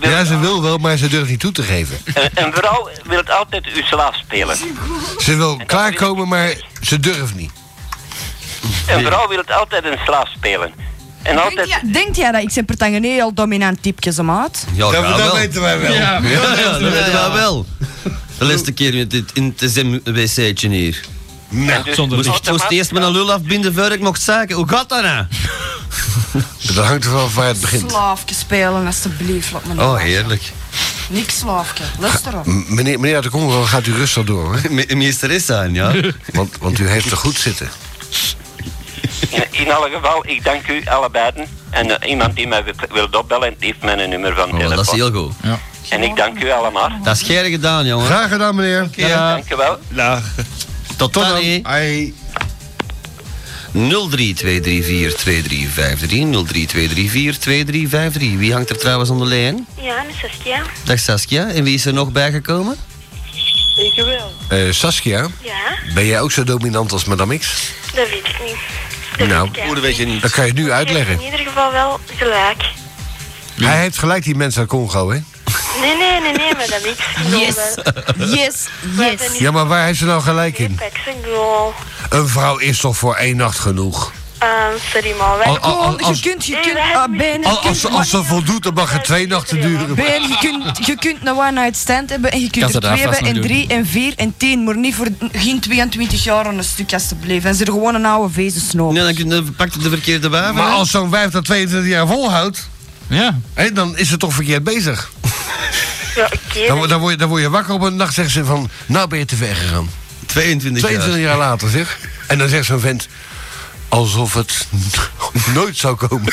wil Ja, het ze wil wel, maar ze durft niet toe te geven. al- een vrouw wil het altijd u slaaf spelen. Ze wil klaarkomen, maar ze durft niet. Een vrouw wil het altijd een slaaf spelen. En Denkt altijd... jij, denkt jij dat ik zijn pertangen niet heel dominant typje om uit? Ja, dat ja, dat wel. weten wij wel. Ja. Ja, ja, dat weten Ja. wij wel. De laatste keer met dit in het SM-wc'tje hier. Nou, en dus zonder- Moest ik moest eerst mijn lul afbinden voordat ik mocht zaken. Hoe gaat dat nou? Dat hangt er wel van waar het begint. Slaafje spelen, alsjeblieft. Laat me Oh, heerlijk. Niks slaafje. Luister op. M- Meneer, meneer uit de Congo, gaat u rustig door, hoor. Me- Meesteres zijn, ja. Want, want u heeft er goed zitten. In, in alle geval, ik dank u allebeiden. En eh, iemand die mij wil- wil opbellen, heeft mijn nummer van Oh, telefoon. dat is heel goed. En ik dank u allemaal. Dat is geer gedaan, jongen. Graag gedaan, meneer. Ja. Dank u wel. Laag. Tot Tot dan. dan. hè. Hoi. 03234-2353. 03234-2353. Wie hangt er trouwens onder lijn? Ja, met Saskia. Dag Saskia. En wie is er nog bijgekomen? Ik wel. Eh, Saskia, Ja, ben jij ook zo dominant als Madame X? dat weet ik niet. Dat Nou, weet ik Hoe, eigenlijk weet je niet. Dat kan je nu niet. Je hebt uitleggen. In ieder geval wel gelijk. Hij heeft gelijk die mensen uit Congo, hè? Nee, nee, nee, nee, maar dat weet ik niet. Yes. Yes. Yes. Ja, maar waar heeft ze nou gelijk in? Ik zeg wel, Een vrouw is toch voor één nacht genoeg? ehm, sorry, maar wij... Al- al- Gewoon, je als- kunt, je Nee, kunt, wij hebben ah, niet- Ben, Al- je als, kunt, ze, als ze voldoet, dan mag het twee nachten duren. Ben, je kunt, je kunt een one-night stand hebben en je Kan kunt ze er daar twee vast hebben en nog doen. drie en vier en tien, maar niet voor geen 22 jaar aan een stuk alsjeblieft. En ze er gewoon een oude dus vezensnoop. Ja, dan, kun- dan pakt het de verkeerde waven. Maar hè? als zo'n wijf dat 22 jaar volhoudt, Ja. hè, dan is ze toch verkeerd bezig. Ja, oké. Dan, wo- dan, word je, dan word je wakker op een nacht, zegt ze van, nou ben je te ver gegaan. 22 jaar. 22 jaar later, zeg. En dan zegt zo'n vent, alsof het nooit zou komen.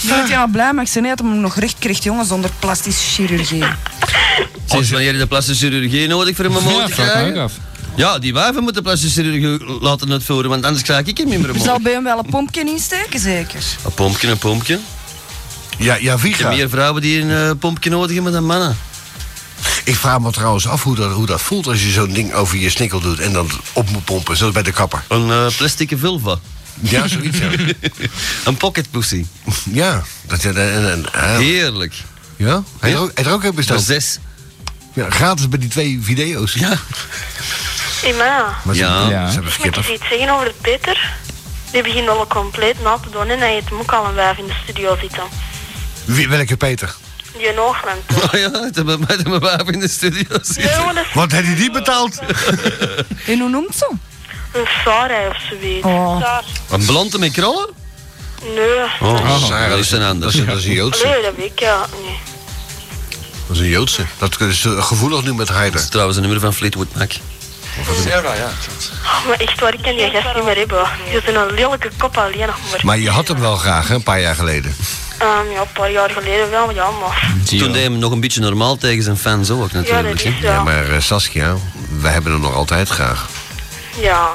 Nu moet je nou blij maar ik zijn dat hij hem nog recht krijgt, jongen, zonder plastische chirurgie. Sinds wanneer heb je de plastische chirurgie nodig voor een mooi Ja, te vraag me ook krijgen? af. Ja, die wijven moeten plastische chirurgie laten uitvoeren, want anders krijg ik hem niet meer Er omhoog. zal bij hem wel een pompje insteken, zeker? Een pompje, een pompje. Ja, ja Ik heb Viga. meer vrouwen die een eh, pompje nodig hebben dan mannen. Ik vraag me trouwens af hoe dat, hoe dat voelt als je zo'n ding over je snikkel doet en dan op moet pompen, zoals bij de kapper. Een eh, plastic vulva. Ja, zoiets. Ja, een pocket pussy. ja dat, en, en, en- ah, Heerlijk. ja? Hij er ook, hij er ook een Voor besteld. zes. Ja, gratis bij die twee video's. Ja. Hey, maar, Maar ze, Ja. ze hebben moet ik verkeerd eens iets zeggen over het Peter? Die begint wel compleet na te doen en hij heeft hem ook al een wijf in de studio zitten. Wie, welke Peter? Die in Oogland. Oh ja, het hebben met mijn wapen in de studio zitten. Nee, maar dat is Wat heeft hij die betaald? En hoe noemt ze? een Sarah of zoiets. Oh. Saar. Een blonde met krollen? Nee. Oh, Sarah, dat is een ander. Dat is, dat is een Joodse. Nee, dat weet ik ja niet. Dat is een Joodse. Dat is eh, gevoelig nu met Dat is Heider. trouwens een nummer van Fleetwood Mac. Oh, Maar echt waar, ik kan die gast niet meer hebben. Je is een lelijke kop alleen nog maar. Maar je had hem wel graag, hè, een paar jaar geleden. Ehm, ja, een paar jaar geleden wel, ja, maar... Toen deed hij hem nog een beetje normaal tegen zijn fans ook Ja, dat natuurlijk. is hè. Ja, ja. maar eh, Saskia, wij hebben hem nog altijd graag. Ja.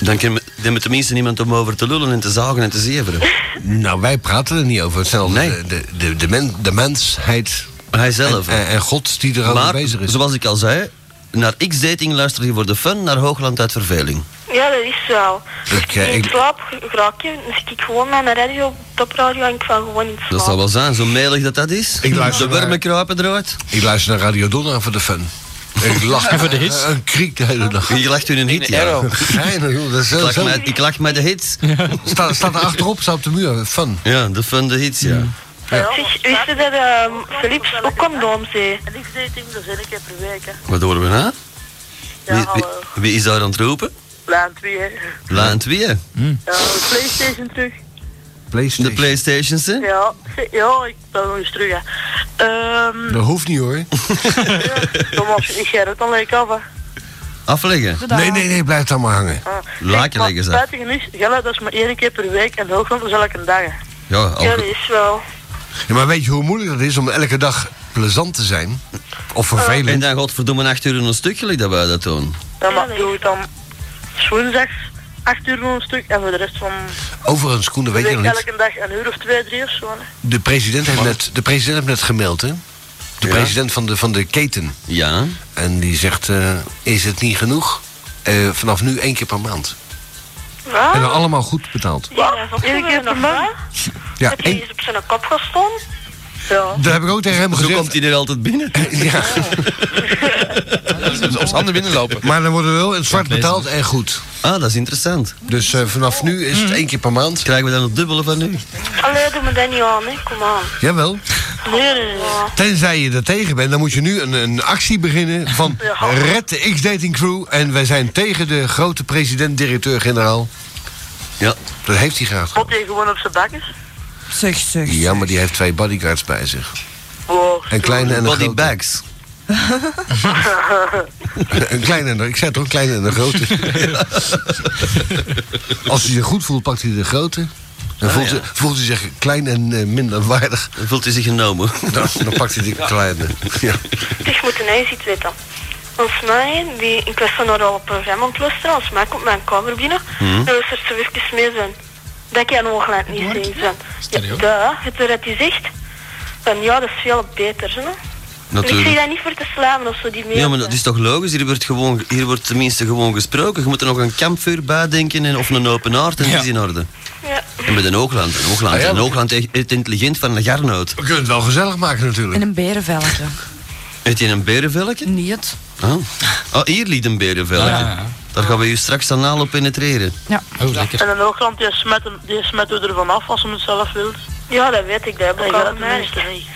Dan kunnen we- dan hebben we tenminste niemand om over te lullen en te zagen en te zeveren. Nou, wij praten er niet over. Het zijn al Nee. de, de, de, de, men- de mensheid Hij en, zelf. hè. en, en God die er al maar, bezig is. zoals ik al zei, naar X-dating luister je voor de fun, naar Hoogland uit verveling. Ja, dat is wel. Ik, eh, in ik- slaap raak je, dan zit ik gewoon naar mijn radio, topradio en ik val gewoon in slaap. Dat zal wel zijn, zo melig dat dat is. Ik luister de naar- wormen kruipen eruit. Ik luister naar Radio Donna voor de fun. Ik lach En voor de hits. eh, Een kriek de hele dag. Je lacht u een hit, ja. Geinig, joh. Dat is Ik zo, lach zo. met- Ik lach met de hits. Staat, staat er achterop, staat op de muur. Fun. Mm. Ja, de fun, de hits, ja. Zeg, wist je dat ehm Philips ook condooms heeft? En ik deed hem dus één keer per week, hè. Wat horen we na? Wie, Ja, wie, hallo. wie is daar aan het roepen? Laan 2, hè. Laan 2. Mm, Ja, de Playstation terug. De Playstations, hè? Ja, ja, ik ben nog eens terug, hè. Ehm, Dat hoeft niet hoor. kom op, ik ga het dan lekker af, hè. Afleggen. Nee, nee, nee, blijf dan maar hangen. Ah. Laken maar leggen ze. spijtig genoeg, Gelle, dat is maar één keer per week en Hoogland is elke dag, hè. Ja, Oh, al- Ja, dat is wel. Ja, maar weet je hoe moeilijk dat is om elke dag plezant te zijn? Of En vervelend? dan godverdomme 8 uur in een stuk gelijk dat wij dat doen. Ja, maar doe het dan woensdags, acht uur nog een stuk en voor de rest van Overigens, Koen, dat de weet je week nog niet. elke dag een uur of twee, drie of zo, hè. De president heeft net, de president heeft net gemaild, hè? De Ja. president van de, van de keten. Ja. En die zegt, eh, is het niet genoeg? Eh, vanaf nu één keer per maand. Wat? En dan allemaal goed betaald. Ah. Ja, dat Eén keer is per nog maand? wel. Ja, Heb je en eens op zijn kop gestaan? Ja. dat heb ik ook tegen hem Zo komt gezegd. hij er altijd binnen. Ja, Op zijn handen binnenlopen. maar dan worden we wel in het zwart betaald en goed. Ah, dat is interessant. Dus eh, vanaf nu is het één keer per maand. Krijgen we dan het dubbele van nu? Allee, doe me dat niet aan, hè. Kom aan. Jawel. Nee, nee, nee. Tenzij je er tegen bent, dan moet je nu een, een actie beginnen van red de X-Dating Crew. En wij zijn tegen de grote president, directeur, generaal. Ja. Dat heeft hij graag. Bot je gewoon op zijn bakkers? Zeg, zeg. Ja, maar die heeft twee bodyguards bij zich. Wow. Een kleine en een Body grote. bags. Een kleine en een, ik zei toch, een kleine en een grote. Als hij zich goed voelt, pakt hij de grote. En voelt, hij, voelt hij zich klein en eh, minder waardig, Ah, Dan voelt hij zich genomen. dan, dan pakt hij de kleine. Ja. Ik moet ineens iets weten. Volgens mij, die, ik was dan nog al een programma aan het luisteren, als mij komt mijn kamer binnen, Mhm. en was er zo even mee zijn. Dat kan Hoogland niet zien zijn. Ja, Serieus? daar, het er dat hij zegt, dan ja, dat is veel beter. Hè? En ik zeg Natuurlijk. dat niet voor te slaan of zo, die meer. Ja, maar dat is toch logisch? Hier wordt, gewoon, hier wordt tenminste gewoon gesproken. Je moet er nog een kampvuur bij denken en, of een open aard en Ja. die is in orde. Ja. En met een Hoogland. Een Hoogland, Ah, ja, een maar- Hoogland is het intelligent van een garnoot. We kunnen het wel gezellig maken En natuurlijk. een berenvelletje. Heeft hij een berenvelkje? Niet. Oh. oh, hier liet een berenvelkje. Ja, ja, ja. Daar gaan we je straks anaal op penetreren. Oh, lekker. En een Hoogland, die smet, hem- die smet u ervan af als hem het zelf wilt. ja, dat weet ik, dat heb Dan ik gaat al het gemerkt. tenminste niet.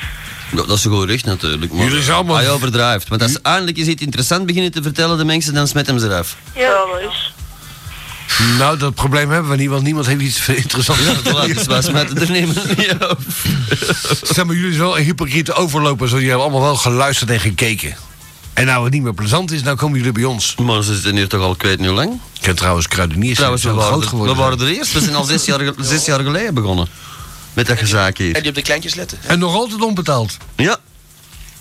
Ja, dat is een goed recht natuurlijk. Maar Jullie zijn allemaal- Hij overdrijft. Want als ze eindelijk eens iets interessant beginnen te vertellen, de mensen, dan smet hem ze eraf. Ja, Ja, dat is. Nou, dat probleem hebben we niet, want niemand heeft iets interessants. Ja, voilà, dus wij smetten er niemand niet op. Zeg maar, jullie zijn wel een hypocriete overlopers, want jullie hebben allemaal wel geluisterd en gekeken. En nou het niet meer plezant is, nou komen jullie bij ons. Maar ze zitten hier toch al kwijt nu lang? Ik ken trouwens kruideniers, Trouwens, die we zijn waren, groot geworden. we waren er eerst. We zijn al zes jaar, ge- zes jaar geleden begonnen. Met dat gezaak En hier. die op de kleintjes letten. En nog altijd onbetaald. Ja,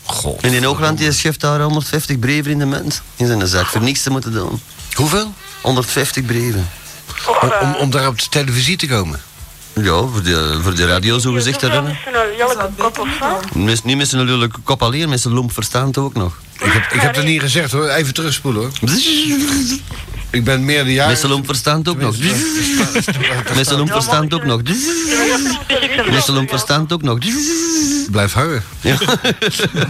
God. en in Hoogland die scheft daar 150 brieven in de mens. In zijn zak, voor niks te moeten doen. Hoeveel? 150 brieven. Och, Om, om, eh, om daar op de televisie te komen. Ja, voor de, voor de radio zo gezegd te die rennen. vrouw is een lelijke kop of wat? Mis- Niet met zijn lullige kop alleen, met zijn lomp verstand ook nog. Ik heb, ik heb dat niet gezegd hoor, even terugspoelen hoor. Ik ben Met zijn meerderjarig. lomp verstand ook nog. Met zijn lomp verstand ook nog. Met zijn lomp verstand ook nog. Blijf hangen.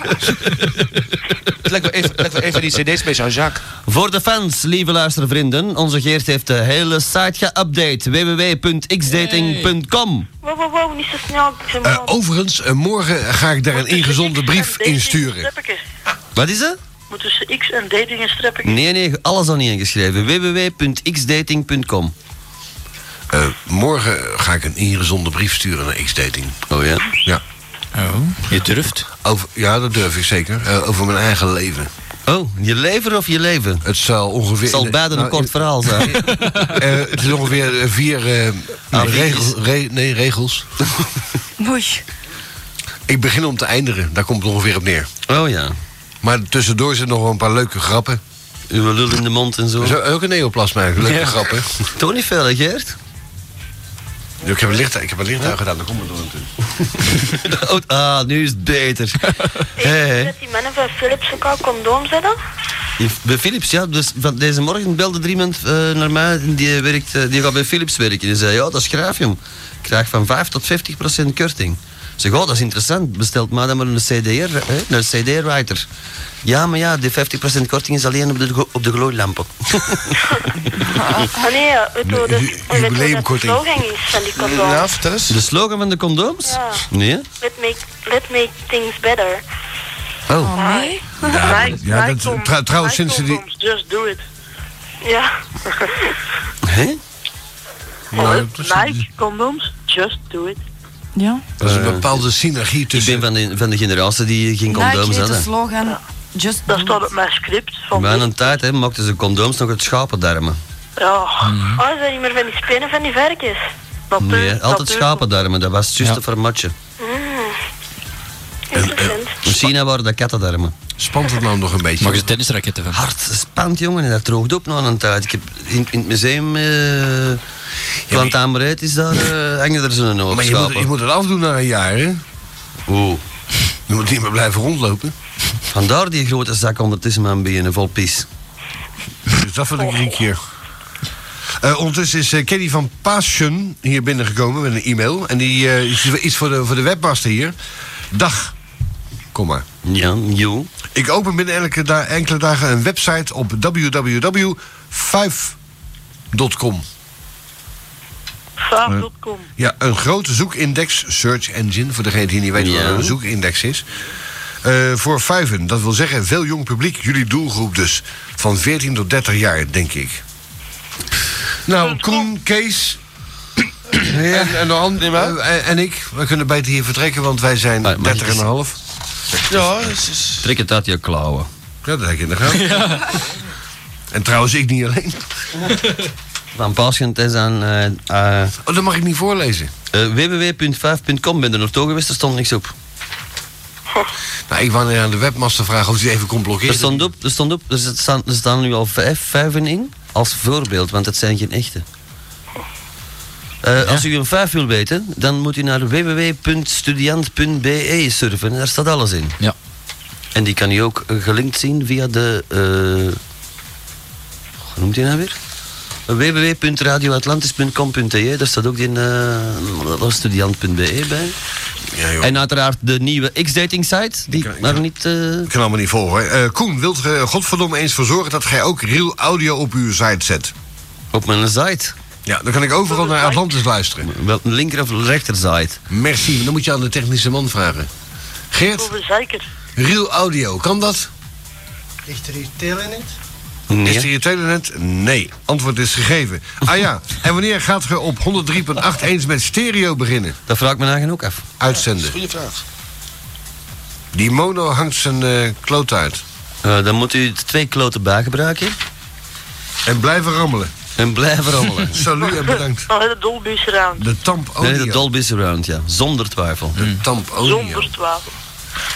Het lijkt wel een- het lijkt wel een van die cd's bij Jean-Jacques. Voor de fans, lieve luistervrienden, onze Geert heeft de hele site geüpdate. www.xdating.com Wow, wow, wow, niet zo snel. Ik ben Eh, wel- overigens, eh, morgen ga ik daar een ingezonden brief insturen. Wat is dat? Moet tussen X en dating een streppetje. Nee, nee, alles al niet ingeschreven. www.xdating.com Eh, morgen ga ik een ingezonden brief sturen naar X-Dating. Oh ja? Ja. Oh. Je durft. Over, ja, dat durf ik zeker. Eh, over mijn eigen leven. Oh, je lever of je leven? Het zal ongeveer. Het zal beide een nou, kort verhaal zijn. eh, het is ongeveer eh, vier eh Ah, regel- re- nee, regels. Mooi. Ik begin om te eindigen, daar komt het ongeveer op neer. Oh ja. Maar tussendoor zitten nog wel een paar leuke grappen. Uw lul in de mond en zo. Zo, ook een neoplasma, eigenlijk. leuke grappen. Toch niet veel, hè, Geert? Ik heb een licht, ik heb een licht aangedaan, daar komt het door natuurlijk. Oh, ah, nu is het beter. Hé, Dat die mannen van Philips ook al condoom zetten? Je- Bij Philips, ja. Dus van deze morgen belde er iemand eh, naar mij en die, werkt, eh, die gaat bij Philips werken. Die zei, ja, dat is graaf, jong. Ik krijg van 5 tot 50 procent korting. Ik zeg, oh, dat is interessant. Bestelt mij dan maar een CDR, hè, eh, een CD-writer. Ja, maar ja, die 50% korting is alleen op de, glo- op de glooilampen. Ah nee, eh, weet je hoe dat- Ju- weet je hoe dat de jubileumkorting. slogan is van die condoom? Nou, vertel eens. De slogan van de condooms? Ja. Nee? Let make, let make things better. Oh. Oh, nee. Mijn- ja, mijn dat- kom- trouw- trouwens, mijn sinds die- condoms, Just do it. Ja, Hé? Oh. Nou, dat is- Nike condoms, just do it. Ja. Dat is een bepaalde synergie Eh, Ik ben tussen... van de, van de generatie die geen condooms Nike heet de hadden. slogan Just Dat do staat it. op mijn script van... Maar aan een tijd hè, maakten ze condooms nog uit schapendarmen. Ja, Mhm. oh, is dat niet meer van die spinnen van die varkens? natuur, Nee, altijd natuur- schapendarmen. Dat was juist Ja. een formatje. Mhm. Interessant. In China waren dat kattendarmen. Spant het nou nog een beetje? Mag je tennisraketten van? Hard spant, jongen, en dat droogt op na een tijd. Ik heb in, in het museum, eh Plantaanbereid is daar, eh, hangen er zo'n hoop maar je moet, je moet het afdoen na een jaar, hè? Oeh. Je moet niet meer blijven rondlopen. Vandaar die grote zak ondertussen mijn benen, vol pis. Dus dat vind ik een keer. Eh, ondertussen is eh, Kenny van Passion hier binnengekomen met een e-mail. En die eh, is iets voor de, voor de webmaster hier. Dag. Kom maar. Ja, joh. Ik open binnen elke da- enkele dagen een website op www.5.com. Eh. Vaaf.com. Ja, een grote zoekindex, search engine, voor degene die niet weet Ja. wat een zoekindex is. Eh, voor vijven, dat wil zeggen veel jong publiek, jullie doelgroep dus. Van 14 tot 30 jaar, denk ik. Nou, Koen, Kees en, en, de hand- eh, en ik, we kunnen beter hier vertrekken, want wij zijn Maar mag ik 30 en een half. Ja, dus, dus- Trek het uit je klauwen. Ja, dat heb je in de gaten. En trouwens, ik niet alleen. Van Paschent is aan eh eh, Oh, dat mag ik niet voorlezen. eh, www.5.com. Ben er nog toe geweest, er stond niks op. Nou, ik wou aan de webmaster vragen of die even kon Er blokkeren. stond op, er stond op, er zit- staan, er staan nu al vijf vijven in als voorbeeld, want het zijn geen echte. Eh, Als u een vijf wil weten, dan moet u naar www.studiant.be surfen. Daar staat alles in. Ja. En die kan u ook eh, gelinkt zien via de... eh, hoe noemt hij nou weer? www.radioatlantis.com.te e Daar staat ook die eh, studiant.be bij. Ja, joh. En uiteraard de nieuwe X-dating site, die kan- ik maar kan- niet... eh, Ik kan allemaal niet volgen. hoor. Eh, Koen, wilt ge godverdomme eens voor zorgen dat gij ook real audio op uw site zet? op mijn site. Ja, dan kan ik overal naar Atlantis luisteren. Wel een linker of rechterzijde. Merci, dan moet je aan de technische man vragen. Geert, Over zeker. real audio, kan dat? Ligt er hier telenet? Is er hier telenet? Nee. Antwoord is gegeven. Ah ja, en wanneer gaat ge op 103.8 eens met stereo beginnen? Dat vraag ik me eigenlijk ook af. Uitzenden. goede vraag. Die mono hangt zijn eh, kloot uit. Eh, dan moet u twee kloten bij gebruiken En blijven rammelen. en blijven rommelen. Salut en bedankt. Dan heb je Dolby's eraan. De tamp audio. Nee, de Dolby Surround, ja. Zonder twijfel. De tamp audio. Zonder twijfel.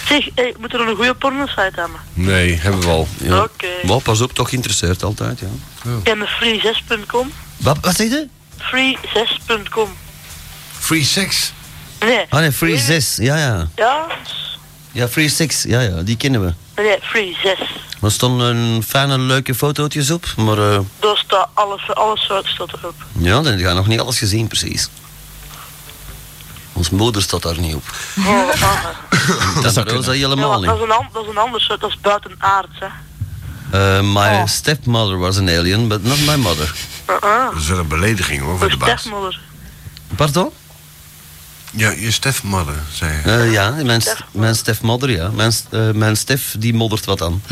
Zeg, hey, moet er een goede porno-site aan? Nee, hebben we al. Ja. Oké. Maar pas op, toch geïnteresseerd altijd, ja. En free6.com. Wat, wat zeg je? Free6.com. Free sex. Nee. Ah nee, Free 6, ja ja. Ja? Ja, Free 6, ja ja, die kennen we. Nee, Free6. Er stonden fijne, leuke fotootjes op, maar eh, Daar staat alles, alles soort staat erop. ja, dan gaan nog niet alles gezien precies. Ons moeder staat daar niet op. Oh, ah. Dat is Rosa ja, helemaal want dat, niet. is een, an- dat is een ander soort, dat is buitenaards, hè. Uh, Eh, my Oh. stepmother was an alien, but not my mother. Uh-uh. Dat is wel een belediging hoor, voor de Uw baas. stepmoeder. Pardon? Ja, je stefmother, zei hij. Eh, ja, mijn, st- mijn stefmodder, ja. Mijn, st- eh, mijn stef, die moddert wat aan.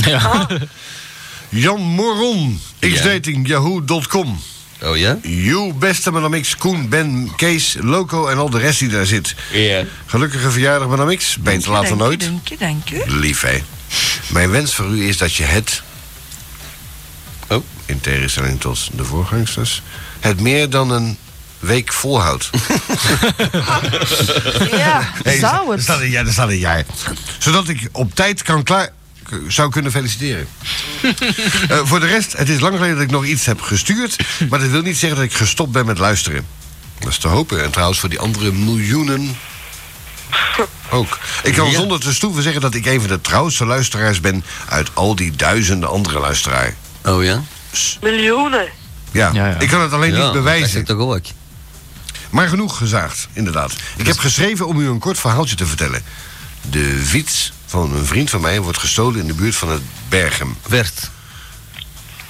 Jan Moron, Ja. xdatingyahoo.com. Oh ja? You beste Madame X, Koen, Ben, Kees, Loco en al de rest die daar zit. Ja. Gelukkige verjaardag Madame X, beter laat dan nooit. Dank je, dank je. Lief hè. Mijn wens voor u is dat je het... Oh. In tegenstelling tot de voorgangsters... het meer dan een week volhoudt. Ja, Hey, zou Er staat het. een jaar, er staat een jaar. Zodat ik op tijd kan klaar... k- zou kunnen feliciteren. Eh, voor de rest, het is lang geleden dat ik nog iets heb gestuurd... maar dat wil niet zeggen dat ik gestopt ben met luisteren. Dat is te hopen. En trouwens voor die andere miljoenen... Ook. Ik kan zonder te stoeven zeggen dat ik een van de trouwste luisteraars ben... uit al die duizenden andere luisteraars. Oh ja? Miljoenen. Ja, Ja, ja. ik kan het alleen ja, niet Dat zeg bewijzen. ik toch ook. Maar genoeg gezaagd, inderdaad. Ik heb geschreven om u een kort verhaaltje te vertellen. De fiets van een vriend van mij wordt gestolen in de buurt van het Bergen. Werd.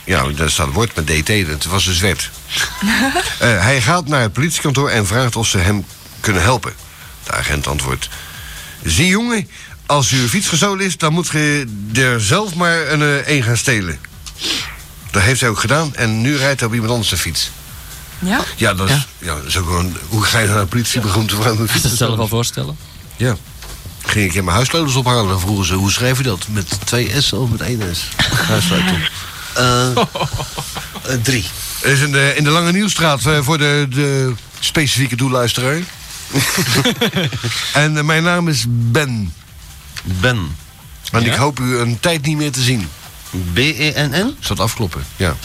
Ja, daar staat woord met DT, dat was dus wet. Eh, hij gaat naar het politiekantoor en vraagt of ze hem kunnen helpen. De agent antwoordt... Zie jongen, als uw fiets gestolen is... dan moet je er zelf maar een, eh, een gaan stelen. Dat heeft hij ook gedaan en nu rijdt hij op iemand anders de fiets. Ja? Ja, dat is, ja. dat is ook gewoon... Hoe ga je naar de politie begroeten voor mijn Is fiets? dat zelf al voorstellen? Ja. Ging ik in mijn huissleutels ophalen en vroegen ze hoe schrijf je dat? Met twee S of met één S? Huissleutel. Eh Oh. eh, drie. Er Is in de, in de Lange Nieuwstraat eh, voor de, de specifieke doelluisteraar. en eh, mijn naam is Ben. Ben. En ik hoop u een tijd niet meer te zien. E B-E-N-N? Is dat afkloppen? Ja.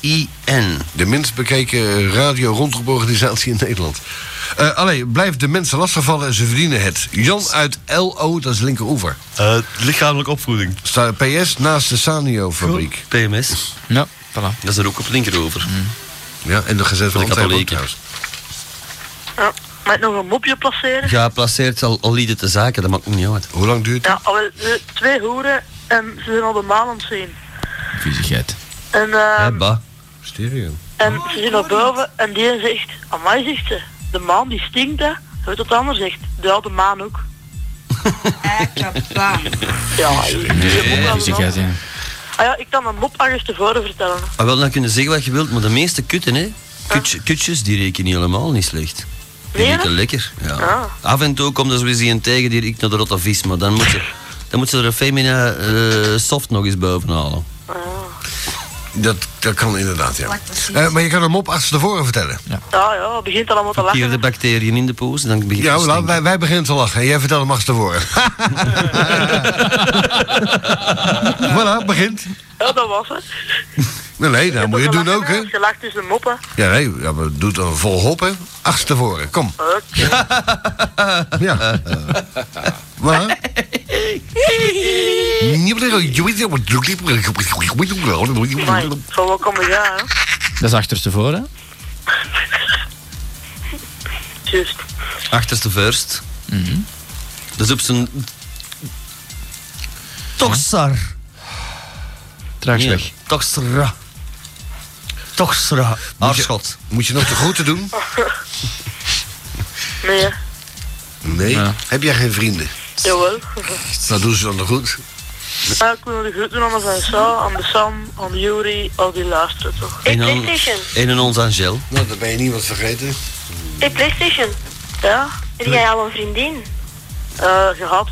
B-I-N. De minst bekeken radio rondroeporganisatie in Nederland. Eh allee, blijf de mensen lastigvallen en ze verdienen het. Jan uit LO, dat is linkeroever. Eh, lichamelijke opvoeding. Staat PS naast de Sanio-fabriek. PMS. Ja. Voilà. Dat is er ook op linkerover. Ja, en de gezet Voor van de Antwerpen ook katholieken. trouwens. Ja. Mag ik nog een mopje placeren? Ja, placeert al, al lieden te zaken, dat maakt me niet uit. Hoe lang duurt het? Ja, alweer twee hoeren en ze zijn al de maan aan het zien. Viezigheid. En, Hè, ehm, ba? Stereo. en ze zien naar boven en die een zegt, amai zegt ze, de maan die stinkt hè. Weet wat de ander zegt, ja de maan ook. Ekapa. Ja, je, je moet wel Viezigheid, wel. ja. Ah ja, ik kan mijn mop ergens tevoren vertellen. Ah, wel, dan kunnen zeggen wat je wilt, maar de meeste kutten, hè. Kutje- kutjes, die rekenen helemaal niet slecht. Die Nee, hè? rekenen lekker, ja. Ah. Af en toe komt er zo eens een tegen die ik naar de rotte vis, maar dan moet ze, dan moet ze er een femina eh, soft nog eens bovenhalen. Dat, dat kan inderdaad, ja. Laat precies. Eh, maar je kan hem op achterstevoren vertellen. Ja, ja, het begint allemaal te Hier de lachen. bacteriën in de poes, dan begint het Ja, te we laten- stinken. wij, wij beginnen te lachen. En jij vertelt hem achterstevoren. voilà, begint. Ja, dat was het. Nee, nee, dat moet je doen ook, hè? Je lacht tussen de moppen. Ja, nee, ja, maar doe het dan vol hop, hè? Achterstevoren, kom. Oké. Ja. Waar? Maar ik zal wel komen gaan, hè. Dat is achterstevoren. hè? Juist. Achterste vuist. Dat is op zijn... Toksar. Traags weg. Toksra. Toksra. Aarschot. Moet je nog de groeten doen? Nee, Nee. Ja. Heb jij geen vrienden? jawel. Nou, doen ze dan nog goed. Ja, ik wil de groeten aan mijn Sa, aan de Sam, aan de Jury, al die luisteren toch. Hey, En dan- PlayStation. en een ons Angel. Nou, dan ben je niet wat vergeten. Hey, PlayStation. Ja, Heb jij al een vriendin? eh, gehad.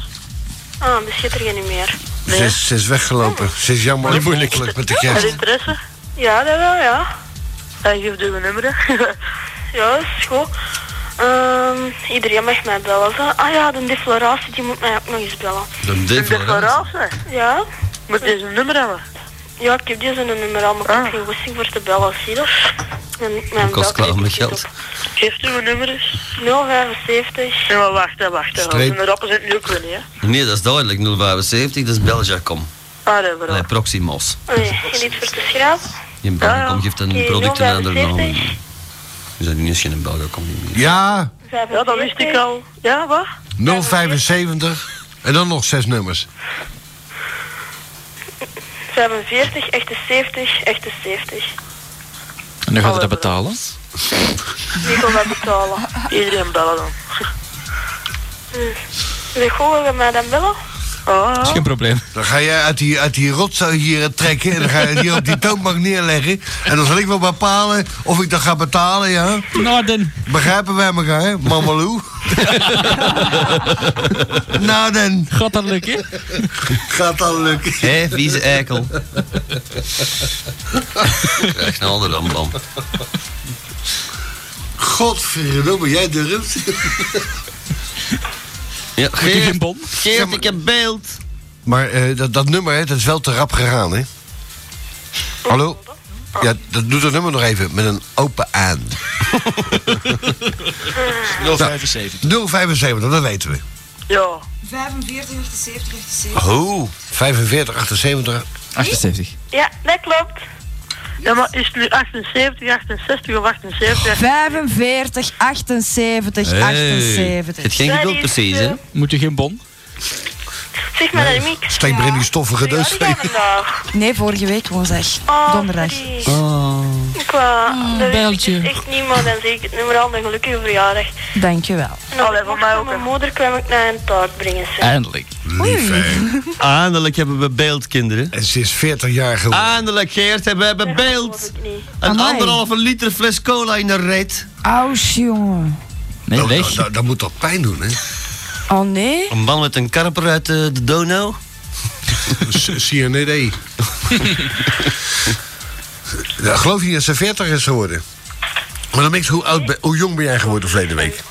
Ah, dus je hebt er geen meer. Ze, is, ze is weggelopen. Ze is jammer. Niet moeilijk. Met de En kerst. interesse? Ja, dat wel, ja. En geef uw nummer, hè. Ja, dat is goed. Ehm, iedereen mag mij bellen. Zo. Ah ja, de defloratie die moet mij ook nog eens bellen. De Een defloratie. declaratie. Ja? Moet deze nummer hebben. Ja, ik heb deze nummer al, maar ik heb Ah. geen goesting voor te bellen, zie je dat? En mijn Kost bel- klaar met geld. Geeft uw nummer eens. 075. Nee, maar wacht, hè, wacht. Hè. Streep. Als een rappen zijn het nu ook weer niet, hè. Nee, dat is duidelijk. 075, dat is Belgiacom. Ah, dat wel. Nee, Proximos. Nee, je iets voor te schrapen? Je Ah, Belgacom geeft een product een andere naam. We zijn nu eens geen Belgacom niet meer. Ja, Ja, dat wist ik al. Ja, wat? 075. En dan nog zes nummers. 45, 78, 78. En dan gaat hij dat betalen. Wie kan dat betalen? Hm. Iedereen bellen dan. Zeg, goed, wil je mij dan bellen? Ah, Dat is ja. geen probleem. Dan ga jij uit die, uit die rotzooi hier eh, trekken. En dan ga je het hier op die toonbank neerleggen. En dan zal ik wel bepalen of ik dat ga betalen, ja. Nou, dan. Begrijpen wij elkaar, hè? Mamalou. nou dan, Gaat dat lukken? gaat dat lukken. Hé, vieze eikel. Krijg een andere rambam. Godverdomme, jij durft. Ja, geen bon? Geert, ik heb beeld. Maar eh, dat, dat nummer, hè, dat is wel te rap gegaan, hè? Hallo? Ja, dat doet dat nummer nog even met een open aan. 075. 075, dat weten we. ja. 45, 78, 78. Oh. 45, 78. 78. Ja, dat klopt. Ja, maar is het nu 78, 68 of 78? 45, 78, 78. Het geen geduld precies, hè? Moet je geen bon? Zeg maar een mix. Steek maar in die stoffige dus. Ja, vandaag. Nee, vorige week woensdag. Oh, Donderdag. Mm. sorry. Ik wou, dat wist beltje. ik dus echt niet, maar dan zie ik het nummer al een gelukkige verjaardag. Dankjewel. En als Allee, ik voor mocht mij van ook, mijn hè. moeder kwam ik naar een taart brengen. zeg. Eindelijk. Lief, hè. Eindelijk hebben we Ah, beeld, kinderen. En ze is 40 jaar geworden. Eindelijk, Geert, hebben we Dat beeld. hoor ik niet. Een Amai. anderhalve liter fles cola in de reet. Ausch, jongen. Nee, Nou, weg. nou, nou, dat moet toch pijn doen, hè? Oh nee? Een man met een karper uit eh, de Donau. C- E CND. ja, geloof je niet dat ze 40 is geworden? Maar dan niks, hoe, oud ben- hoe jong ben jij geworden verleden week?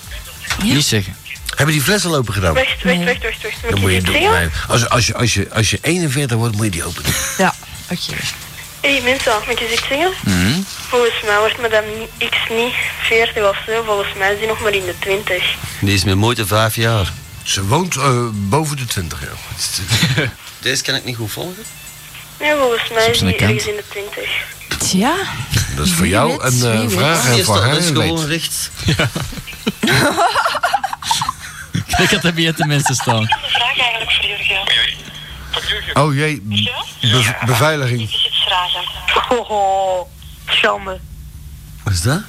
Niet zeggen. Hebben die flessen lopen gedaan? Wacht, wacht, wacht, wacht, wacht. Dan Moet moet je ik dit doen. zeggen? Nee. Als, als, je, als, je, als je 41 wordt, moet je die open doen. Ja, oké. Hé hey, mensen, moet je iets zingen? Mhm. Volgens mij wordt madame X niet 40 of zo, volgens mij is die nog maar in de 20. Die is met moeite vijf jaar. Ze woont eh, boven de 20 jaar. Deze kan ik niet goed volgen. Nee, volgens mij op is zijn die kant. ergens in de 20. Ja. Dat is voor Wie jou weet, een eh, wie weet. vraag en Eerst voor dat, haar dat is een gewoon weet. recht. Ik had er bij de mensen staan. een vraag eigenlijk voor Jurgen. Oh jee, be- beveiliging. is iets vragen. Hoho, schande. Wat is dat?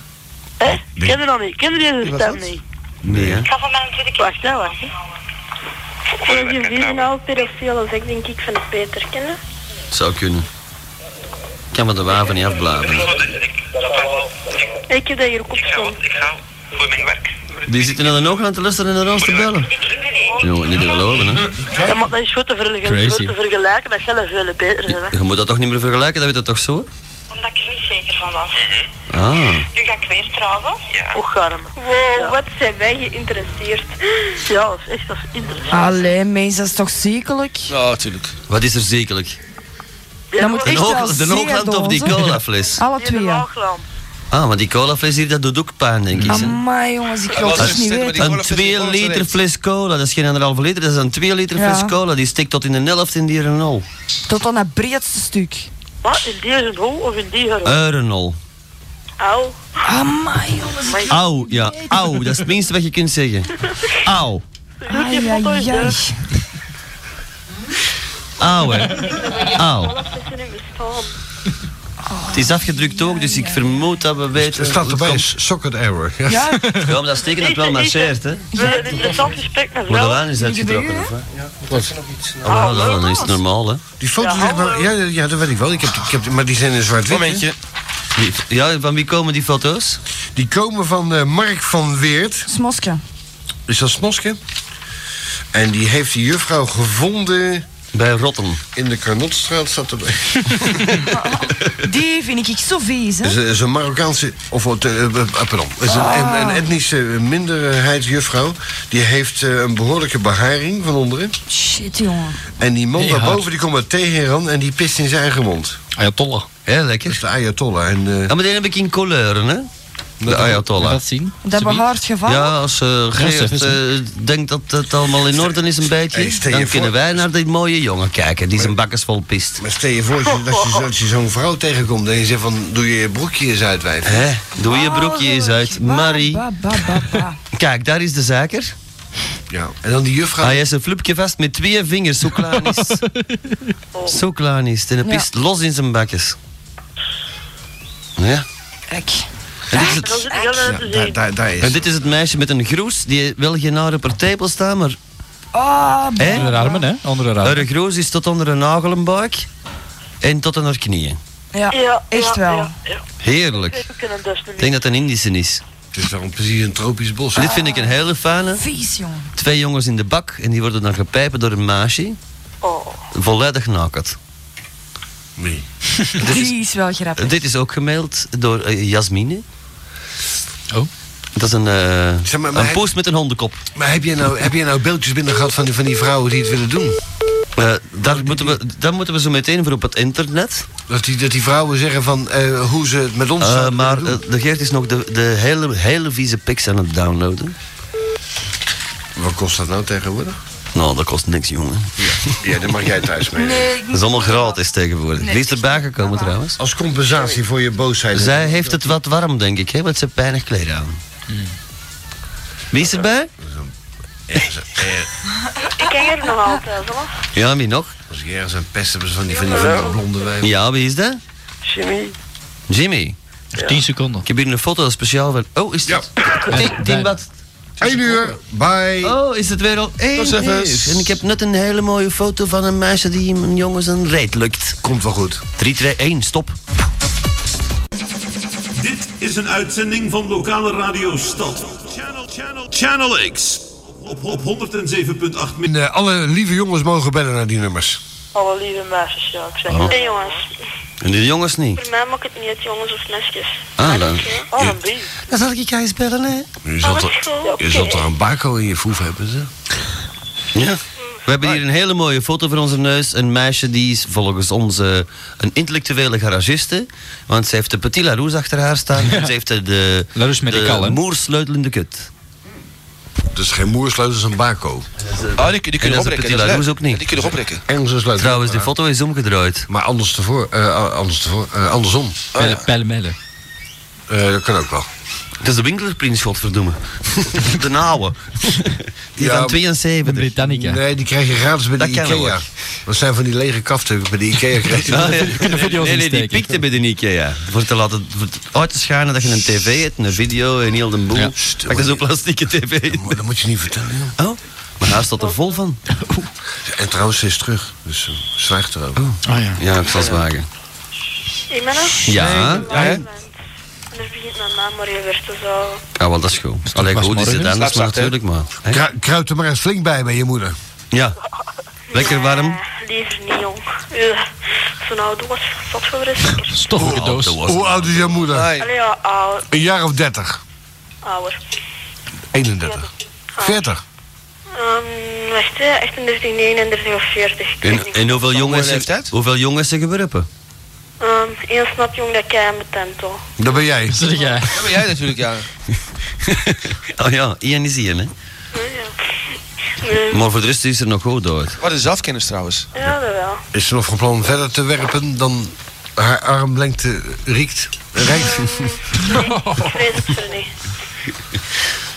Hè? Ken je dat niet? Ken je deze stem niet? Nee, hè? Ik ga van mijn tweede keer. Wacht, hè, wacht. hè. Ik ben vier nou pedofiel, dus ik denk ik vind het beter kennen. Zou kunnen. Ik kan me de waven niet afblaven. Ik heb dat hier ook op staan. Die zitten in de ogen aan te luisteren en naar ons te bellen. Jongen, niet te geloven, hè. Ja, maar dat is goed te, vergelijken- Crazy. goed te vergelijken, dat jij dat veel beter zijn. Je moet dat toch niet meer vergelijken, dat weet je toch zo? Omdat ik er niet zeker van was. Ah. Nu ga ik weer trouwen. Ja. Ook garm. Wow, wat zijn wij geïnteresseerd. Ja, dat is echt dat is interessant. Allee, mensen, dat is toch ziekelijk? Ja, natuurlijk. Wat is er zekerlijk? Dat moet De echt wel Hoogland- de zeer Hoogland of die dozen. colafles? Alle Nee, de twee, ja. Laagland. Ah, maar die colafles hier, dat doet ook pijn, denk ik. hè. Amai, jongens, ik wil Dat het was echt een niet stem, weten. Die Een colafles, die 2 colafles liter eruit. fles cola, dat is geen anderhalve liter, dat is een 2 liter Ja. fles cola. Die steekt tot in een helft in die Renault. Tot aan het breedste stuk. Wat, in deze hol of in die garm? Een Renault. Au. Amai, jongens. ik- Auw, ja, auw, dat is het minste wat je kunt zeggen. Auw, Ai, ai, ai. auw, hè. Oh. Auw. Alles is er nu bestaan. Het is afgedrukt ook, dus ik vermoed dat we weten. Er staat hoe het erbij komt. socket error. Ja. Eh, Ja, Ja, maar dat steken het wel marcheert, hè? We hebben een interessant gesprek met Maar de vrouwen. waan is uitgetrokken, of wat? nog iets. Oh, wel, wel, dan is het normaal, hè? Die foto's, Ja, zeg maar- hallo. ja, ja, ja, dat weet ik wel. Ik heb, ik heb, maar die zijn in zwart-wit. hè? Momentje. Die- Ja, van wie komen die foto's? Die komen van eh, Mark van Weert. smoske. Is dat Smoske? En die heeft die juffrouw gevonden Bij Rotten. in de Carnotstraat. Staat erbij. Die vind ik zo vies, hè. Is, is een Marokkaanse, of wat, eh, eh, eh, pardon, is een, een, een etnische minderheidsjuffrouw. Die heeft eh, een behoorlijke beharing van onderen. Shit, jongen. En die man Heel daarboven hard. die komt uit Teheran en die pist in zijn eigen mond. Ayatollah. Heel Dat lekker. is de Ayatollah. En, eh, Ja, maar die heb ik in kleuren, hè? De Laat Ayatollah. dat zien. Dat Ze- behaart geval. Ja, als eh Geert is eh, denkt dat het allemaal in orde is een Hey, beetje, stel je dan voor- kunnen wij naar die mooie jongen kijken, die zijn bakkers vol pist. maar stel je voor als je- als je, zo- als je zo'n vrouw tegenkomt en je zegt van... Doe je je broekje eens uit, wijf. Hé, doe je broekje eens uit. Ba, Marie, Oh, ba, ba, ba, ba. kijk, daar is de zaker. Ah, Ja. Nou, En dan die juffrouw... Hij is een flupje vast met twee vingers, zo klaar is. Zo klaar is. het. En hij Ja. pist los in zijn bakkes. Ja. Kijk. En dit, is En het, dan zit ik heel Ja, erg te daar, daar, zien. daar en is. dit is het meisje met een groes, die wel geen haren per tepel staan, maar Ah, ba. Hè? Onder de armen, hè? Onder de armen. haar groes is tot onder een nagelenbuik en tot aan haar knieën. Ja, Ja, echt ja, wel. Ja, ja. Heerlijk. We kunnen dus niet. Ik denk dat het een Indische is. Het is wel precies een tropisch bos. Dit vind ik een hele fijne. Vies, jongen. Twee jongens in de bak en die worden dan gepijpen door een maasje. Oh. Volledig nakend. Nee. Die is wel grappig. Dit is ook gemaild door eh, Jasmine. Oh. Dat is een, eh Zeg maar, maar een hij- poes met een hondenkop. Maar heb jij nou, heb jij nou beeldjes binnen gehad van die, van die vrouwen die het willen doen? Eh, daar, moeten we, daar moeten we zo meteen voor op het internet. Dat die, dat die vrouwen zeggen van eh, hoe ze het met ons Eh, zouden maar willen doen. eh, de Geert is nog de, de hele, hele vieze pics aan het downloaden. Wat kost dat nou tegenwoordig? Nou, dat kost niks, jongen. Ja, dan mag jij thuis mee. Nee, ik Dat is allemaal gratis tegenwoordig. Nee. Wie is erbij gekomen trouwens? Als compensatie voor je boosheid. Zij heeft het wat warm, denk ik, hè, want ze heeft weinig kleren aan. Hmm. Wie is erbij? Ergens- er- Ik ken er nog altijd, hoor. Ja, wie nog? Als ik ergens aan pesten was van die, van die, van die blonde wijven. Ja, wie is dat? Jimmy, Jimmy. Nog 10 seconden. Ik heb hier een foto speciaal van. Oh, is het? Tien, tien wat? 1 uur, bye. Oh, is het weer al Tot één ziens. is. En ik heb net een hele mooie foto van een meisje die een jongens een reet lukt. Komt wel goed. 3, 2, 1, stop. Dit is een uitzending van lokale radio Stad. Channel, channel, channel X. Op, op 107.8 min. En, eh, alle lieve jongens mogen bellen naar die nummers. alle lieve meisjes, ja, ik zeg het. Nee, jongens. En de jongens niet. Voor mij maakt het niet uit, jongens of mesjes. Ah, dan. Oh, een bie. Dan zal ik je eens bellen, hè? Je Alles zult, er, goed. je zult er een bako in je foef hebben, ze. Ja. We hebben hier een hele mooie foto voor onze neus. Een meisje die is volgens ons eh, een intellectuele garagiste. Want ze heeft de Petit Larousse achter haar staan. En ze heeft de, de, Larousse de Medical, hè? moersleutel in de kut. Dat is Dus geen moersleutel, dat is een bako. Ah, Oh, die, die kunnen oprekken. dat is leuk. Dat ook niet. Die kunnen oprekken. Engelse sleutel. Trouwens, die foto is omgedraaid. Maar anders tevoor, eh, anders tevoor, eh, Oh, andersom. Pelle, pelle, melle. Eh, dat kan ook wel. Dat is de Winklerprins, godverdomme. de nauwe. Die Ja, van 72. De Britannica. Nee, die krijg je gratis bij Dat de kan wel. Ikea. Dat zijn van die lege kaften bij de Ikea. krijg je. Ah, ja. kunnen video's nee, nee, die insteken. pikte bij de Ikea. Voor te laten voor het uit te schijnen dat je een tv hebt, een video en heel de boel. Ja. Pak dat zo'n plastieke tv. Maar dat moet je niet vertellen, joh. Oh, maar daar staat er vol van. En trouwens, ze is terug. Dus eh, zwijg erover. Ah ja. Ja, een Volkswagen. Ik ben er. Ja, ja, hè? Anders begint mijn naam maar dus even weer te zo. Ah, wel, dat is goed. Alleen pas goed is het morgen. anders, maar Slaap zacht, hè? natuurlijk maar. Hè? Kru- kruip er maar eens flink bij bij je moeder. Ja. Lekker warm. Nee, liever niet, jong. Ja, Zo'n oude was zat voor de zeker. Stoffelijke doos. dat was Hoe oud is jouw moeder? Nee. Allee, ja, ouder. Een jaar of 30. 31. 40. Um, wacht, hè, 38, 39 of 40. Ik weet En, niet. en hoeveel, jongens, leeftijd? hoeveel jongens zijn geworpen? Ehm, heel snap, jong, dat ik aan mijn tent hoor. Dat ben jij. Zeg jij. Dat ben jij natuurlijk, ja. Oh ja, Ian is Ian, hè? Nee, Maar voor de rest is er nog goed uit. Wat een zelfkennis trouwens. ja, dat wel. Is ze nog van plan verder te werpen dan haar armlengte riekt? Rijkt? Ik vrees het er niet.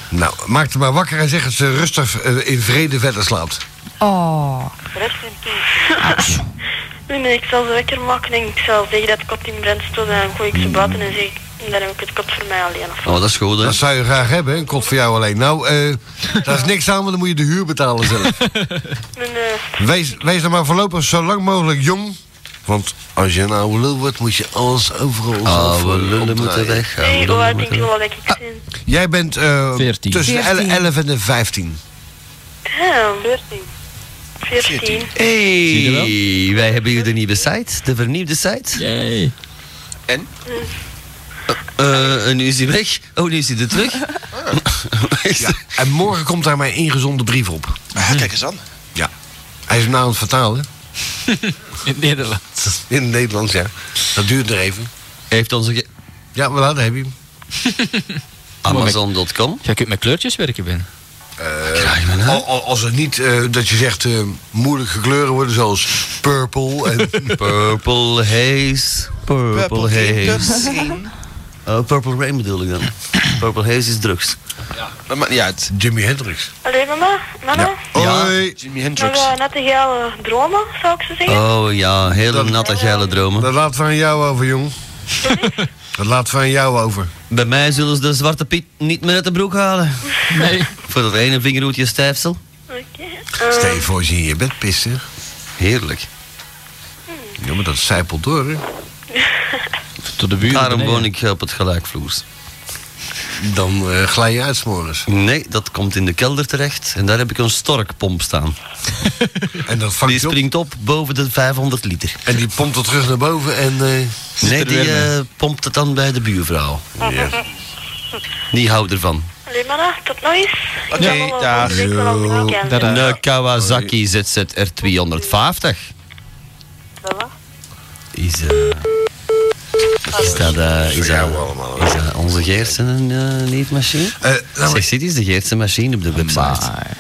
nou, maak het maar wakker en zeg dat ze rustig eh, in vrede verder slaapt. Oh. Rest in peace. Nee, nee, ik zal ze wekker maken en ik zal zeggen dat ik op die brand stond en dan gooi ik ze buiten en zeg ik, dan heb Mm. ik het kot voor mij alleen. Of... Oh, dat is goed, hè? Dat zou je graag hebben, hè? een kot voor jou alleen. Nou, eh, daar is niks aan, want dan moet je de huur betalen zelf. Nee, nee, Wees, wees dan maar voorlopig zo lang mogelijk jong. Want als je een oude lul wordt, moet je alles overal zelf, eh, Oude lullen opdraaien. moeten weg. oude nee, hoe lullen oud moeten denk je weg. wel dat ik ben? Jij bent eh, Veertien. tussen de Veertien. 11 en de 15. Ehm, 14. 14. je Hey, wij hebben hier de nieuwe site, de vernieuwde site. Yay. Eh, en nu is hij weg. Oh, nu is hij er terug. Ah. Ja. En morgen komt daar mijn ingezonde brief op. Ah, kijk eens aan. Ja. Hij is hem nou aan het vertalen. In het Nederland. In het Nederlands, ja. Dat duurt er even. Heeft onze ge- Ja, maar daar heb je hem. Amazon.com. Jij kunt met kleurtjes werken, Ben. Krijg je me nou? Eh, Al- al- Als het niet eh, dat je zegt eh, moeilijke kleuren worden zoals purple en Purple Haze. Purple Haze. Oh, Purple Rain bedoel ik dan. Purple Haze is drugs. Dat maakt niet uit. Jimi Hendrix. Allee, mama, mama. Hoi. Jimi Nog Hendrix. eh, natte gele dromen, zou ik zo zeggen. Oh ja, hele natte geile dromen. Dat laten we aan jou over, jong. Dat laten we aan jou over. Bij mij zullen ze de zwarte piet niet meer uit de broek halen. Nee. Voor dat ene vingerhoedje stijfsel. Oké. Stel ehm, je voor als je in je bed pist, hè? Heerlijk. Ja, maar dat zijpelt door, hè? Tot de buurt. Daarom beneden. woon ik op het gelijkvloers. Dan eh glij je uit s'morgens. Nee, dat komt in de kelder terecht. En daar heb ik een storkpomp staan. En dat Die vangt je op. springt op boven de 500 liter. En die pompt het terug naar boven en... eh, Nee, er die weer mee. eh, pompt het dan bij de buurvrouw. ja. Die houdt ervan. Allee, mama, tot nog eens. Oké, dag. Ik wil al een weekend. Dada. hebben. Een Kawasaki ZZR 250. Is, eh, is dat, eh, is, dat, is dat onze Geertsen een eh, neefmachine? Eh, nou, maar- Zeg, dit is de Geertsen machine op de website. Maar,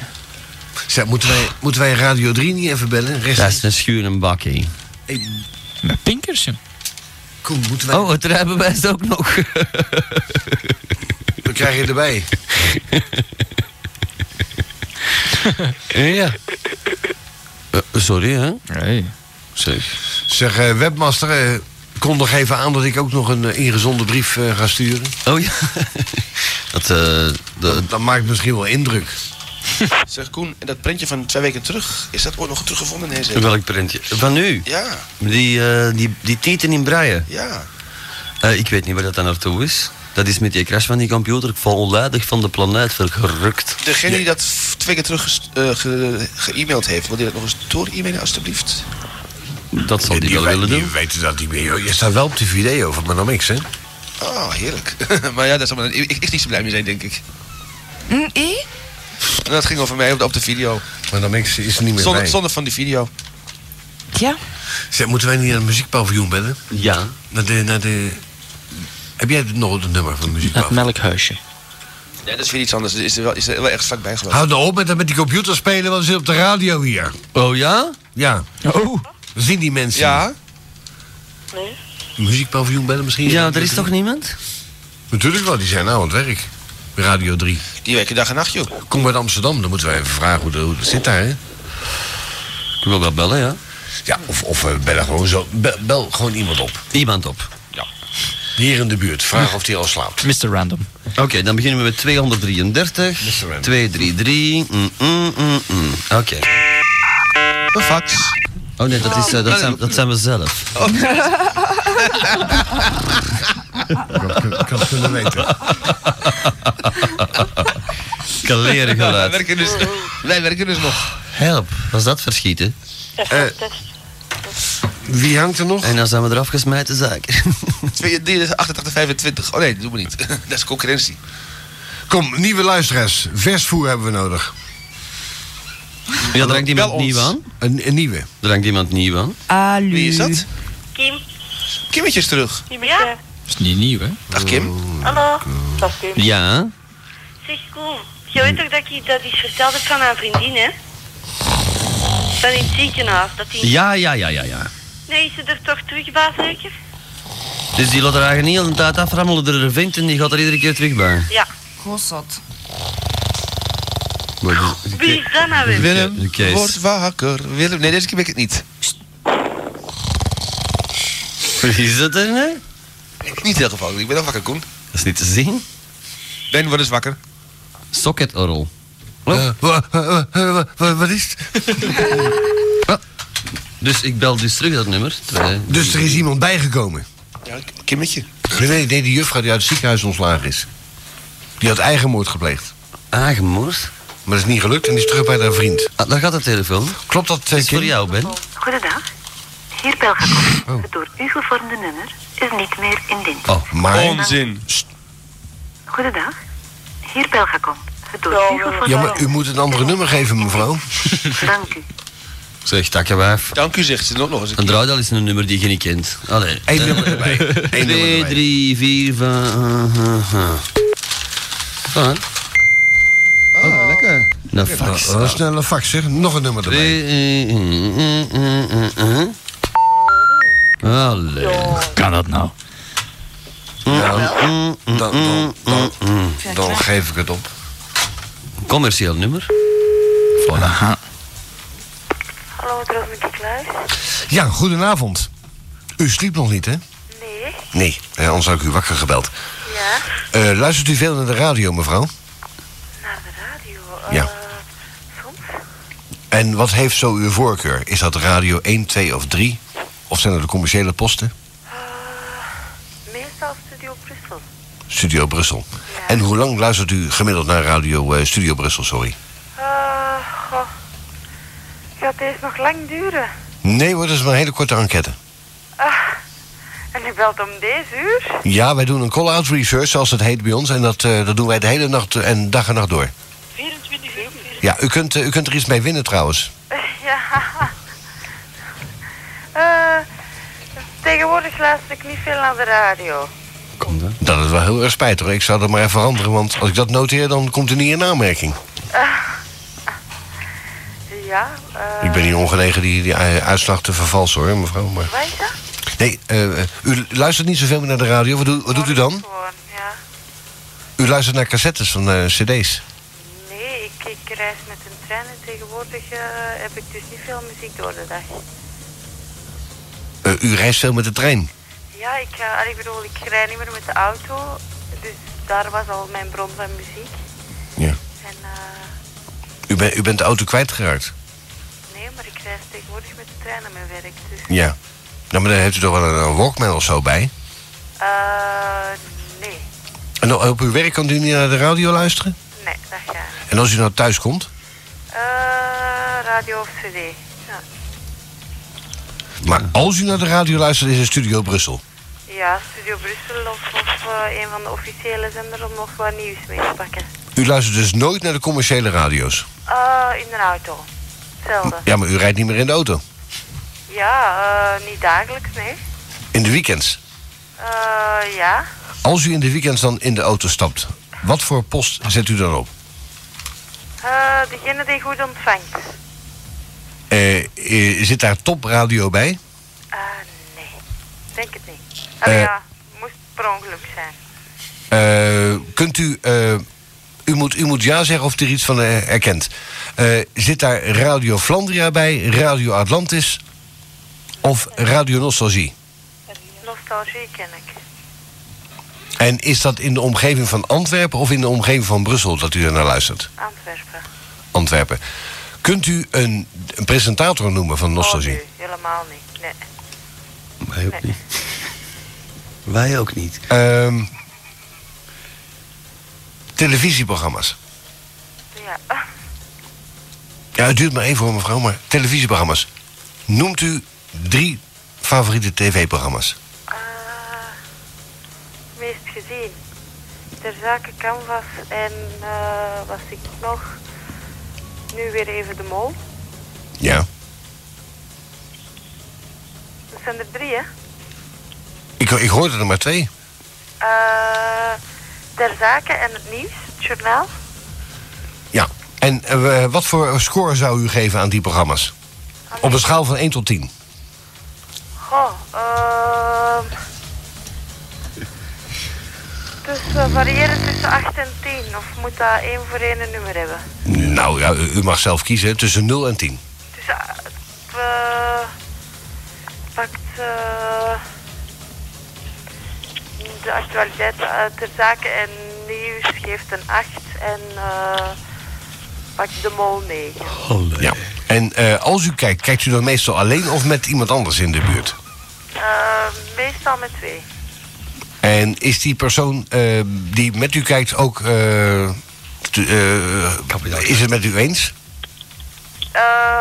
zeg, moeten, wij, moeten wij Radio 3 niet even bellen? Rechts. Dat is een schuur en bakkie. met pinkers, joh. Koen, moeten wij... Oh, het rijbewijs ook nog. Dan krijg je erbij. ja. Eh, sorry, hè? Nee. Zeg. Zeg, eh, webmaster, eh, kondig even aan dat ik ook nog een eh, ingezonde brief eh, ga sturen. Oh ja. Dat, eh, de, Dat maakt misschien wel indruk. Zeg Koen, en dat printje van twee weken terug, is dat ooit nog teruggevonden? Nee, zeker? welk printje? Van nu? Ja, Die, eh, die, die tieten in braille. ja. Eh, ik weet niet waar dat dan naartoe is. Dat is met die crash van die computer volledig van de planeet verrukt. Degene die dat f- twee keer terug ges- eh, ge- ge-e-maild heeft, wil die dat nog eens door-e-mailen alstublieft? Dat zal die Die wel wij- willen die doen. weten dat niet meer. joh. Je staat wel op die video van Madame X, hè? Oh, heerlijk. maar ja, dat is allemaal, ik, ik, ik niet zo blij mee zijn, denk ik. Mm, eh? En dat ging over mij op de, op de video. Madame X is er niet meer Zonder, bij. zonder van die video. Ja. Zeg, moeten wij niet naar het muziekpaviljoen bellen? Ja. Naar de, naar de... Heb jij nog het nummer van het Het muziekpaviljoen? melkhuisje. Nee, dat is weer iets anders. Dat is er wel, is er wel echt vaak bij geweest. Hou nou op met, met die computer spelen, want we zitten op de radio hier. Oh ja? Ja. Oh. We zien die mensen. Ja? Nee. Muziekpaviljoen bellen misschien. Ja, er is toch niemand? Natuurlijk wel, die zijn nou aan het werk. Radio 3. Die werken dag en nacht, joh. Kom uit Amsterdam, dan moeten wij even vragen hoe, de- hoe het zit daar, hè? Ik wil wel bellen, ja. Ja, of, of eh, bel er gewoon zo. Bel, bel gewoon iemand op. Iemand op. Hier in de buurt. Vraag of die al slaapt. Mr. Random. Oké, dan beginnen we met 233. Mr. Random. 233. Mm, mm, mm, mm. Oké. Een fax. Oh nee, dat, is, eh, dat, zijn, dat zijn we zelf. Oh. Dat kun- ik had het kunnen weten. Kaleren Wij geluid. werken dus, wij werken dus nog. Help, was dat verschieten? Eh. Wie hangt er nog? En dan zijn we eraf gesmijt de zaak. 32, 88, 25. Oh nee, dat doen we niet. dat is concurrentie. Kom, nieuwe luisteraars. Vers voer hebben we nodig. Ja, drank iemand Bel ons. nieuw aan? Een, een nieuwe. Drank iemand nieuw aan? Alu. Wie is dat? Kim, Kimmetje is terug. je bent ja? Dat is niet nieuw, hè? Dag Kim. Hallo. Dat kan niet. Ja. Zeg, Koen, jij weet toch dat ik dat iets verteld heb van mijn vriendin, hè? Van in het ziekenhuis. Dat die... Ja, ja, ja, ja, ja. Nee, is ze er toch terug bij, zeker? Dus die laat er eigenlijk niet al een tijd aframmelen door de vent en die gaat er iedere keer terug bij. Ja. Gossot. Wie is dat nou weer? Willem, de Kees. Word wakker. Willem. Nee, deze keer ben ik het niet. Wie is dat er, hè? Niet in ieder geval. Ik ben al wakker, Koen. Dat is niet te zien. Ben, word eens wakker. Socketorrel. Eh, wa- wa- wa- wa- wa- wat is het? Dus ik bel dus terug dat nummer. Twee. Dus er is iemand bijgekomen. Ja, Kimmetje. Nee, nee, nee, die juffrouw die uit het ziekenhuis ontslagen is. Die had eigenmoord gepleegd. Aangemoord. Maar dat is niet gelukt en die is terug bij haar vriend. Ah, daar gaat de telefoon. Klopt dat, eh, Is voor Kim? jou, Ben. Goedendag. Hier Belgacom. Oh. Het door u gevormde nummer is niet meer in dienst. Oh, maar... Onzin. Goedendag. Hier Belgacom. Het door Ja, u gevormde... Ja, maar u moet een andere nummer geven, mevrouw. Dank u. Zeg, takkenwijf. Dank u, zegt ze nog nog eens een Dan keer. draait al eens een nummer die je niet kent. Allee. Eh, Eén nummer erbij. Eén nummer 2, erbij. 3, 4, 5. Eh, Van. Ah, lekker. Nou, Oh. Nou, fax. dat is snel een fax, zeg. Nog een nummer erbij. Twee, eh, eh, eh, eh, eh, eh. Allee. Kan dat nou? Mm, Dan, dan, dan, dan, dan geef ik het op. Commercieel nummer. Aha. Hallo, terug met die kluis. Ja, goedenavond. U sliep nog niet, hè? Nee. Nee, eh, anders had ik u wakker gebeld. Ja. Eh, luistert u veel naar de radio, mevrouw? Naar de radio. eh, Ja. Soms? En wat heeft zo uw voorkeur? Is dat radio 1, 2 of 3? Of zijn dat de commerciële posten? Eh, Meestal Studio Brussel. Studio Brussel. En hoe lang luistert u gemiddeld naar radio eh, Studio Brussel, sorry? Eh, goh. Gaat deze nog lang duren? Ah, Nee hoor, dat is maar een hele korte enquête. En u belt om deze uur? Ja, wij doen een call-out research, zoals het heet bij ons. En dat, eh, dat doen wij de hele nacht eh, en dag en nacht door. 24 uur. Ja, u kunt, eh, u kunt er iets mee winnen trouwens. Ja. Eh, tegenwoordig luister ik niet veel naar de radio. Kom dan. Dat is wel heel erg spijtig hoor. Ik zou dat maar even veranderen, want als ik dat noteer, dan komt u niet in aanmerking. Ah. Ja. eh, Ik ben hier ongenegen die, die eh, uitslag te vervalsen hoor, mevrouw. Maar... Wat is dat? Nee, eh, eh, u luistert niet zoveel meer naar de radio. Wat, doe- wat doet u dan? Gewoon, ja. U luistert naar cassettes van eh, cd's. Nee, ik, ik reis met een trein en tegenwoordig eh, heb ik dus niet veel muziek door de dag. Eh, u reist veel met de trein. Ja, ik, ga, allee, ik bedoel, ik rijd niet meer met de auto, dus daar was al mijn bron van muziek. Ja. En eh, U, bent u bent de auto kwijtgeraakt. nee, maar ik reis tegenwoordig met de trein naar mijn werk. Dus, Ja. Nou, maar dan heeft u toch wel een, een Walkman of zo bij. eh, nee, En dan op uw werk kan u niet naar de radio luisteren. nee, dat gaat niet. En als u nou thuis komt, Eh, radio of cd. Ja, maar als u naar de radio luistert, is het Studio Brussel. ja Studio Brussel of, of eh, een van de officiële zenders om nog wat nieuws mee te pakken. U luistert dus nooit naar de commerciële radio's. Eh, in de auto. Hetzelfde. Ja, maar u rijdt niet meer in de auto. Ja, eh, niet dagelijks, nee. In de weekends. Eh, ja. Als u in de weekends dan in de auto stapt, Wat voor post zet u dan op? Eh, degene die goed ontvangt. Eh, eh, zit daar topradio bij? Ah, Denk het niet. Allee, Eh. ja, moest per ongeluk zijn. Eh, kunt u. eh, u, moet, u moet ja zeggen of u er iets van eh, herkent. Eh, zit daar Radio Flandria bij, Radio Atlantis of Radio Nostalgie? Nostalgie ken ik. En is dat in de omgeving van Antwerpen of in de omgeving van Brussel dat u er naar luistert? Antwerpen. Antwerpen. Kunt u een, een presentator noemen van Nostalgie? Oh, nee, helemaal niet. Nee. Wij ook niet. Wij ook niet. Ehm, televisieprogramma's. Ja. Ja, het duurt maar even hoor, mevrouw, maar televisieprogramma's. Noemt u drie favoriete tv-programma's? meest gezien. Ter zake Canvas en eh wat zie ik nog? Nu weer even de mol. Ja. Dat zijn er drie, hè? Ik, ik hoorde er maar twee. Eh ter zake en het nieuws, het journaal. Ja. En eh, wat voor score zou u geven aan die programma's? Op een schaal van 1 tot 10. Goh, ehm dus we variëren tussen 8 en 10. Of moet dat één voor één een nummer hebben? Nou ja, u u mag zelf kiezen tussen 0 en 10. Dus eh, we eh, pakt eh, de actualiteit eh, ter zake en nieuws geeft een 8 en eh pakt de mol 9. Ja. En eh, als u kijkt, kijkt u dan meestal alleen of met iemand anders in de buurt? Eh, meestal met 2. En is die persoon eh, die met u kijkt ook. eh, te- eh, is het met u eens?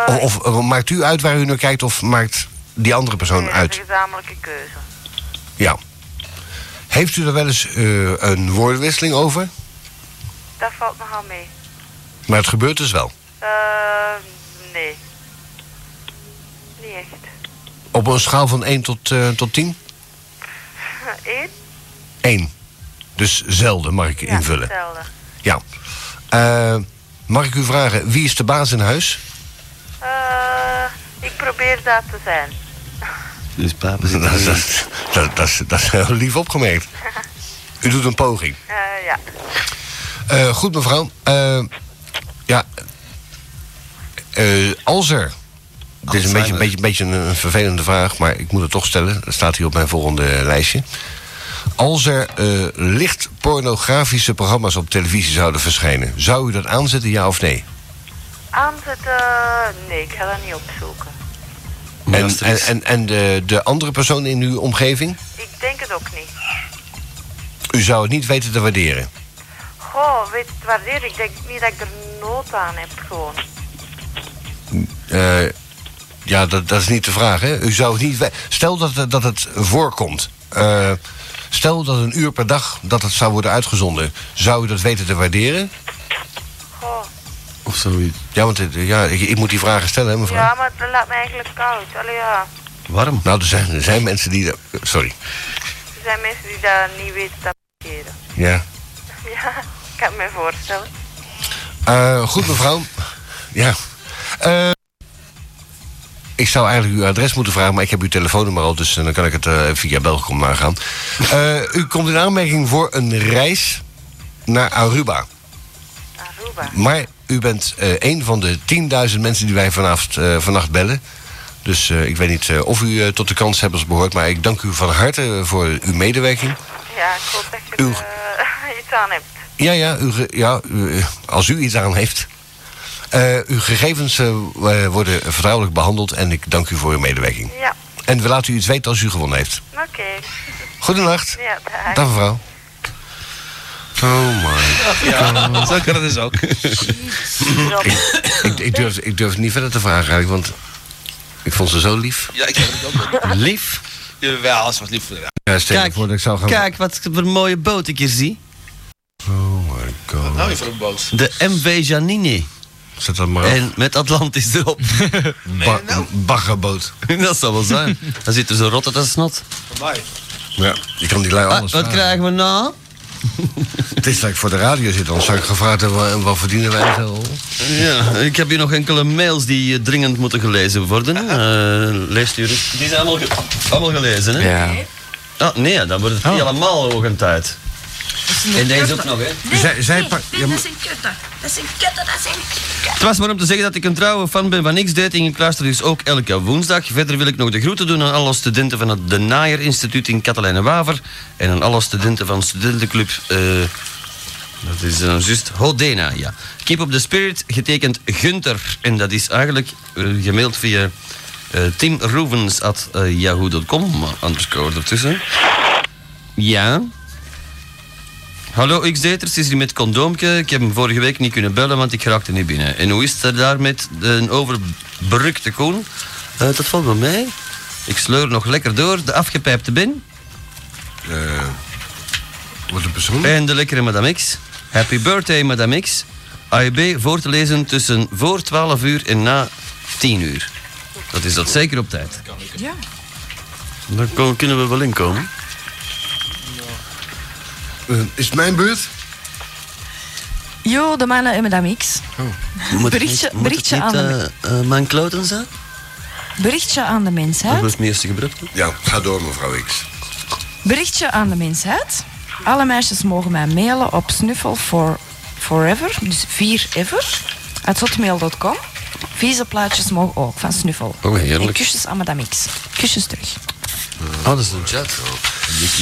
Of, of, eh, maakt u uit waar u naar kijkt of maakt die andere persoon uit? Gezamenlijke keuze. Ja. Heeft u er wel eens eh, een woordenwisseling over? Dat valt nogal mee. Maar het gebeurt dus wel. Eh, nee. Niet echt. Op een schaal van 1 tot, eh, tot 10? Eén? 1. Dus zelden mag ik invullen. Hetzelfde. Ja. Eh, mag ik u vragen, wie is de baas in huis? Eh, ik probeer dat te zijn. Dus papa zit dat, is- dat, is- dat, dat, is- dat is heel lief opgemerkt. U doet een poging. Eh, ja. Eh, goed, mevrouw. Eh, ja. Eh, als er. Dit is een beetje, een, beetje, beetje een, een vervelende vraag, maar ik moet het toch stellen. Dat staat hier op mijn volgende lijstje. Als er eh, licht pornografische programma's op televisie zouden verschijnen, zou u dat aanzetten, ja of nee? Aanzetten? Nee, ik ga dat niet opzoeken. En, en, en, en de, de andere persoon in uw omgeving? Ik denk het ook niet. U zou het niet weten te waarderen. Goh, weet het waardeer. Ik denk niet dat ik er nood aan heb gewoon. Eh, ja, dat, dat is niet de vraag. Hè? U zou het niet we- stel dat, het- dat het voorkomt. Eh, stel dat een uur per dag dat het zou worden uitgezonden. Zou u dat weten te waarderen? Of zoiets. Ja, want het- ja, ik, ik moet die vragen stellen, hè, mevrouw. Ja, maar dat laat me eigenlijk koud. Allee ja, Warm. Nou, er zijn, er zijn mensen die... dat- Sorry. er zijn mensen die dat niet weten te waarderen. Ja. Ja, ik kan het me voorstellen. Eh, goed, mevrouw. Ja. Eh, ik zou eigenlijk uw adres moeten vragen, maar ik heb uw telefoonnummer al, dus eh, dan kan ik het eh, via Belgicom nagaan. Eh, u komt in aanmerking voor een reis naar Aruba. Aruba. Maar u bent eh een van de 10.000 mensen die wij vanavond, eh, vannacht bellen. Dus eh, ik weet niet eh, of u eh, tot de kanshebbers behoort, maar ik dank u van harte eh, voor uw medewerking. Ja, ik hoop dat je er Uw- eh, iets aan hebt. Ja, ja, u ge- ja u- als u iets aan heeft. Eh, uw gegevens eh, w- eh, worden vertrouwelijk behandeld en ik dank u voor uw medewerking. Ja, En we laten u iets weten als u gewonnen heeft. oké. Goedenacht. Ja, dag. Dag mevrouw. Oh my. Ja, zo kan het dus ook. ik, ik, ik durf, ik durf het niet verder te vragen eigenlijk, want ik vond ze zo lief. Ja, ik heb het ook. wel. Lief? Jawel, ze was lief voor de Ja, stel je voor dat ik zou gaan... Kijk wat voor een mooie boot ik hier zie. Oh my god. Nou, je voor een boot. De MV Janini. Zet dat maar En met Atlantis erop. Ba een baggerboot. dat zou wel zijn. Dan zit er zo rot als een snot. Van mij. Ja, je kan die lui Ah, anders wat vragen. krijgen we nou? Het is dat ik voor de radio zit, anders zou ik gevraagd hebben, wa- wat verdienen wij zo? Ja, ik heb hier nog enkele mails die eh, dringend moeten gelezen worden. Ah, Eh leest u eens. Die zijn allemaal, ge- allemaal gelezen, hè? Ja. Ah, nee, dan Oh. wordt het niet allemaal hoog tijd. En deze ook nog, hè? zij, zij pak- ja, maar- is een kutter. Dat is een kutter, dat is een Het was maar om te zeggen dat ik een trouwe fan ben van X-Dating. Ik luister dus ook elke woensdag. Verder wil ik nog de groeten doen aan alle studenten van het De Naaier Instituut in Katelijne-Waver. En aan alle studenten van studentenclub... eh, dat is dan juist Hodena, ja. Keep up the spirit, getekend Gunter. En dat is eigenlijk eh, gemaild via eh timroevens at eh, yahoo.com. Maar underscore ertussen. Ja. Hallo X-Daters, is hier met Condoomke. Ik heb hem vorige week niet kunnen bellen, want ik raakte niet binnen. En hoe is het er daar met de overbrukte koen? Eh, dat valt wel mee. Ik sleur nog lekker door, de afgepijpte bin. Eh, Wat een persoon. En de lekkere Madame X. Happy birthday, Madame X. AEB voor te lezen tussen voor 12 uur en na 10 uur. Dat is dat zeker op tijd. Ja. Dan ko- kunnen we wel inkomen. Eh, is het mijn beurt? Yo, de mannen en madame X. Moet het Berichtje- niet- moet berichtje het niet, aan eh, eh, mijn kloten zijn? Berichtje aan de Dat mensheid. was mijn eerste gebruik. Ja, ga door mevrouw X. Berichtje aan de mensheid. Alle meisjes mogen mij mailen op snuffel for forever, dus vier ever, at hotmail.com. Vieze plaatjes mogen ook van snuffel. Oh, heerlijk. En kusjes aan madame X. Kusjes terug. Oh, dat is een chat.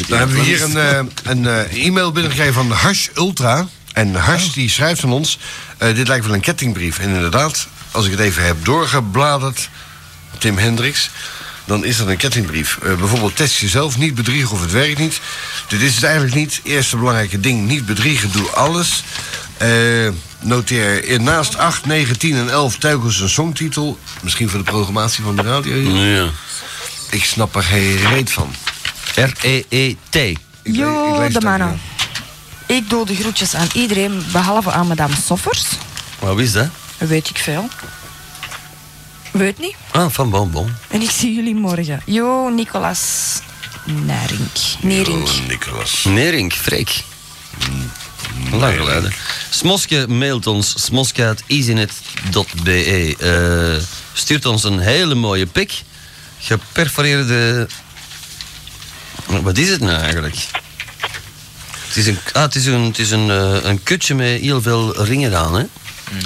Dan hebben we hier een, eh, een eh, e-mail binnengekregen van Hash Ultra. En Hash die schrijft aan ons, eh, dit lijkt wel een kettingbrief. En inderdaad, als ik het even heb doorgebladerd, Tim Hendricks... dan is dat een kettingbrief. Eh, bijvoorbeeld test jezelf, niet bedriegen of het werkt niet. Dit is het eigenlijk niet. Eerste belangrijke ding, niet bedriegen, doe alles. Eh, noteer eh, naast 8, 9, 10 en 11 telkens een songtitel. Misschien voor de programmatie van de radio. hier. Ja. Ik snap er geen reet van. E R-E-E-T. ik Yo, lees de het ook mannen. Ik doe de groetjes aan iedereen, behalve aan madame Soffers. eh, Wat is dat? Weet ik veel. Weet niet. Ah, van Bonbon. En ik zie jullie morgen. Yo, Nicolas. Nerink. Nerink. Nicolas. Mm. Nering, Freek. Lang geleden. Smoske mailt ons, smoske.easynet.be. Eh, stuurt ons een hele mooie pik. Geperforeerde... Wat is het nou eigenlijk? Het is een, ah, het is een, het is een, eh, een kutje met heel veel ringen aan, hè?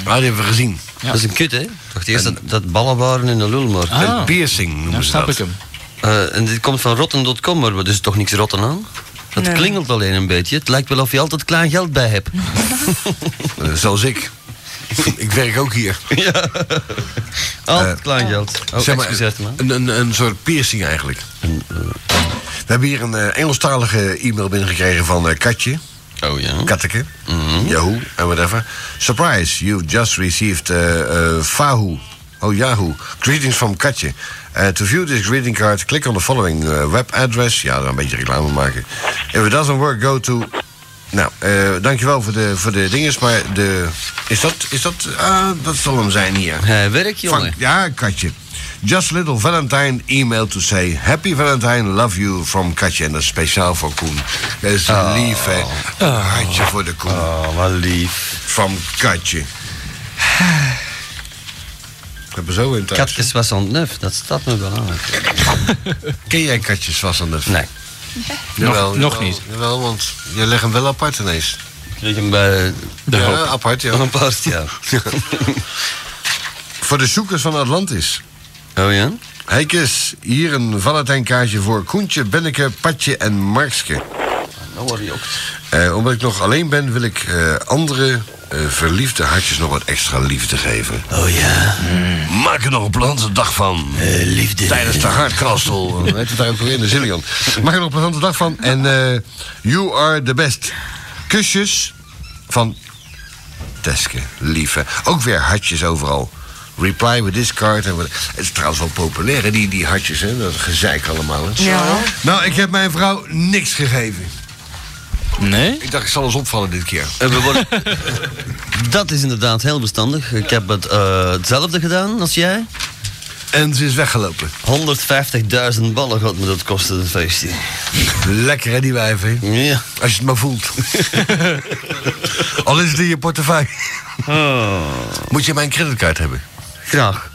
Ah, die hebben we gezien. Dat is een kut, hè? Ik dacht eerst dat, dat ballen waren in de lul, maar... Ah. Een piercing noemen Dan ze snap dat. ik hem. Eh, en dit komt van rotten.com, maar er is toch niks rotten aan? Het Nee. klingelt alleen een beetje. Het lijkt wel of je altijd klein geld bij hebt. Eh, zoals ik. ik werk ook hier. Eh, ja. Altijd klein geld. Oh, Zeg maar, excuseert me. Een, een, een soort piercing eigenlijk. eh. We hebben hier een eh, Engelstalige e-mail binnengekregen van eh, Katje. Oh ja. Mhm. Katteke. Yahoo en whatever. Surprise, you've just received eh, eh, Fahu. Oh, Yahoo. Greetings from Katje. Eh, to view this greeting card, click on the following eh, web address. Ja, daar een beetje reclame maken. If it doesn't work, go to... Nou, eh, dankjewel voor de, voor de dinges, maar de... Is dat... Is dat ah, dat zal hem zijn hier. Hij werkt, Eh, jongen. Van- ja, Katje. Just little Valentine email to say Happy Valentine, love you from Katje. En dat is speciaal voor Koen. Dat is lief, hè. Een hartje voor de Koen. Oh, wat lief. Van Katje. We hebben zo in thuis. Katjes was aan het nuf, dat staat me wel aan. Ken jij Katjes was aan het? Nee. Nog- nog niet. Jawel, want je legt hem wel apart ineens. Kreeg hem bij de ja, hoop. apart, ja. Apart, ja. voor de zoekers van Atlantis. Oh ja? Heikes, hier een Valentijnkaartje voor Koentje, Benneke, Patje en Markske. Nou word je ook. Eh, omdat ik nog alleen ben, wil ik eh, andere eh, verliefde hartjes nog wat extra liefde geven. Oh ja. Maak er nog een plezante dag van. liefde. Tijdens de hardcastel. Hoe heet het daar ook weer in de Zillion. Maak er nog een plezante dag van. En eh, you are the best. Kusjes van Teske, lieve. Ook weer hartjes overal. Reply with this card. En wat- het is trouwens wel populair, hè, die, die hartjes. Hè? Dat gezeik allemaal. Hè? Ja. Nou, ik heb mijn vrouw niks gegeven. Nee? Ik dacht, ik zal eens opvallen dit keer. En we worden... eh, dat is inderdaad heel bestandig. Ik heb het, eh, hetzelfde gedaan als jij. En ze is weggelopen. 150.000 ballen gaat me dat kosten, dat feestje. Lekker hè, die wijven. Ja. Als je het maar voelt. Al is het in je portefeuille. Moet je mijn creditcard hebben? Oh. Graag.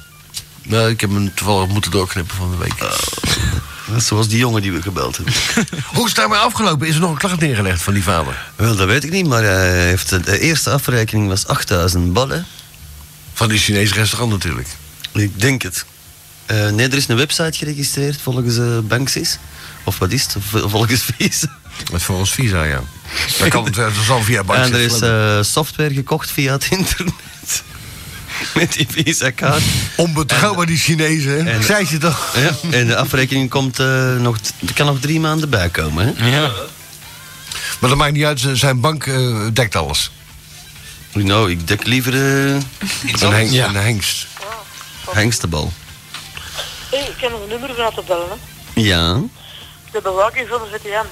Nou, ik heb hem toevallig moeten doorknippen van de week. Zoals die jongen die we gebeld hebben. Hoe is het daarmee afgelopen? Is er nog een klacht neergelegd van die vader? Wel, dat weet ik niet, maar hij heeft, de eerste afrekening was 8000 ballen. Van die Chinese restaurant natuurlijk. Ik denk het. Eh, nee, er is een website geregistreerd volgens eh Banksys. Of wat is het? Of- Volgens Visa. Met volgens Visa, ja. Dat kan het, dat zal via Banksys En er is lopen. eh, software gekocht via het internet. Met die Visa-kaart. Onbetrouwbaar die Chinezen, hè? en- Ik zei het je toch? Ja, en de afrekening komt, eh, nog, er kan nog drie maanden bij komen. Hè? Ja. Maar dat maakt niet uit, ze- zijn bank eh, dekt alles. Nou, ik dek liever eh, Een, heng- Ja. een hengst. hengstenbal. Hey, ik heb nog een nummer van te bellen. Hè. Ja. De bewaking van de VTM.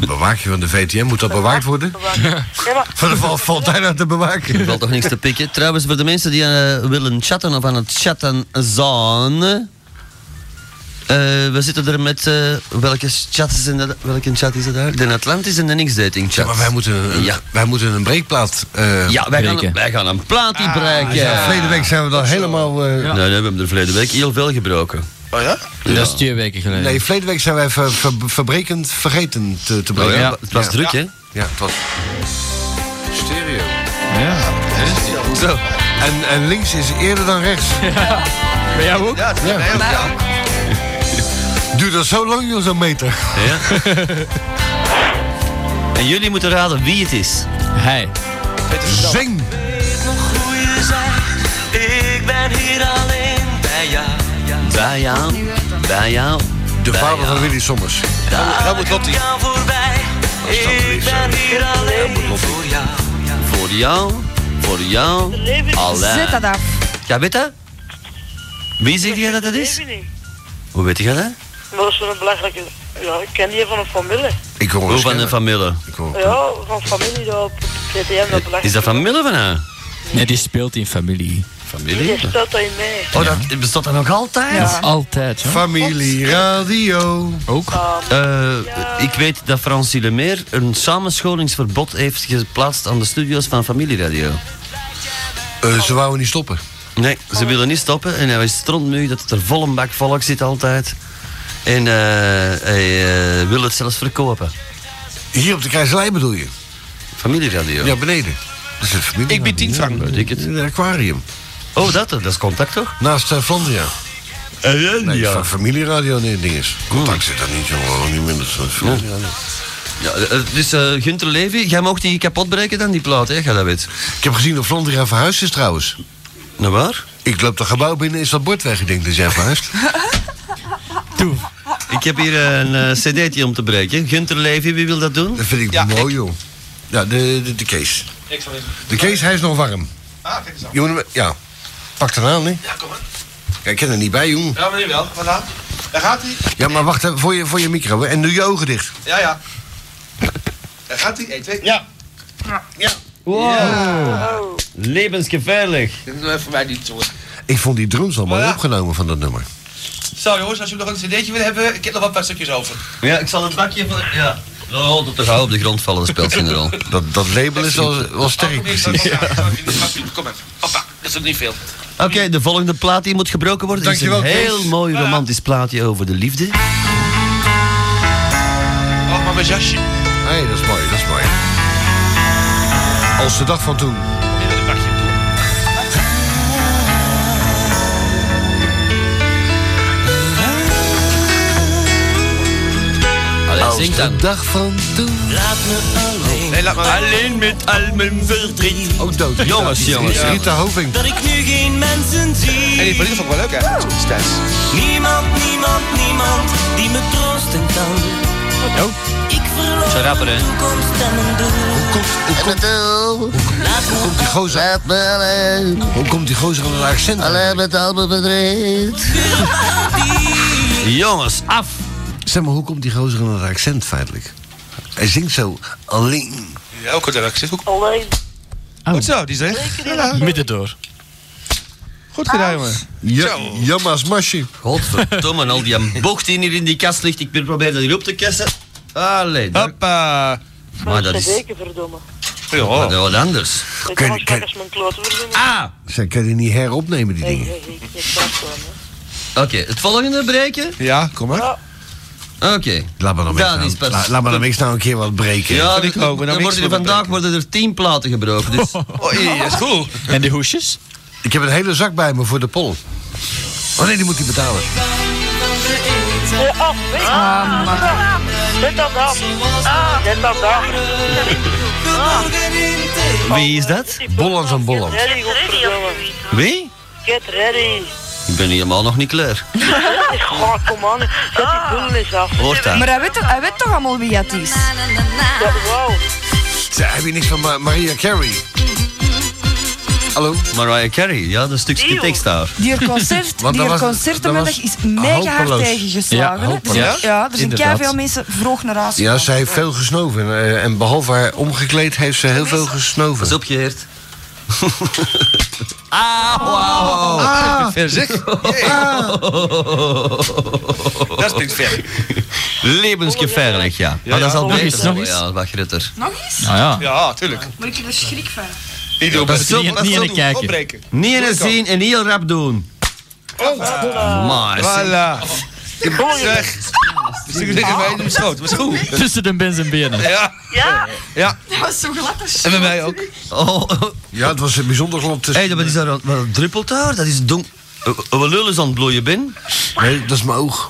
De bewaking van de VTM, moet dat bewaard worden? Ja, maar Van de val- valt hij nou te bewaken? Er valt toch niks te pikken. Trouwens, voor de mensen die eh, willen chatten of aan het chatten zijn. eh, we zitten er met eh, welke chat is in de, welke chat is het daar? De Atlantis en de Nix Dating Chat. Ja, maar wij moeten, een- Ja. wij moeten een breekplaat. eh, Ja, wij gaan, wij gaan een plaat die breken. ja, Verleden week zijn we dan helemaal. eh, Nee, nee, we hebben er verleden week heel veel gebroken. Oh ja? Dat is twee weken geleden. Nee, verleden week zijn wij ver- ver- verbrekend vergeten te, te breken. Oh ja, het was druk, hè? Ja, het was. Stereo. Ja. Zo. En, en links is eerder dan rechts. Bij jou ook? Ja, Ja. Duurt dat zo lang, joh, zo'n meter? Ja. en jullie moeten raden wie het is. Hij. Zing! Ik ben hier alleen bij jou. Bij jou, bij jou. De vader van Willy Sommers. Dat Nou, moet Lottie. Jou voorbij. Ik ben hier alleen voor jou. Voor jou, voor jou. Alleen. Zet dat af. Ja, weet dat? Wie zegt jij dat dat is? weet ik niet. Hoe weet jij dat? Maar dat is wel een belachelijke... Ja, ik ken die van een familie. Ik hoor Hoe een van de scherm. familie? Ik hoor- Ja, van familie daar op het VTM. Dat belachelijk. Is dat familie van haar? Nee, die speelt in familie. Familie? Die staat daarin mee. Oh, dat bestaat dat nog altijd? Nog altijd, hè? Familie Radio. Ook. Eh, Ik weet dat Francie Lemeer een samenscholingsverbod heeft geplaatst aan de studio's van Familieradio. Eh, ze wouden niet stoppen. Nee, ze willen niet stoppen en hij is stront nu dat het er vol een bak volk zit altijd. En eh, hij eh, wil het zelfs verkopen. Hier op de Keizerlei bedoel je? Familieradio. Ja, beneden. Dat is het familie. Ik bied 10 frank. Weet ik het. In het aquarium. Oh, dat, dat is contact toch? Eh, Naast eh, Flandria. Nee, ja. van familieradio nee, ding is. Contact zit daar niet, jongen. Niet minder dan familieradio. Ja, eh, dus eh, Gunter Levy, jij mocht die kapot breken dan, die plaat, hè? Ga dat weet. Ik heb gezien dat Flandria verhuisd is trouwens. Nou waar? Ik loop dat gebouw binnen, is dat bord weg. Ik denk dat jij verhuisd. Ik heb hier een eh, cd'tje om te breken. Gunter Levy, wie wil dat doen? Dat vind ik Ja, mooi, ik- joh. Ja, de, de, de Kees. Ik zal even... De Kees, hij is nog warm. Ah, kijk eens aan. Je moet hem- ja, pak hem aan, hè. Ja, kom maar. Kijk, ik ken er niet bij, jongen. Ja, meneer wel. Wat aan? Daar gaat hij. Ja, maar wacht even, voor je, voor je micro. hè. En doe je ogen dicht. Ja, ja. Daar gaat hij. 1, 2. Ja. Wow! Levensgevaarlijk. Dit is voor mij niet zo. Ik vond die drums al mooi Ja. opgenomen van dat nummer. Zo jongens, als jullie nog een cd'tje willen hebben, ik heb nog wel een paar stukjes over. Ja, ik zal het bakje van... Ja. Oh, dat er gauw op de grond vallen, dat speelt geen rol. Dat, dat label is wel, wel sterk, precies. Kom even. Papa, dat is ook niet veel. Oké, de volgende plaat die moet gebroken worden Dankjewel, is een Kees. heel mooi romantisch plaatje over de liefde. Oh, maar mijn jasje. Hé, dat is mooi, dat is mooi. Als de dag van toen. Hier met een bakje. Allee, Als zing de dan. dag van toen. Nee, laat maar. Alleen met al mijn verdriet. Ook dood. Jongens, Rita- jongens, Rita Hoving. Dat ik nu geen mensen zie. En die van is ook wel leuk, hè? Stijs. Niemand, niemand, niemand die me troosten kan. Oh, Ik verloor Zo'n rapper, hè? mijn toekomst en mijn doel. Laat me Komt die gozer, hoe komt die gozer aan het accent? met al mijn bedreigd. Jongens, af. Zeg maar, hoe komt die gozer aan het accent feitelijk? Hij zingt zo alleen. Oh. Ja, ook een leuk. Zit ook Alleen. goed zo, die zegt. Midden door. Goed gedaan, jongen. Ja, jamma's masje. Godverdomme, al die bocht die hier in die kast ligt. Ik probeer dat hier op te kassen. Allee. daar- Hoppa. Maar dat is... Zeker, verdomme. Ja. Dat is wat anders. Ik kan nog lekker mijn kloot verdomme. Ah! Zij kan die niet heropnemen, die Hey, dingen. hey, hey, ik sta gewoon, hè. Oké, het volgende breken? Ja, kom maar. Oké. Laat maar dan Dat is niks nou, pas- laat, laat maar dan niks nou een keer wat breken. Ja, ik ook. Dan worden er vandaag worden er tien platen gebroken. Dus. Oei, dat is goed. En de hoesjes? Ik heb een hele zak bij me voor de pol. Oh nee, die moet hij betalen. Ah, Zet dat af. Ah, Zet dat af. Wie is dat? Bolland van Bolland. Ready, godverdomme. Wie? Get ready. Ik ben helemaal nog niet klaar. Goh, kom aan. Zet die boel eens af. Hoort dat? Ah. Maar hij weet, toch- hij weet toch allemaal wie dat is? Ja, wow. Zij, heb je niks van Ma- Maria Carey? Hallo? Mariah Carey, ja, dat is een stukje tekst daar. Die er concert, Want die dat er was- concertenmiddag dat was is mega hard hopeloos. tegengeslagen. Ja, hè? Dus hopeloos. ja, er zijn Inderdaad. veel mensen vroeg naar huis. Ja, zij heeft veel gesnoven. eh, En behalve haar omgekleed heeft ze heel veel gesnoven. Dat is opgeheerd. Auw. Ah. Ver zeg. Dat klinkt ver. Levensgevaarlijk, ja. Ja, Maar dat is ja. al Nog beter. eens, nog dan- eens. Ja, wat grutter. Nog eens? Ja, tuurlijk. Maar ik heb er schrik van. Ik doe Dat best is zo- niet- dat is niet zo in doen. de kijker. Opbreken. Niet in Doe het ik al. zien en heel rap doen. Oh, Maar. Voilà. Je Zeg. Dus ik zeg bij Ah. de schoot, was goed. Tussen de bens en benen. Ja. Ja? Ja. Dat was zo glad als En bij mij ook. Oh. Ja, het was een bijzonder glad. Hé, hey, wat is dat? Wat wat druppelt daar? Dat is donk... Eh, eh, Wat lullen is aan het bloeien, Ben? Nee, dat is mijn oog.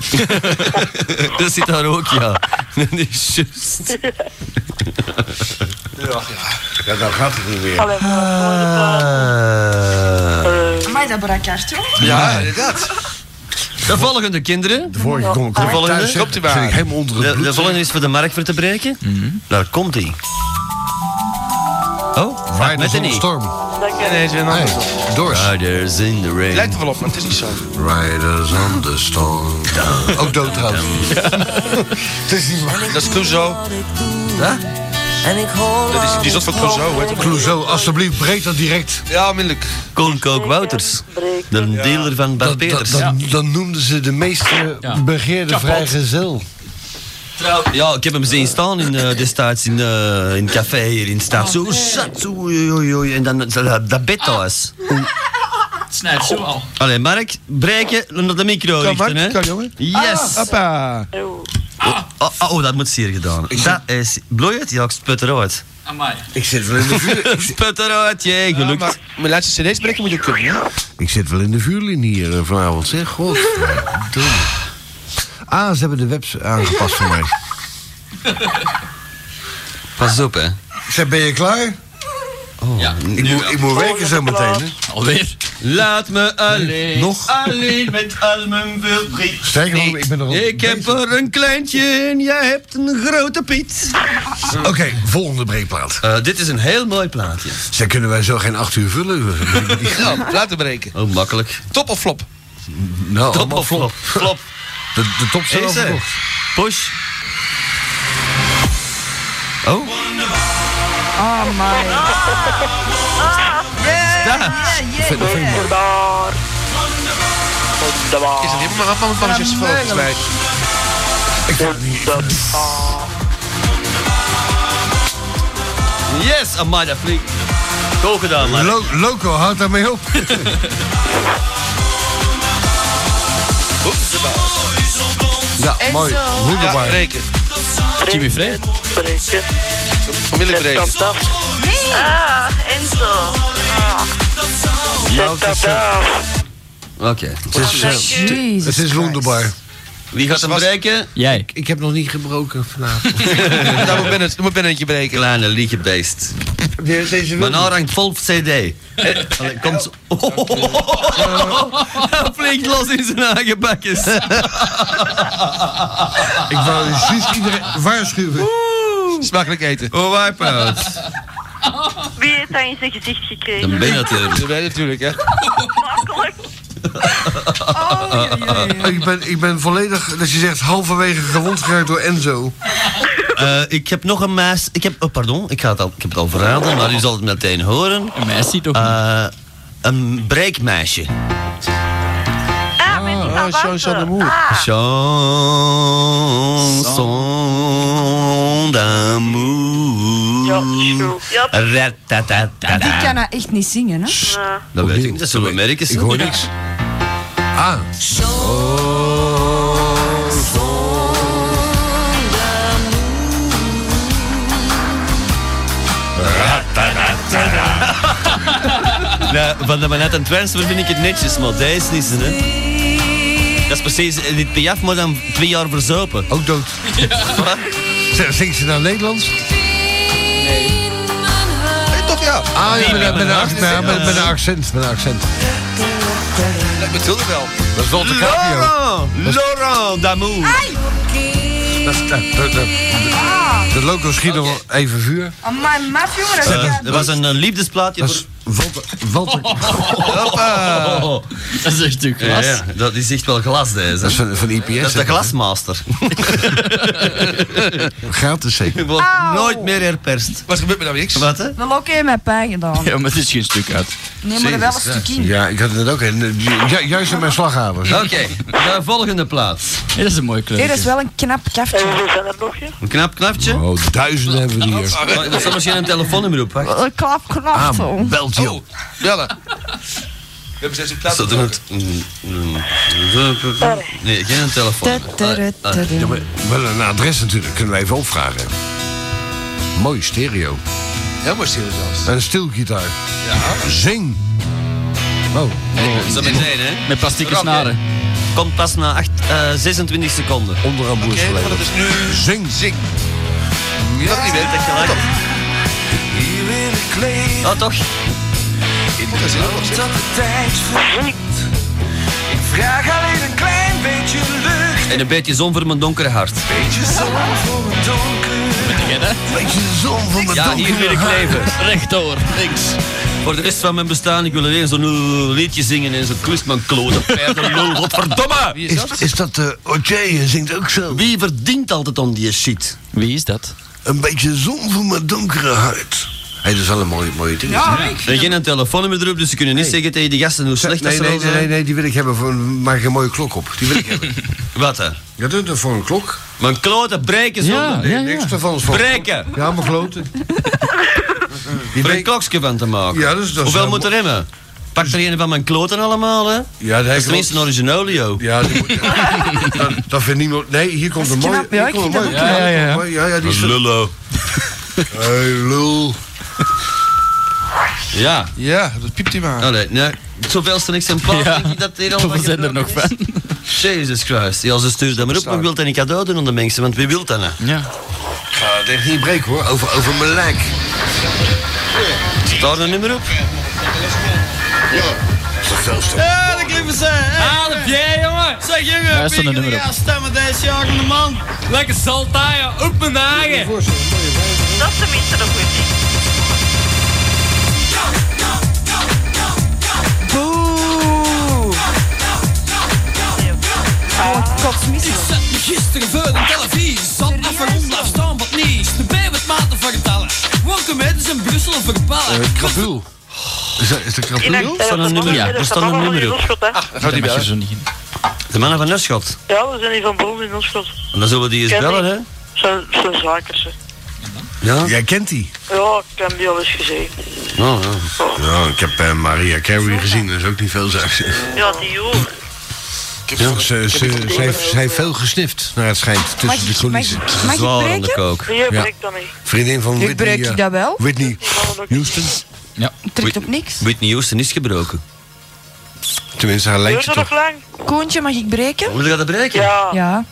dat zit daar ook, ja. Dat is juist. Ja, ja daar gaat het niet meer. Amai, dat brak hard, joh. Ah. Ja, inderdaad. De volgende, kinderen. De vorige kon ik de thuis volgende. zeggen, Klopt u maar. zit ik helemaal onder het de, bloed, de volgende is voor de markt voor te breken. Hm? Daar komt hij. Oh, met een storm. Nee, nee, ze zijn anders. Riders in the rain. Lijkt er wel op, maar het is niet zo. Riders on the storm. Ook dood trouwens. Het is niet waar. Dat is Clouseau. En ik hoor Dat is, die zat van Clouseau, hè? Clouseau, alsjeblieft, breek dat direct. Ja, onmiddellijk. Koonkook Wouters. De dealer van Bart Dan, dan, Peters. dan, dan noemden ze de meest eh, begeerde vrijgezel. Trouw- Ja, ik heb hem zien staan in, eh, destijds in, eh, in het café hier in de stad. Ah, Zo zat, zo, oei, oei, oei. En dan eh, dat, dat bed thuis. Ah. Snijp zo al. Allee, Mark, breken naar de micro Kan, richten, Mark? hè? Kan, jongen? Yes! Ah, hoppa. Oh, oh, oh, dat moet zeer gedaan. Dat is... Bloei het? Ja, ik sput eruit. Amai. Ik zit wel in de vuur. sput eruit, jee, gelukt. maar mijn laatste cd's breken moet je kunnen, ja? Ik zit wel in de vuurlinie hier eh, vanavond, zeg. God. ah, ze hebben de webs aangepast voor mij. Ah, Pas op, hè. Zeg, ben je klaar? Oh, ja, Ik, moet, ik moet werken zo meteen. Hè. Alweer. Laat me alleen. Nog? Alleen met al mijn verdriet. Sterker nog, ik ben nog... Ik heb er een kleintje en jij hebt een grote piet. Oké, volgende breekplaat. Eh, dit is een heel mooi plaatje. Zeg, kunnen wij zo geen acht uur vullen? Ja, Nou, laten breken. Oh, makkelijk. Top of flop? nou, top allemaal of flop? flop. Flop. De, de top zijn Is er. overkocht. Push. Oh. Amai. Ah. Yeah, Dat. yeah, yeah, yeah. Vandaar. Vandaar. Is het helemaal af van mijn Ja, pannetjes volgens mij? meulen. Ik vond het niet. Yes, amai, dat fliek. Goed gedaan, man. Lo- Loco, houd daarmee op. ja, mooi. Ja, Wonderbaar. breken. Jimmy Frey. Breken. Onmiddellijk breken. Dat af. Ah, Enzo. Nou, het is, eh, Oké. Het Oh, is, eh, het is wonderbaar. Wie gaat hem breken? Jij. Ik heb nog niet gebroken vanavond. Dan moet Ben het- dan moet Ben eentje breken. Kleine liegebeest. Deze Mijn haar nou hangt vol CD. Eh, allee, Komt zo. Flink los in zijn eigen bakjes. Ik wou juist iedereen waarschuwen. Smakelijk eten. Oh, wipe out. Wie heeft dat in zijn gezicht gekregen? Dan ben je natuurlijk. Dat ben je natuurlijk, hè? Makkelijk. Eh, Ik ben, ik ben volledig, dat je zegt, halverwege gewond geraakt door Enzo. Eh, ik heb nog een meis. Ik heb, oh, pardon, ik, ga het al, ik heb het al verraden, maar u zal het meteen horen. Een meisje toch? Eh, een breekmeisje. Ah, Jean, Jean, Jean de Moer. Ah. Chanson d'amour. ja. Die kan Ratatatada. dat echt niet zingen, hè? Dat weet ik niet, dat zullen we merken. Ik hoor niks. Ah. Nou, van de Manhattan Transfer vind ik het netjes, maar deze is het, hè. Dat is precies eh, dit Piaf, maar dan twee jaar verzopen. Ook dood. Zingt ze nou Nederlands? Nee, toch ja. Ah, ja, met, met, een ac- met, met- met een accent. Met een accent. Dat bedoelde ik wel. Dat is wel de Caprio. Laurent, Laurent Damour. Dat is- dat- dat- dat- De loco schiet nog wel even vuur. Amai, maf, jongen. Dat Eh, gaat- Er was een eh, liefdesplaatje voor... Walter... Walter... Dat is echt natuurlijk glas. Ja, ja, dat is echt wel glas, deze. Dat is van, IPS. Dat is de glasmaster. Gratis zeker. Wordt nooit meer herperst. Wat gebeurt me nou niks? Wat, hè? Wel oké met pijn gedaan. Ja, maar het is geen stuk uit. Nee, maar er wel een stukje in. Ja, ik had het ook. En, ju- juist aan mijn slaghaven. Oké, de volgende plaats. Dit is een mooie kleur. Dit is wel een knap kaftje. Een knap knapje. Oh, duizenden hebben we hier. Maar Oh, Er staat misschien een telefoonnummer op. wacht. Een klap Ah, knaptel. Belt je op. Bellen. We hebben zes in plaats. Staat er een... Nee, geen telefoon. Ah, Ja, maar wel een adres natuurlijk. Kunnen we even opvragen. Mooi stereo. Ja, maar stil zelfs. En een stilgitaar. Ja. Zing. Oh. Zo meteen, hè? Met plastieke Oké. snaren. Komt pas na acht, eh, 26 seconden. Onder een Oké, maar dat is nu... Zing. Zing. Dat niet weet dat gelijk. Oh, toch? Vraag alleen een klein beetje lucht. En een beetje zon voor mijn donkere hart. Beetje zon voor het donker. Beetje zon van mijn Ja, hier wil ik leven. Rechtdoor, links. Voor de rest van mijn bestaan, ik wil alleen zo'n eh, liedje zingen en zo'n klusman kloten. Pijderlul, godverdomme! Is, is dat eh, de Oje zingt ook zo? Wie verdient altijd om die shit? Wie is dat? Een beetje zon voor mijn donkere huid. Hé, dat is wel een mooie, mooie ding. Er is geen telefoonnummer erop, dus ze kunnen niet zeggen tegen die gasten hoe slecht nee, dat ze eh, nee, wel nee, zijn. nee, nee, die wil ik hebben. Voor, maak een mooie klok op. Die wil ik hebben. Wat hè? Ja, dat is voor een klok. Mijn kloten breken Ja, zonder... ja, Niks ja. ervan. is voor- Breken! Ja, maar kloten. Om er een klokje van te maken. Ja, dus dat is Hoeveel wel moet er hebben? Pak er een van mijn kloten allemaal, hè? Ja, Dat is tenminste een originolio. Ja, die moet, dat, dat vindt niemand. Nee, hier komt een mooie. knap, ja, Hier ik komt een vind mooie. dat ook knap. Ja, ja, ja. Ja, ja, die is. Lullo. Hey, lul. Ja. Ja, dat piept hij maar. Allee, nee. Het zoveelste exemplaar Ja. denk ik dat hier al Hoeveel wat zijn er nog gebroken van? is. Jezus Christ. Ja, ze stuurt dat maar op. Maar ik wil dat een cadeau doen aan de mensen, want wie wil dat nou? Ja. Ik ga het echt niet breken hoor. Over, over mijn lijk. Zit daar een nummer op? Ja, dat klinkt zijn. Ah, dat jij, jongen. Zeg, jongen. Daar staat een nummer op. Ja, stemmen deze jagende man. Lekker saltaaien. Op mijn dagen. Dat is tenminste nog goed. Boe. Oh, Ik kotsmisselijk. zat me gisteren voor de televisie. Zat even om blijf staan, wat niets. De bij wat maten van getallen. Wokken met is in Brussel verballen. Eh, krapul. Is dat, is dat krapul? eh, staat een nummer, ja, er staat een nummer op. Dan gaat hij Dat mag je bellen. zo niet in. De mannen van Neschot. Ja, we zijn hier van Bron in Oorschot. En dan zullen we die eens Ken ik. bellen, hè? Zijn, zijn zakers, hè. Ja? Jij kent die. Ja, ik heb die al eens gezien. Oh, ja. Ja, ik heb eh, Maria Carey gezien. Dat is ook niet veel zeg. Ja, die hoor. Ja, ze, ze, ze heeft, ze heeft veel gesnift, naar het schijnt, Mag tussen de ik, mag, ik- coulissen. mag ik Zwaar aan de breken? kook. Die heb Ja. ik dan niet. Vriendin van Ik Whitney... breek eh, dat wel. Whitney Die mannen ook niet. Houston. Trekt op niks. Whitney Houston is gebroken. Tenminste, haar Duurt lijntje dat nog toch. lang? Koontje, mag ik breken? Moet je dat bereiken? Ja. Ja,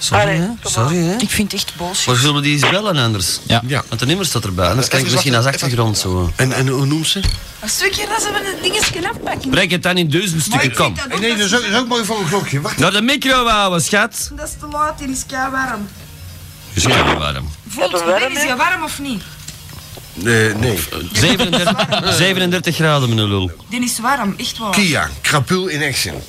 Sorry, Allee, hè? kom maar. Sorry, hè? ik vind het echt boos. Maar zullen we die eens bellen anders? Ja. Ja. Want de nummer staat erbij, anders kan ik Even misschien als wachten, achtergrond zo. En, en hoe noemt ze? Een stukje, dan zullen we de dingetjes afpakken. Brek het dan in duizend stukken, kom. Eh, Nee, dat is ook, dat is ook mooi voor een klokje. Wacht. Naar de micro houden, schat. Dat is te laat, in is kei warm. Dus ik heb warm. Voelt Wat het een weer? warm, Is hè? je warm of niet? Eh, nee. 37, 37 graden, mijn lul. Dit is warm, echt warm. Kia, krapul in action.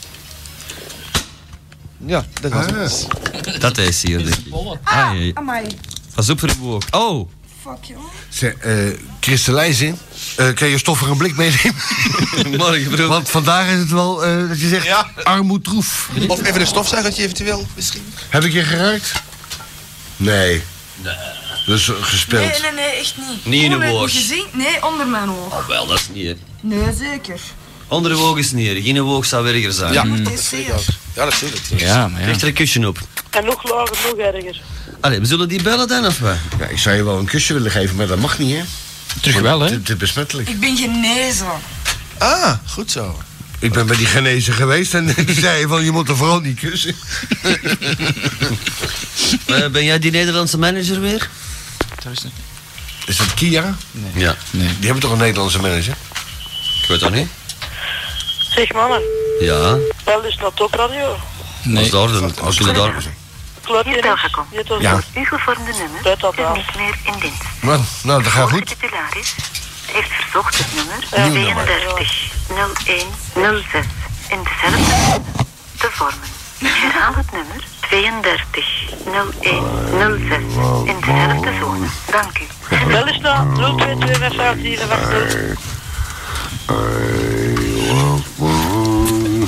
Ja, dat was het. Dat is hier, denk ik. Ai, ai. Ah, Amai. Pas op voor de boog. Oh, fuck, jongen. Ze, eh Christelijs in. Eh, kan je stoffer een blik meenemen? Want vandaag is het wel eh, dat je zegt armoedroef. Of even een stofzuigertje eventueel, misschien. Heb ik je geraakt? Nee. Dat is eh, gespeeld. Nee, nee, nee, echt niet. Niet in uw Onder mijn oog. gezin- Nee, onder mijn oog. Wel, dat is niet erg. Nee, zeker. Onder de woog is niet erg. In de woog zou erger zijn. Ja, Mm. dat weet ik ook. Ja, dat zie ik. Ja, maar ja. Ligt er een kusje op. En nog lager, nog erger. Allee, we zullen die bellen dan, of wat? Ja, ik zou je wel een kusje willen geven, maar dat mag niet, hè? Terug wel, hè? Te besmettelijk. Ik ben genezen. Ah, goed zo. Ik ben bij die genezen geweest en die zei van je moet er vooral niet kussen. Eh, ben jij die Nederlandse manager weer? Is dat Kia? Ja. Die hebben toch een Nederlandse manager? Ik weet dat niet. Zeg mannen, Ja. bel eens naar topradio. Als daar, dan als jullie daar... Claudia Hier Belgacom. Ja. Voor U gevormde nummer Zet dat is aan. niet meer in dienst. Nou, nou dat gaat De goed. titularis heeft verzocht het nummer Nieuw nummer. 32 01 06 in dezelfde te vormen. Ik herhaal het nummer 32 01 06 in dezelfde zone. Dank u. Bel eens naar 022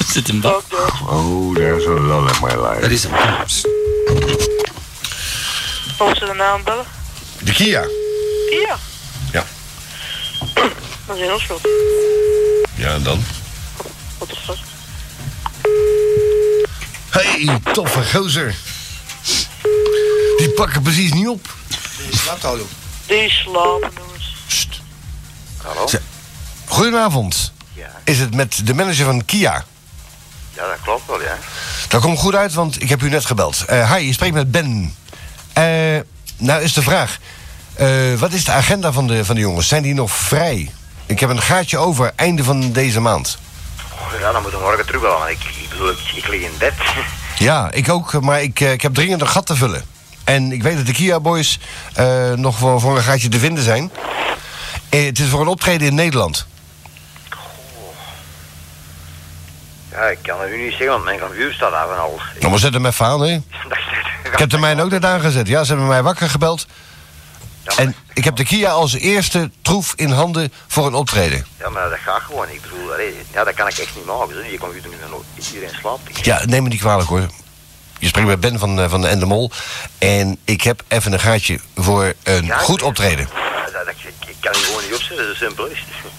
Zit hem dat? Oh, there's a lot in my life. Dat is hem. Of ze de naam bellen? De Kia. Ja. Ja. Dat is heel schuld. Ja, en dan? Wat de fuck? hey, toffe gozer. Die pakken precies niet op. Je slaapt al, joh. Die slapen, jongens. Hallo? Ze- Goedenavond. Ja. Is het met de manager van Kia? Ja, dat klopt wel, ja. Dat komt goed uit, want ik heb u net gebeld. Eh, hi, je spreekt met Ben. Eh, nou is de vraag. eh, wat is de agenda van de, van de jongens? Zijn die nog vrij? Ik heb een gaatje over einde van deze maand. Ja, dan moeten we morgen terugbellen, want ik, ik bedoel, ik, ik lig in bed. Ja, ik ook, maar ik, eh, ik heb dringend een gat te vullen. En ik weet dat de Kia Boys eh, nog voor, voor een gaatje te vinden zijn. Eh, het is voor een optreden in Nederland. Ja, ik kan het u niet zeggen, want mijn computer staat af en al. Nou, maar zet hem even aan, hè. Ik heb de mijne ook net aangezet. Ja, ze hebben mij wakker gebeld. En ik heb de Kia als eerste troef in handen voor een optreden. Ja, maar dat gaat gewoon. Ik bedoel, allee, ja, dat kan ik echt niet maken. Zo. Je computer nu nog hier in slaap. Ja, neem me niet kwalijk hoor. Je spreekt met Ben van, eh, van de Endemol. En ik heb even een gaatje voor een Ja, goed optreden. Ja, dat, dat- ik, ik kan die gewoon niet opzetten, zo simpel is het.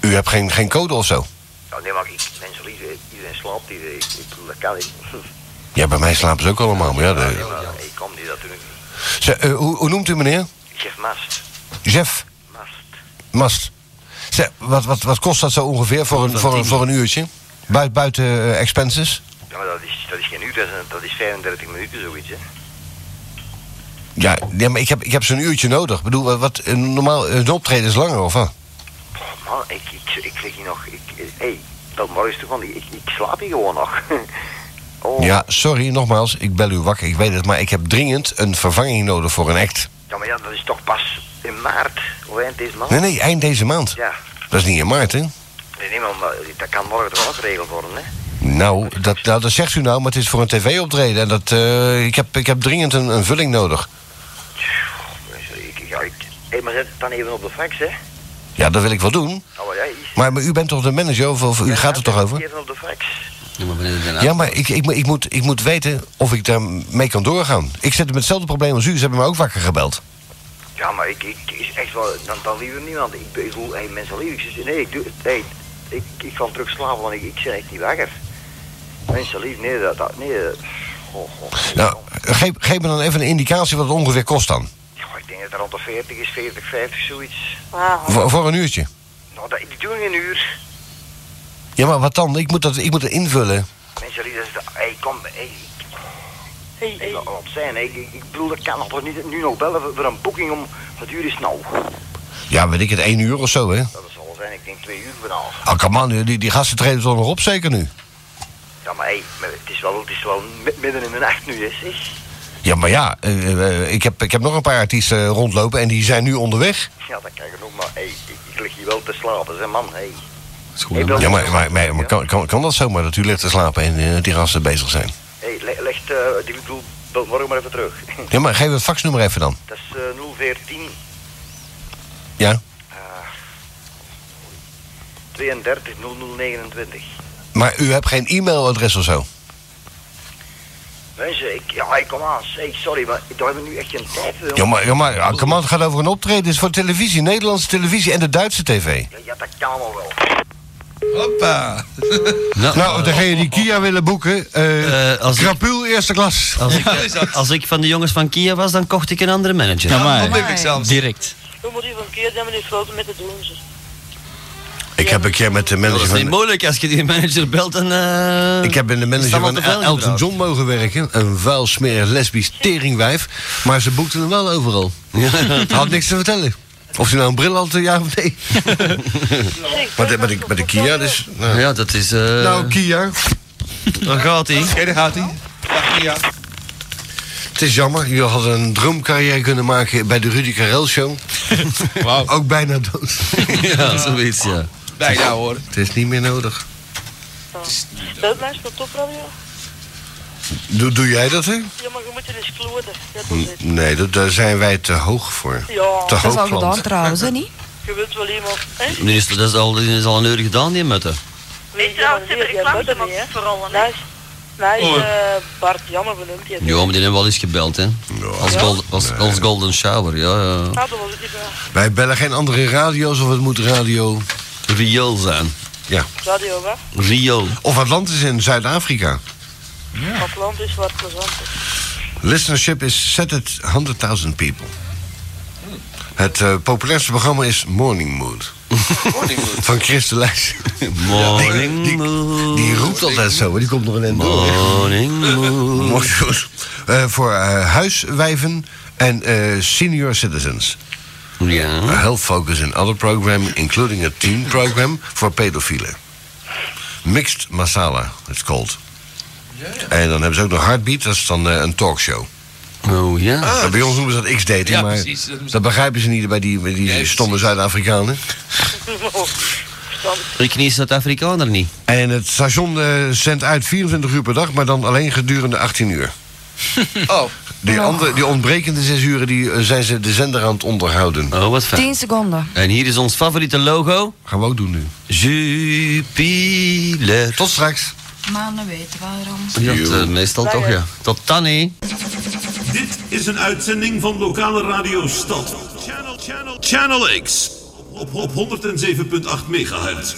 U hebt geen, geen code of zo? Ja, nee, maar ik, mensen lief, iedereen slaapt hier. Ik, ik bedoel, dat kan ik niet. Ja, bij mij slapen ze ook allemaal. Oh, Maar ja, de- Nee, maar ik kan niet, dat doe ik niet. Ze, eh, hoe, hoe noemt u meneer? Ik zeg mast. Jeff Mast. Ze, wat, wat, wat kost dat zo ongeveer voor een, voor een, voor een uurtje? Buiten, buiten eh, expenses? Ja, maar dat is, dat is geen uur, dat is, dat is 35 minuten zoiets, hè. Ja, ja maar ik heb, ik heb zo'n uurtje nodig. Ik bedoel, wat- wat, een normaal een optreden is langer, of wat? Oh, man, ik, ik, ik lig hier nog... Ik, eh, hey, dat morgen is toch gewoon... Ik, ik slaap hier gewoon nog. oh. Ja, sorry, nogmaals, ik bel u wakker, ik weet het. Maar ik heb dringend een vervanging nodig voor een act. Ja, maar ja, dat is toch pas in maart, of eind deze maand? Nee, nee, eind deze maand. Nou. Ja, Dat is niet in maart, hè? nee, nee, maar maar dat kan morgen toch ook geregeld worden, hè? Nou, dat, nou, dat zegt u nou, maar het is voor een tv-optreden. En dat, eh, ik, heb, ik heb dringend een, een vulling nodig. Ik, ik, ja, ik, hey, maar zet het dan even op de fax, hè? Ja, dat wil ik wel doen. Oh, maar ja, is- Maar, maar u bent toch de manager, of, of u gaat er toch over? Even op de fax. Ja, maar ik, ik, moet- ik, moet, ik moet weten of ik daarmee kan doorgaan. Ik zit met hetzelfde probleem als u, ze hebben me ook wakker gebeld. Ja, maar ik, ik is echt wel... Dan, dan liever niemand. Ik bedoel, hey, mensen liever... Ik zeg, nee, ik doe... Hey, ik, ik kan terug slapen, want ik, ik zit echt niet wakker. Mensen lief, nee, dat... dat nee, dat- oh, oh, Nou, geef, geef me dan even een indicatie wat het ongeveer kost dan. oh, ik denk dat er rond de 40 is, 40, 50, zoiets. Voor, voor een uurtje. Nou, dat, die doen een uur. Ja, maar wat dan? Ik moet dat, ik moet dat invullen. Mensen lief, dat is... de- Hey, kom, hey... Hey, hey. Wat zijn, hey, ik, ik bedoel, dat kan nog toch niet nu nog bellen voor- voor een boeking om... Wat uur is het nou? Ja, weet ik het, één uur of zo, hè? Dat zal wel zijn, ik denk twee uur vanavond. Oh, come on, die, die gasten treden toch nog op, zeker nu? Ja, maar hey, maar het is wel, het is wel mi- midden in de nacht nu, hè, zeg. Ja, maar ja, eh, eh, ik, heb, ik heb nog een paar artiesten eh, rondlopen en die zijn nu onderweg. Ja, dat kan genoeg, maar hey, ik, ik lig hier wel te slapen, zeg man, hey. Ja, maar, maar, maar, maar kan, kan, kan dat zomaar dat u ligt te slapen en eh, die gasten bezig zijn? Hey, le leg, eh, die bedoel, bel morgen maar even terug. Ja, maar geef het faxnummer even dan. dat is eh, 014 Ja. eh, 32 0029. Maar u hebt geen e-mailadres of zo? Mensen, ik, ja, ik kom aan. Zeg, sorry, maar daar hebben we nu echt geen tijd voor. Ja, maar, ja, maar ja, come on, het gaat over een optreden. Het is voor televisie, Nederlandse televisie en de Duitse tv. Ja, dat kan allemaal wel. Hoppa. Nou, degene Ah. die Kia willen boeken, eh krapul eerste klas. Als ik, als ik van de jongens van Kia was, dan kocht ik een andere manager. Ja, maar. Onmiddellijk zelfs. Direct. Hoe moet u van keer zijn, meneer Sloten, met de doen ze? Ik heb een keer met de dat manager is niet van... moeilijk als je die manager belt dan. eh, Ik heb in de is manager dat wel van te veel Elton inderdaad. John mogen werken. Een vuil, smerig, lesbisch teringwijf. Maar ze boekten hem wel overal. Had niks te vertellen. Of ze nou een bril had, ja of nee. maar, de, maar, de, maar de Kia, dus... Nou. Ja, dat is. eh, Nou, Kia. Daar gaat hij. Oké, daar gaat hij. Ja. Het is jammer, je had een droomcarrière kunnen maken bij de Rudy Karel Show. Ook bijna dood. ja, zoiets, ja. Bijna hoor. Het is niet meer nodig. Speelt mij op topradio? Doe, doe jij dat, hè? Ja, maar je moet er eens kloeden. Dat N- is het. Nee, dat, daar zijn wij te hoog voor. Ja. Te Dat is al hoog gedaan trouwens, hè, niet? Je wilt wel iemand... Hè? Nu is, dat is al, die is al een uur gedaan, die mutten. Nee, trouwens, ze hebben reclame vooral. Mij is, mij is eh, Bart Janne benoemd. die heeft- Oh. Ja, maar die hebben wel eens gebeld, hè? Als, gold, als, als Golden Shower, ja. ja. Ah, dat was het niet bij. Wij bellen geen andere radio's of het moet radio... Riool zijn. Ja. Radio, hè? Riool. Of Atlantis in Zuid-Afrika. Dat land is wat plezant is. Listenership is set at 100.000 people. Het eh, populairste programma is Morning Mood. Van Chris de Leijs. Morning die, die, die roept altijd zo, maar die komt nog een end door. Morning Mood. Morning Mood. Eh, voor eh, huiswijven en eh, senior citizens. Ja. A health focus in other program, including a teen program for pedofielen. Mixed Masala, it's called. En dan hebben ze ook nog Heartbeat, dat is dan eh, een talkshow. Oh ja. Nou, bij ons noemen ze dat X-dating, Ah. Ja, maar precies, dat dat, moest- begrijpen ze niet bij die, bij die stomme Zuid-Afrikanen. Ik niet Zuid-Afrikaner niet. En het station eh, zendt uit 24 uur per dag, maar dan alleen gedurende 18 uur. Oh. Die, andere, die ontbrekende zes uren die, eh, zijn ze de zender aan het onderhouden. Oh, wat fijn. 10 seconden. En hier is ons favoriete logo. Gaan we ook doen nu. Jupiler. Tot straks. Mannen weten waarom. Ja, dat, eh, meestal toch, ja. Tot dan, hè. Dit is een uitzending van lokale radio Stad. Channel, channel, channel X. Op, op 107.8 megahertz.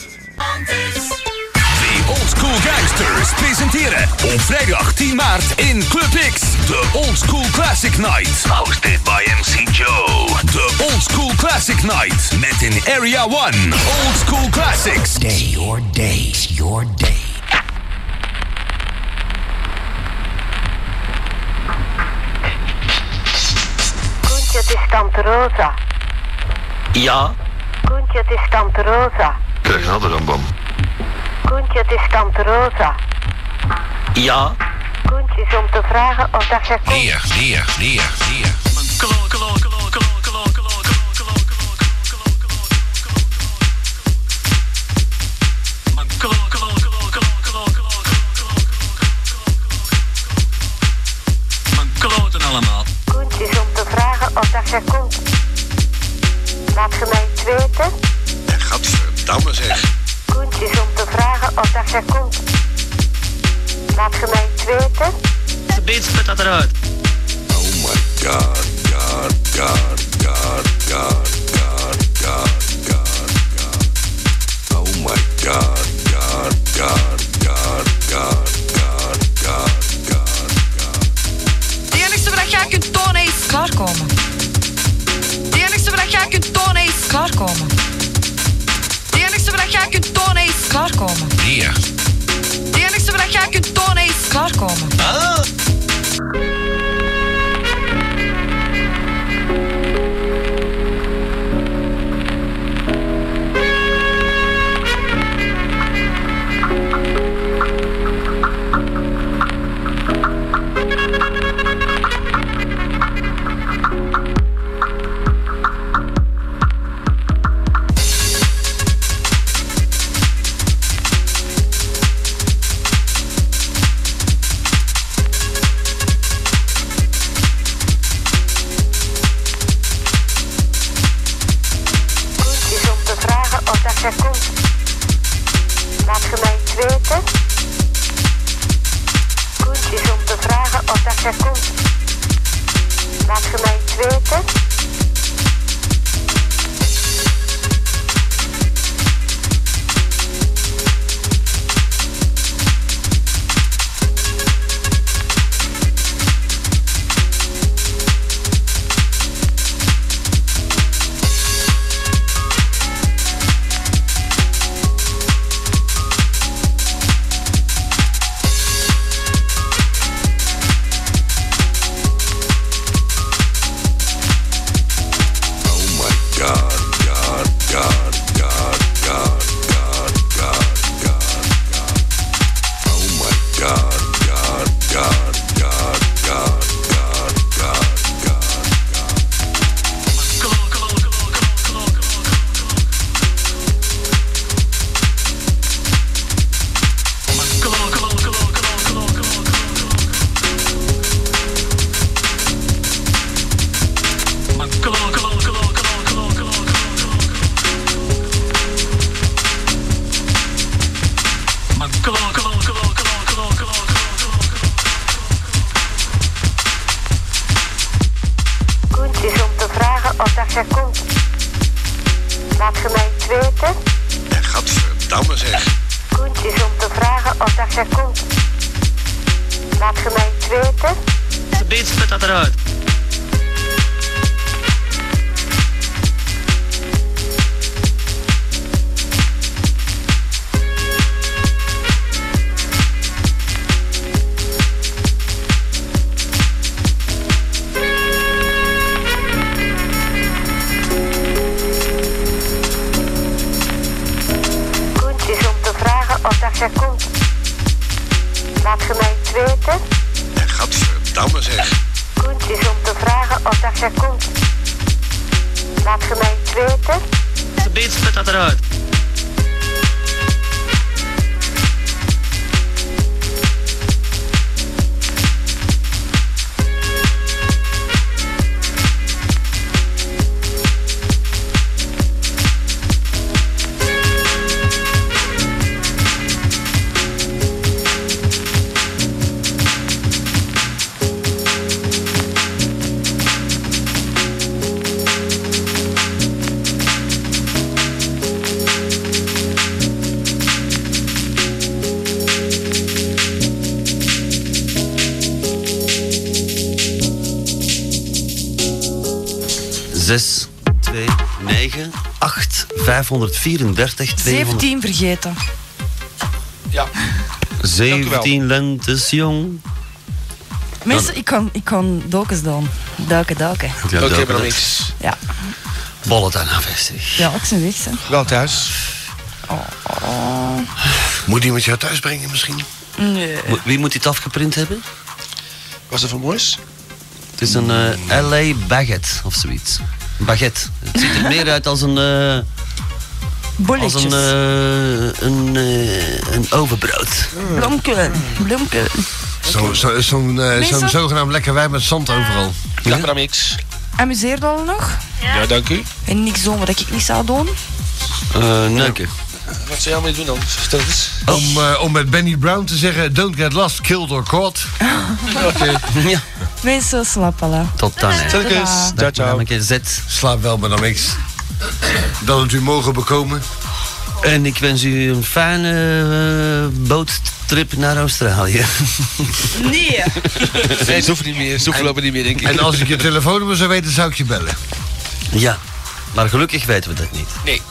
De Old School Gangsters presenteren op vrijdag 10 maart in Club X de Old School Classic Night. Hosted by MC Joe. De Old School Classic Night met in Area 1 Old School Classics. Day your days, your day. Koentje, het is Tante Rosa. Ja. Koentje, het is Tante Rosa. Krijg nou dan, bam. Koentje, het is Tante Rosa. Ja. Koentje is om te vragen of dat jij komt. Neer, neer, neer, neer. Kloten allemaal. Koentje is om te vragen of dat jij komt. Laat je mij het weten. Gadverdamme zeg. Koentje is om te vragen of dat jij komt. Laat je mij het weten. De beat spit dat eruit. Het enigste wat jij kunt tonen is klaarkomen. Het enigste wat jij kunt tonen is klaarkomen. Het enigste wat jij kunt tonen is klaarkomen. Neer. Het enigste wat jij kunt tonen is klaarkomen. Ah. Klaarkomen. dat komt. Laat je mij het weten. Koen is om te vragen of dat er komt. Laat je mij het weten. Koen is om te vragen of dat er komt. Laat je mij het weten. Ja, gadverdamme zeg. Koen is om te vragen of dat er komt. Laat je mij het weten. De beat spit dat eruit. Koen is om te vragen of dat er komt. Laat je mij het weten. Ja, gadverdamme zeg. Koen is om te vragen of dat er komt. Laat je mij het weten. De beat spit dat eruit. Zes, twee, negen, acht, 534, 200. 17 vergeten. Ja. 17 lentes jong. Mensen, ik kan, ik kan dokens doen. Duiken, duiken. Ja, Oké, duiken, maar dan duiken. Ja. Bollet aan afvestig. ja, ik zijn weg. hè. Wel thuis. Oh. Moet iemand jou thuis brengen misschien? Nee. Wie moet dit afgeprint hebben? Was dat van Moois? Het is een eh, LA baguette of zoiets. Een Baguette. Het ziet er meer uit als een. eh, als Bolletjes. een, eh, een, eh, een overbrood. Bloemke, bloemke. Zo'n zo, zo'n, eh, Mensen? zo'n zogenaamd lekker wijn met zand overal. Ja, mix. Amuseerde al nog? Ja, dank u. En niks doen wat ik niet zou doen. Eh neuken. Wat zou jij mee doen dan? Vertel eens. Om, eh, om met Benny Brown te zeggen, don't get lost, killed or caught. Oké. Ja. Mensen, slappelen. Tot dan. hè. Tot dan. Dag, namelijk Zet. Slaap wel, maar dan niks. Dat het u mogen bekomen. En ik wens u een fijne eh, boottrip naar Australië. Nee. Nee, ze hoeven niet meer. Ze hoeven lopen niet meer, denk ik. En als ik je telefoonnummer zou weten, zou ik je bellen. ja, maar gelukkig weten we dat niet. Nee.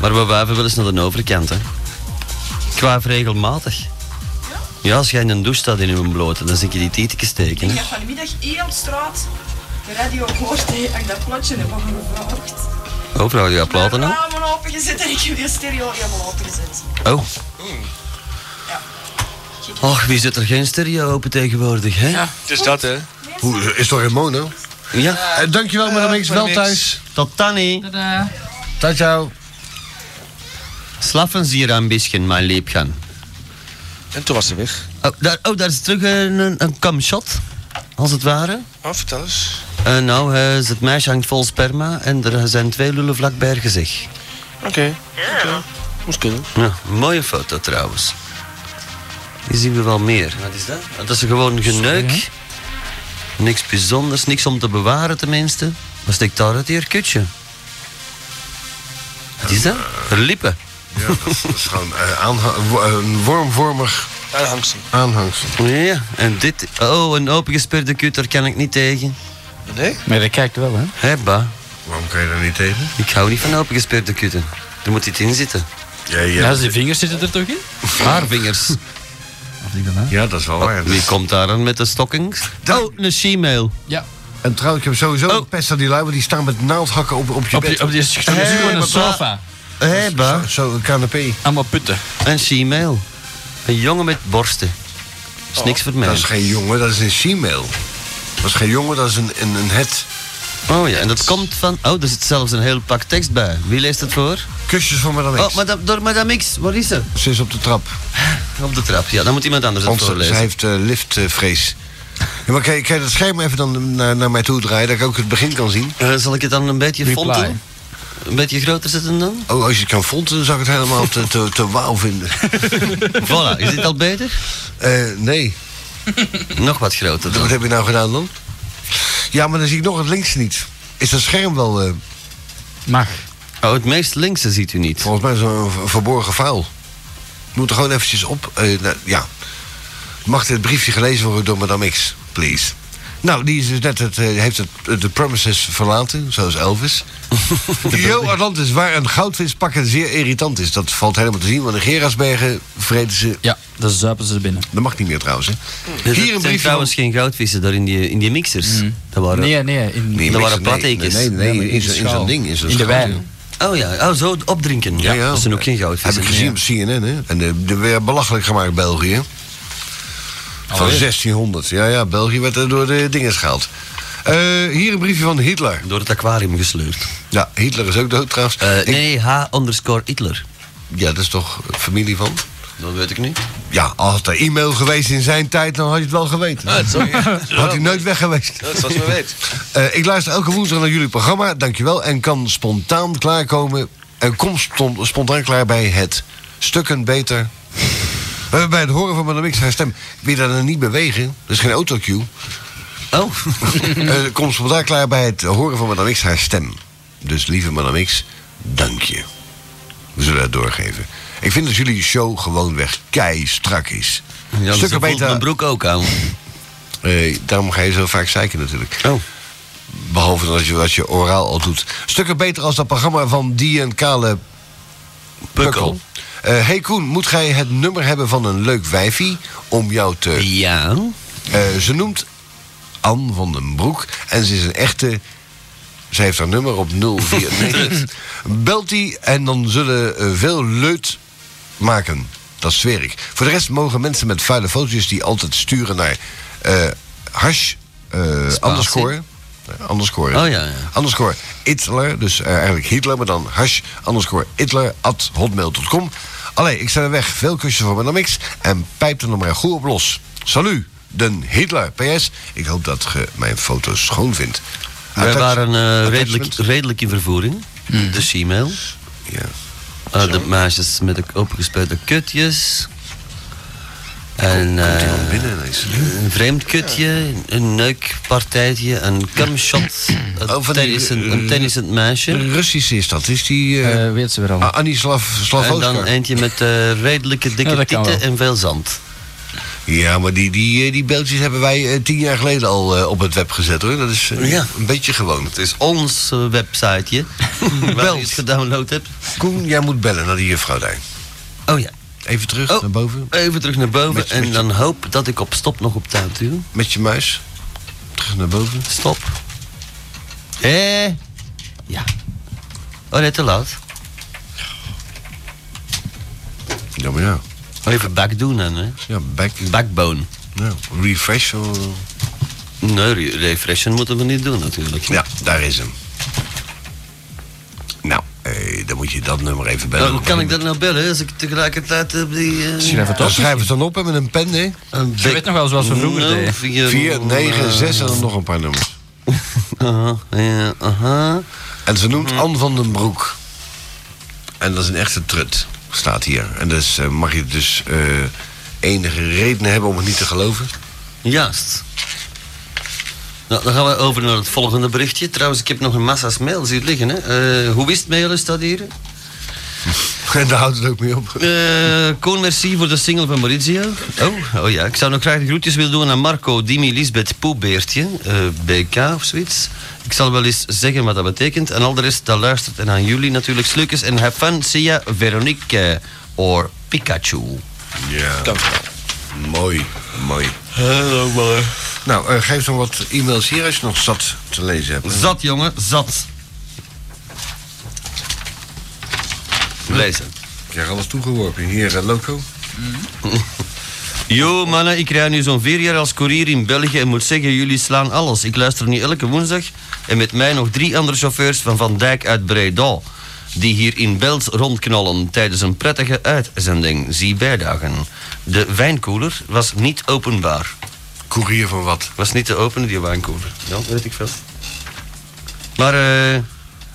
Maar we wuiven wel eens naar de overkant, hè. Ik wuif regelmatig. Ja, als jij in een douche staat in uw blote, dan zie je die tietjes steken. Ik hè. heb vanmiddag hier op straat de radio gehoord dat ik dat plotje heb opengevraagd. Oh, vrouw, je gaat platen aan? Ramen opengezet en ik heb weer stereo helemaal opengezet. Oh. Ach, wie zet er geen stereo open tegenwoordig, hè? Ja, dus dat, hè. Hoe, is toch in mono? Ja. Eh, dankjewel, maar dan ben ik wel thuis. Tot Tanny. Tot jou. Slaffen ze hier een beetje, mijn liepgaan. En toen was ze weg. Oh, daar, oh, daar is terug een, een, een kamshot, als het ware. Oh, vertel eens. Eh, nou, eh, het meisje hangt vol sperma en er zijn twee lullen vlakbij haar gezicht. Oké. Oké. Moest kunnen. Ja, mooie foto trouwens. Die zien we wel meer. Wat is dat? Dat is gewoon geneuk. niks bijzonders, niks om te bewaren tenminste. Wat steekt daar uit hier kutje? Wat is dat? Lippen. Ja, dat is, dat is gewoon eh, aanha- wo- een wormvormig... Aanhangsel. Aanhangsel. Ja, en dit... Oh, een opengesperde kut, daar kan ik niet tegen. Nee? Maar dat kijkt wel, hè? Hebba. Waarom kan je daar niet tegen? Ik hou niet van opengesperde kutten. Er moet iets in zitten. Ja, ja. Nou, zijn vingers zitten er toch in? Haar vingers. Ja, dat is wel waar. Oh, Wie komt daar dan met de stockings? Oh, een she-mail. Ja. En trouwens, ik heb Oh. sowieso een pest aan die lui, want die staan met naaldhakken op, op je Op bed. je- op die- zo'n zuur en een sofa. Hé, ba. Zo'n canapé. Allemaal putten. Een she-mail. Een jongen met borsten. is niks voor mij. Oh. Dat is geen jongen, dat is een she-mail. Dat is geen jongen, dat is een, een, een het. Oh ja, en dat komt van... Oh, er zit zelfs een heel pak tekst bij. Wie leest het voor? Kusjes van Madame X. Oh, madame, door Madame X. Waar is ze? Ze is op de trap. Op de trap, ja. Dan moet iemand anders het Want ze voorlezen. heeft eh, liftvrees. Ja, maar kan je, kan je dat scherm even dan naar, naar mij toe draaien, dat ik ook het begin kan zien? Eh, zal ik het dan een beetje Reply. fonten? Een beetje groter zetten dan? Oh, als je het kan fonten, dan zou ik het helemaal te, te, te wauw vinden. voilà, is dit al beter? Eh, nee. Nog wat groter dan. Wat heb je nou gedaan dan? Ja, maar dan zie ik nog het links niet. Is dat scherm wel... eh, Mag. Oh, het meest linkse ziet u niet. Volgens mij is het een ver- verborgen vuil. Moet er gewoon eventjes op. eh, nou, ja. Mag dit briefje gelezen worden door Madame X, please? Nou, die is dus net het, eh, heeft het, eh, de premises verlaten, zoals Elvis. Jo Atlantis, waar een goudvis pakken zeer irritant is. Dat valt helemaal te zien, want de Gerasbergen vreten ze. Ja, dat zuipen ze binnen. Dat mag niet meer trouwens. Hè. Er Hier een zijn briefje. trouwens geen goudvissen daar in die, in die mixers. Dat waren, Mm. Nee, nee. In, Nee, dat mixer, waren plattekens. Nee, nee, nee, maar in in de zo'n- in schaal. zo'n ding. In, zo'n In de schaal, wijn. ja. Oh ja, oh, zo opdrinken. Ja, Dat zijn ook geen Heb goudvissen. ik gezien op CNN, hè? En eh, de, de weer belachelijk gemaakt België. Van Alweer? 1600. Ja, ja, België werd er door de dingen gehaald. Eh, hier een briefje van Hitler. Door het aquarium gesleurd. Ja, Hitler is ook dood trouwens. Eh, Ik- nee, H underscore Hitler. Ja, dat is toch familie van? Dat weet ik niet. Ja, als er e-mail geweest in zijn tijd, dan had je het wel Ah, geweten. Had hij nooit weg geweest. Dat is wat we weten. Eh, ik luister elke woensdag naar jullie programma, dankjewel. En kan spontaan klaarkomen. En kom ston- spontaan klaar bij het stukken beter. Eh, bij het horen van Madame X haar stem. Wil je dat dan niet bewegen? Dat is geen autocue. Oh. Eh, kom spontaan klaar bij het horen van Madame X haar stem. Dus lieve Madame X, dank je. We zullen het doorgeven. Ik vind dat jullie show gewoon weg kei strak is. Ja, dat voelt mijn broek ook aan. Eh, daarom ga je zo vaak zeiken natuurlijk. Oh. Behalve dat je, wat je oraal al doet. Stukken beter als dat programma van die en Kale Pukkel. Eh, hey Koen, moet gij het nummer hebben van een leuk wijfie om jou te... Ja. Eh, ze noemt Anne van den Broek en ze is een echte... Ze heeft haar nummer op 049. Belt die en dan zullen eh, veel leut maken. Dat zweer ik. Voor de rest mogen mensen met vuile foto's die altijd sturen naar eh hash eh, underscore. Eh, Underscore. Oh ja, ja. Underscore Hitler, dus eh, eigenlijk Hitler, maar dan hash underscore Hitler at hotmail.com. Allee, ik sta er weg. Veel kusjes voor Madame X en pijp er nog maar goed op los. Salut, den Hitler. PS, ik hoop dat je mijn foto's schoon vindt. Wij Attach- waren eh, redelijk, attachment. redelijk in vervoering. De she-mail. Mhm. Ja. Eh, Dus de meisjes met de opgespuite kutjes. En, eh, iemand binnen ineens? een vreemd kutje, een neukpartijtje, een cumshot, een, Oh, van die, tennissend, eh, een tennissend meisje. De Russische is dat, is die... eh Eh, weet ze weer al. Ah, Annie Slav, En Slavoska. dan eentje met eh, redelijke dikke Ja, dat kan tieten wel. en veel zand. Ja, maar die, die, eh, die beeldjes hebben wij eh, tien jaar geleden al eh, op het web gezet, hoor. Dat is eh, Ja. een beetje gewoon. Het is ons eh, websiteje, waar je het gedownload hebt. Koen, jij moet bellen naar die juffrouw daar. Oh ja, Even terug Oh. naar boven. even terug naar boven Met je- en met je- dan hoop dat ik op stop nog op tijd duw. Met je muis. Terug naar boven. Stop. Hé? Ja. Oh nee, te laat. Ja, maar ja. Oh, Even back doen dan, hè. Ja, back. Backbone. Ja, refresh. eh, Nee, re- refreshen moeten we niet doen natuurlijk. Ja, daar is hem. Nou, eh, dan moet je dat nummer even bellen. Nou, hoe kan ik dat nou bellen als ik tegelijkertijd op die... eh, Schrijf het Dan op. schrijf het dan op hè, met een pen, hè? een Je weet nog wel zoals we vroeger nul, deden. vier, 4, nul, 9, eh, 6 en dan nog een paar nummers. Aha, Hm. ja, aha. En ze noemt Anne van den Broek. En dat is een echte trut, staat hier. En dus eh, mag je dus eh, enige redenen hebben om het niet te geloven. Juist. Nou, dan gaan we over naar het volgende berichtje. Trouwens, ik heb nog een massa's mails hier liggen. Hè. Eh, hoe wist mail is dat hier? En daar houdt het ook mee op. Eh, Koen, merci voor de single van Maurizio. Oh, oh ja, ik zou nog graag de groetjes willen doen aan Marco, Dimi, Lisbeth, Poebeertje, eh, BK of zoiets. Ik zal wel eens zeggen wat dat betekent. En al de rest, dat luistert. En aan jullie natuurlijk slukjes. En have fun, see ya, Veronique, eh, or Pikachu. Ja. Dank Mooi, mooi. Heel mooi. Nou, eh, geef dan wat e-mails hier als je nog zat te lezen hebt. Zat, jongen, zat. Lezen. Ik krijg alles toegeworpen. Hier, eh, Loco. Yo mannen, ik rij nu zo'n vier jaar als courier in België en moet zeggen, jullie slaan alles. Ik luister nu elke woensdag en met mij nog drie andere chauffeurs van Van Dijk uit Breda. Die hier in Bels rondknallen tijdens een prettige uitzending. Zie bijdagen. De wijnkoeler was niet openbaar. Courier van wat? Was niet te openen, die wijnkoeler. Ja, weet ik veel. Maar eh,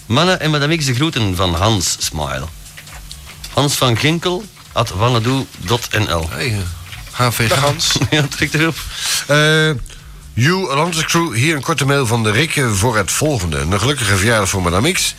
mannen en madame X de groeten van Hans Smile. Hans van Ginkel at wannadoe.nl. Hey, HVG. Dag Hans. ja, trek erop. Eh you, Atlantis Crew, hier een korte mail van de Rick eh, voor het volgende. Een gelukkige verjaardag voor Madame X.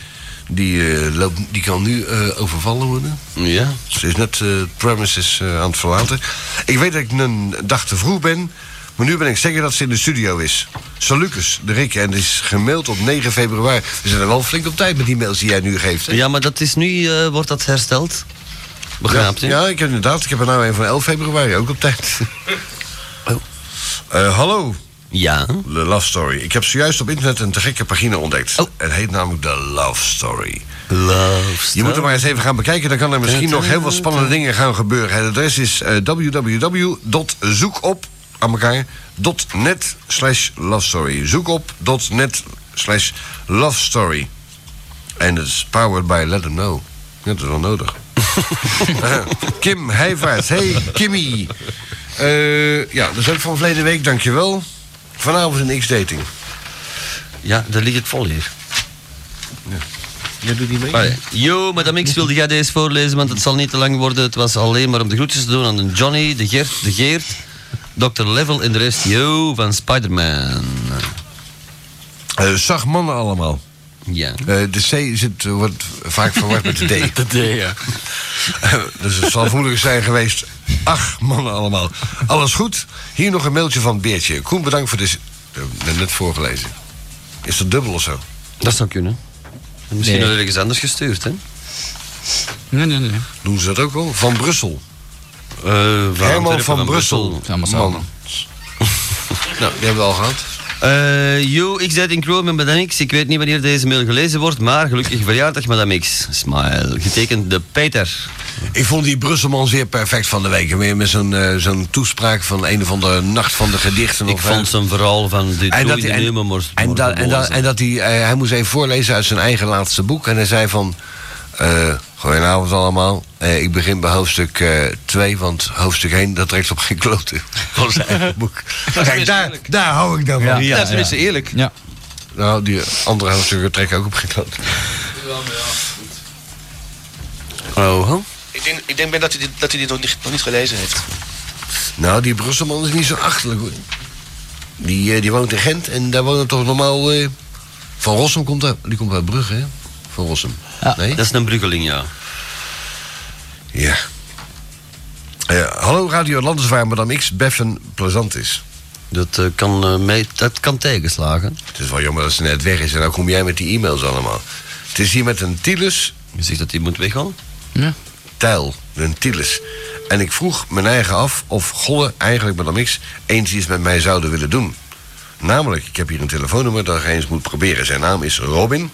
Die, eh, loopt, die kan nu eh, overvallen worden. Ja. Ze is net eh, het premises eh, aan het verlaten. Ik weet dat ik een dag te vroeg ben, maar nu ben ik zeker dat ze in de studio is. Zo Lucas, de Rick, en die is gemaild op 9 februari. We zijn er wel flink op tijd met die mails die jij nu geeft. Hè? Ja, maar dat is nu, eh, wordt dat hersteld. Begrijpt u? Ja, ja, ik heb inderdaad. Ik heb er nou een van 11 februari, ook op tijd. Eh, hallo. Oh. Ja? The Love Story. Ik heb zojuist op internet een te gekke pagina ontdekt. Het heet namelijk The Love Story. Oh. Love Je moet er maar eens even gaan bekijken. Dan kan er misschien nog heel wat spannende dingen gaan gebeuren. Het adres is eh, www.zoekop aan elkaar .net slash love story. Zoekop.net slash love story. En het is powered by Let Them Know. Ja, dat is wel nodig. Eh, Kim Heijvaart. Hey, Kimmy. Eh, ja, dat is ook van verleden week. Dankjewel. Vanavond in X-Dating. Ja, daar ligt het vol hier. Jij doet niet mee? Allee. Yo, madame X, wilde jij deze voorlezen, want het zal niet te lang worden. Het was alleen maar om de groetjes te doen aan de Johnny, de Gert, de Geert, Dr. Level en de rest. Yo, van Spider-Man. Eh, zag mannen allemaal. Ja. de C zit, eh, wordt vaak verward met de D. De D, ja. dus het zal moeilijk zijn geweest. Ach, mannen allemaal. Alles goed? Hier nog een mailtje van Beertje. Koen, bedankt voor dit... eh, net voorgelezen. Is dat dubbel of zo? Dat zou kunnen. Misschien Nee. nog ergens anders gestuurd, hè? Nee, nee, nee. Doen ze dat ook al? Van Brussel. Eh, van Herman Antwerpen, van, van Brussel. Brussel. Allemaal Man. samen. nou, die hebben we al gehad. Eh, yo, ik zit in Chrome en Madame X. Ik weet niet wanneer deze mail gelezen wordt, maar gelukkig verjaardag Madame X. Smile. Getekend de Peter. Ik vond die Brusselman zeer perfect van de week. Weer met zo'n eh, zo'n toespraak van een of andere nacht van de gedichten. Ik of, vond eh, zijn verhaal van dit En doe dat, je de hij- en, nummer maar- en, maar dat, en, dat, bewozen. en dat hij, eh, hij moest even voorlezen uit zijn eigen laatste boek. En hij zei van, eh goedenavond allemaal. Eh, ik begin bij hoofdstuk 2, want hoofdstuk 1, dat trekt op geen klote van zijn eigen boek. Kijk, daar, daar hou ik dan van. Ja, dat is tenminste eerlijk. Ja. Nou, die andere hoofdstukken trekken ook op geen klote. Oh, ho. Ik denk, ik denk ben dat hij dit, dat hij dit nog, niet, nog niet gelezen heeft. nou, die Brusselman is niet zo achterlijk. hoor. Die, eh, die woont in Gent en daar wonen toch normaal... eh, van Rossum komt uit, die komt uit Brugge, hè? Van Rossum. Nee? Dat is een Bruggeling, ja. Ja. Eh, hallo Radio Atlantis, waar Madame X Beffen plezant is. Dat, eh, kan, eh, mee, dat kan tegenslagen. Het is wel jammer dat ze net weg is en dan kom jij met die e-mails allemaal. Het is hier met een Tilus. Je zegt dat die moet weggaan? Ja. Tijl, een Tilus. En ik vroeg mijn eigen af of Golle eigenlijk Madame X eens iets met mij zouden willen doen. Namelijk, ik heb hier een telefoonnummer dat je eens moet proberen. Zijn naam is Robin.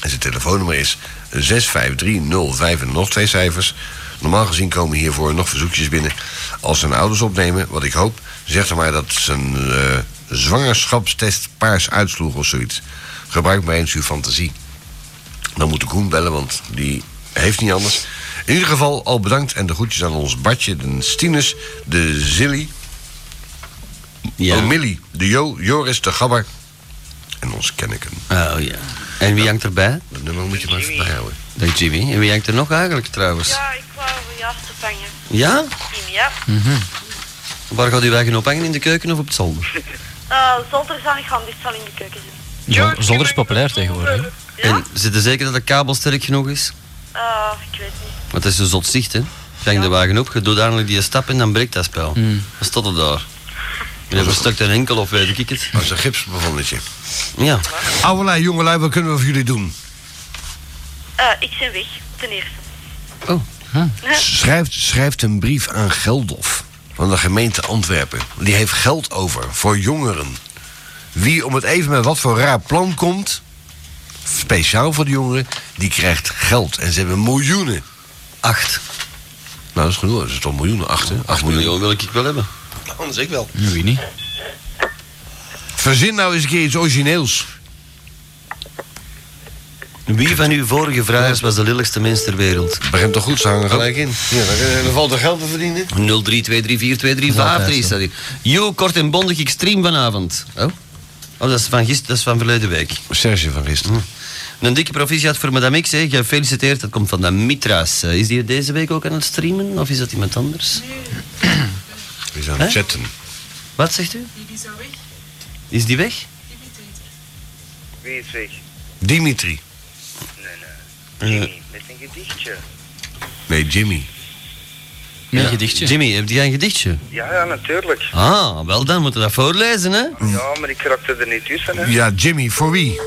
En zijn telefoonnummer is 6530 en nog twee cijfers. Normaal gezien komen hiervoor nog verzoekjes binnen. Als zijn ouders opnemen, wat ik hoop, zegt er maar dat zijn eh, zwangerschapstest paars uitsloeg of zoiets. Gebruik maar eens uw fantasie. Dan moet de Koen bellen, want die heeft niet anders. In ieder geval al bedankt en de groetjes aan ons Bartje, de Stinus, de Zilly, Ja. oh Millie, de Jo, Joris, de Gabber en ons Kenneken. Oh ja. En wie hangt erbij? Dat nummer moet je maar even bijhouden. Dat Jimmy. En wie hangt er nog eigenlijk trouwens? Ja, ik wou je af te vangen. Ja? Kim, ja. Waar gaat u wagen ophangen? In de keuken of op het zolder? Eh, zolder zal ik gaan, dit zal in de keuken zijn. Zolder is populair tegenwoordig. hè. En zitten zeker dat de kabel sterk genoeg is? Eh, ik weet niet. Want het is een zot zicht, hè? Je hangt de wagen op, je doet dadelijk die stap en dan breekt dat spel. Hmm. Dan staat het daar. Je hebt verstukt een enkel of weet ik het. Dat is een gipsbevonnetje. Ja. Ouwelui, jongelui, wat kunnen we voor jullie doen? Eh, ik ben weg, ten eerste. Oh, Schrijft, schrijft een brief aan Geldof van de gemeente Antwerpen. Die heeft geld over voor jongeren. Wie om het even met wat voor raar plan komt, speciaal voor de jongeren, die krijgt geld. En ze hebben miljoenen. Acht. Nou, dat is genoeg. Dat is toch miljoenen? Acht, hè? Acht miljoen. wil ik wel hebben. Anders ik wel. Wie niet? Verzin nou eens een keer iets origineels. Wie van uw vorige vragen was de lilligste mens ter wereld? Begint toch goed, ze hangen gelijk in. Ja, dan, dan valt er geld te verdienen. 032342353 staat hier. Jo, kort en bondig, ik stream vanavond. Oh, oh dat, is van gister, dat is van verleden week. Hm. Serge van gisteren. Een dikke proficiat voor Madame X, hè. gefeliciteerd. Dat komt van de Mitra's. Eh, Is die deze week ook aan het streamen of is dat iemand anders? Die is aan het Hè? chatten. Wat zegt u? Die is weg. Is die weg? Wie is weg? Dimitri. Eh. Jimmy, met een gedichtje. Nee, Jimmy. Een gedichtje. Jimmy, heb jij een gedichtje? Ja, ja, natuurlijk. Ah, wel dan moeten we dat voorlezen, hè? Ja, maar ik raak er niet tussen, hè. Hm. Ja, Jimmy, voor wie?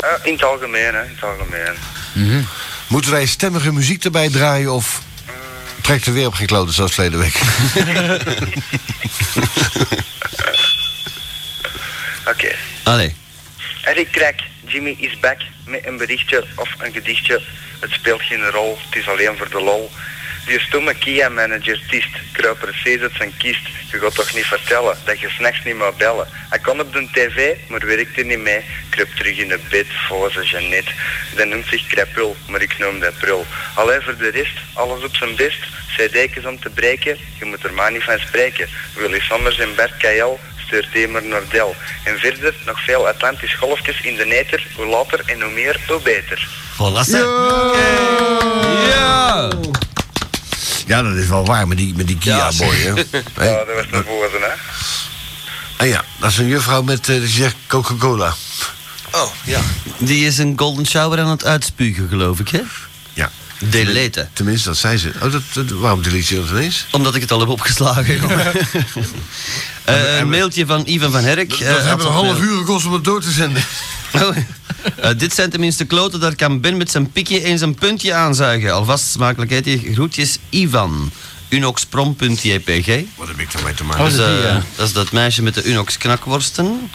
Eh, in het algemeen, hè. In het algemeen. Moeten wij stemmige muziek erbij draaien of trekt er weer op geen kloten zoals verleden week? Oké. Allee. Eric Crack, Jimmy is back met een berichtje of een gedichtje. Het speelt geen rol, het is alleen voor de lol. Die stomme Kia-manager tiest, kruipt precies uit zijn kiest. Je gaat toch niet vertellen dat je s'nachts niet mag bellen. Hij kan op de tv, maar werkt er niet mee. Kruip terug in de bed, voor zijn Jeannette. Dat noemt zich krapul, maar ik noem dat prul. Alleen voor de rest, alles op zijn best. Zij dekens om te breken, je moet er maar niet van spreken. Willy Sommers en Bert Kajal stuurt hij maar naar Del. En verder nog veel Atlantisch golfjes in de eter. Hoe later en hoe meer, hoe beter. Voilà, Ja! Ja! Ja, dat is wel waar met die, met die Ja, Kia-boy, hè? Hé, Ja, dat was naar voren, hè? Ah ja, dat is een juffrouw met, eh, die zegt Coca-Cola. Oh, ja. Die is een golden shower aan het uitspugen, geloof ik, hè? Ja. Deleten. Tenminste, dat zei ze. Oh, dat, dat- waarom delete je dat ineens? Omdat ik het al heb opgeslagen. Eh, een mailtje van Ivan van Herk. eh, dat hebben een had half uur gekost om het door te zenden. Oh. Eh, dit zijn tenminste kloten, daar kan Ben met zijn pikje eens een puntje aanzuigen. Alvast smakelijkheid, hier. groetjes Ivan. Unoxprom.jpg. Wat heb ik daarmee te maken? Dat, is, eh, dat is dat meisje met de Unox knakworsten.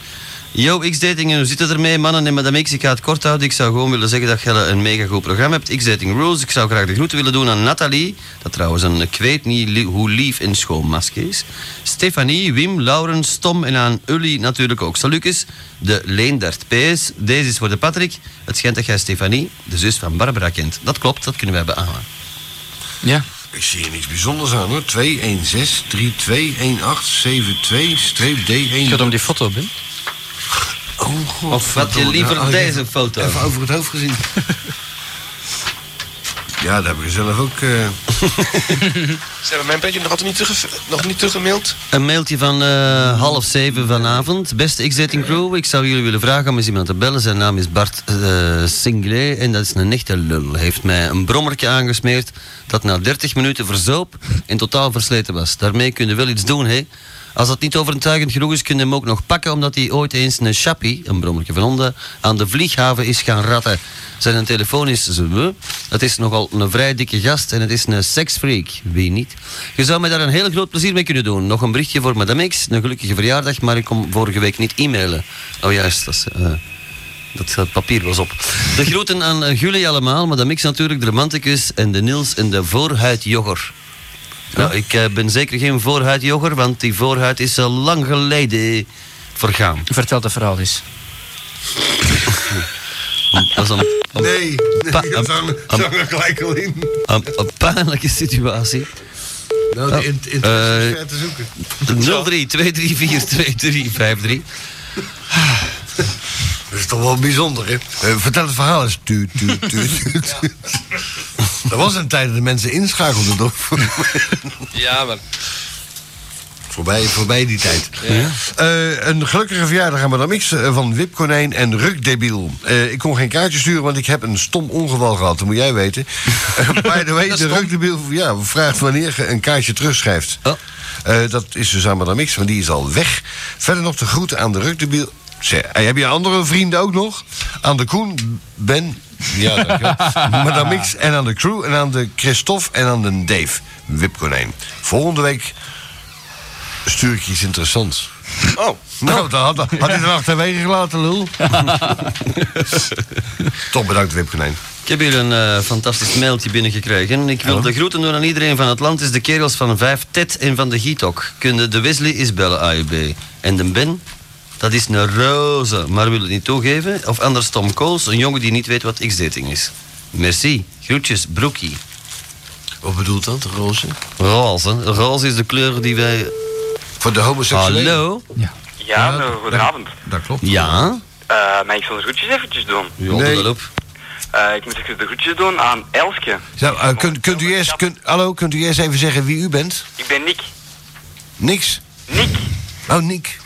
Yo, X-Dating, en hoe zit het ermee? Mannen en Madame X, ik ga het kort houden. Ik zou gewoon willen zeggen dat jij een mega goed programma hebt. X-Dating Rules, ik zou graag de groeten willen doen aan Nathalie. Dat trouwens een, ik weet niet li- hoe lief en schoon masker is. Stefanie, Wim, Lauren, Stom en aan Uli natuurlijk ook. Salukes, de Leendert PS. Deze is voor de Patrick. Het schijnt dat jij Stefanie, de zus van Barbara, kent. Dat klopt, dat kunnen wij beamen. Ja. Ik zie hier niks bijzonders aan hoor. 216 3218 72 D1. Het gaat om die foto, Ben. Oh god. Of had je verdorie. liever Oh, ik heb deze foto? Even over het hoofd gezien. ja, dat heb ik zelf ook. eh, Ze hebben mijn petje nog altijd niet, terug, nog niet teruggemaild. Een mailtje van eh, half zeven vanavond. Beste X-Dating Crew, ik zou jullie willen vragen om eens iemand te bellen. Zijn naam is Bart eh Singlet en dat is een echte lul. Hij heeft mij een brommertje aangesmeerd dat na 30 minuten verzoop en totaal versleten was. Daarmee kun je wel iets doen, hè? Als dat niet overtuigend genoeg is, kun je hem ook nog pakken... omdat hij ooit eens een chappie, een brommertje van honden... aan de vlieghaven is gaan ratten. Zijn telefoon is... zo- Het is nogal een vrij dikke gast en het is een seksfreak. Wie niet? Je zou mij daar een heel groot plezier mee kunnen doen. Nog een berichtje voor Madame X. Een gelukkige verjaardag, maar ik kon vorige week niet e-mailen. Oh juist, dat is... eh, dat eh, papier was op. De groeten aan eh, jullie allemaal, Madame X natuurlijk, de romanticus en de Niels en de voorhuidjogger. Nou, ik eh, ben zeker geen voorhuidjogger, want die voorhuid is al lang geleden vergaan. Vertel het verhaal eens. Dat is een, Nee, Pa- nee dat zag ik- zag ik gelijk al in. een, een pijnlijke situatie. Oh, Nou, de in- interesse is ver te zoeken. eh, 03 234 2353. Dat is toch wel bijzonder, hè? Eh, vertel het verhaal eens. Tu, tu, tu, tu, tu. Er was een tijd dat de mensen inschakelden, toch? Ja, maar... Voorbij, voorbij die tijd. Ja. Eh, een gelukkige verjaardag aan Madame X eh, van Wip Konijn en Rukdebiel. Eh, ik kon geen kaartje sturen, want ik heb een stom ongeval gehad. Dat moet jij weten. Eh, by the way, de Rukdebiel ja, vraagt wanneer je een kaartje terugschrijft. Oh. Eh, dat is dus aan Madame X, want die is al weg. Verder nog de groeten aan de Rukdebiel. Zeg, eh, heb je andere vrienden ook nog? Aan de Koen, Ben, ja, dankjewel. Madame X en aan de crew en aan de Christophe en aan de Dave. Wip Konijn. Volgende week stuur ik iets interessants. Oh. Nou, dan had, had hij er achterwege gelaten, lul. Toch bedankt, Wip Konijn. Ik heb hier een eh, fantastisch mailtje binnengekregen. Ik wil de groeten doen aan iedereen van het land. Is de kerels van 5 Ted en van de Gietok. Kunnen de Wesley is bellen AUB. En de Ben, dat is een roze, maar wil het niet toegeven. Of anders Tom Kools, een jongen die niet weet wat X-dating is. Merci. Groetjes, Broekie. Wat bedoelt dat, roze? Roze. Roze is de kleur die wij... Voor de homoseksuelen. Hallo? Ja, nou, goedenavond. Dat klopt. Ja? Eh, maar ik zal de groetjes eventjes doen. Ja, doe Nee. wel op. Eh, ik moet even de groetjes doen aan Elske. Zo, eh, kunt, kunt u eerst, kunt, hallo, kunt u eerst even zeggen wie u bent? Ik ben Nick. Niks? Nick. Oh, Nick.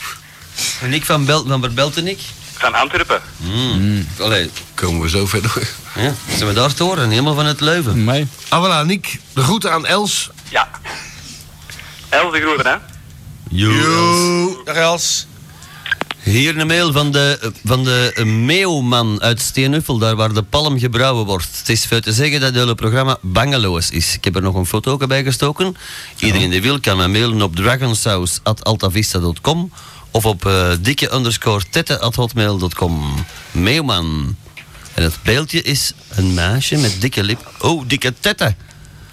Nick van, Bel van Berbelten, Nick? Van Antwerpen. Mm. Allee. Komen we zo verder. Ja, zijn we daar te horen. Helemaal van het Leuven. Nee. Ah, voilà, Nick. De groeten aan Els. Ja. Els de groeten, hè? Yo. Dag Els. Hier een mail van de, van de Meeuwman uit Steenuffel, daar waar de palm gebrouwen wordt. Het is veel te zeggen dat het hele programma bangeloos is. Ik heb er nog een foto ook bij gestoken. Iedereen die wil kan mij mailen op dragonsaus.altavista.com of op eh, dikke underscore tette.hotmail.com. Meeuwman. En het beeldje is een meisje met dikke lip. Oh, dikke tette.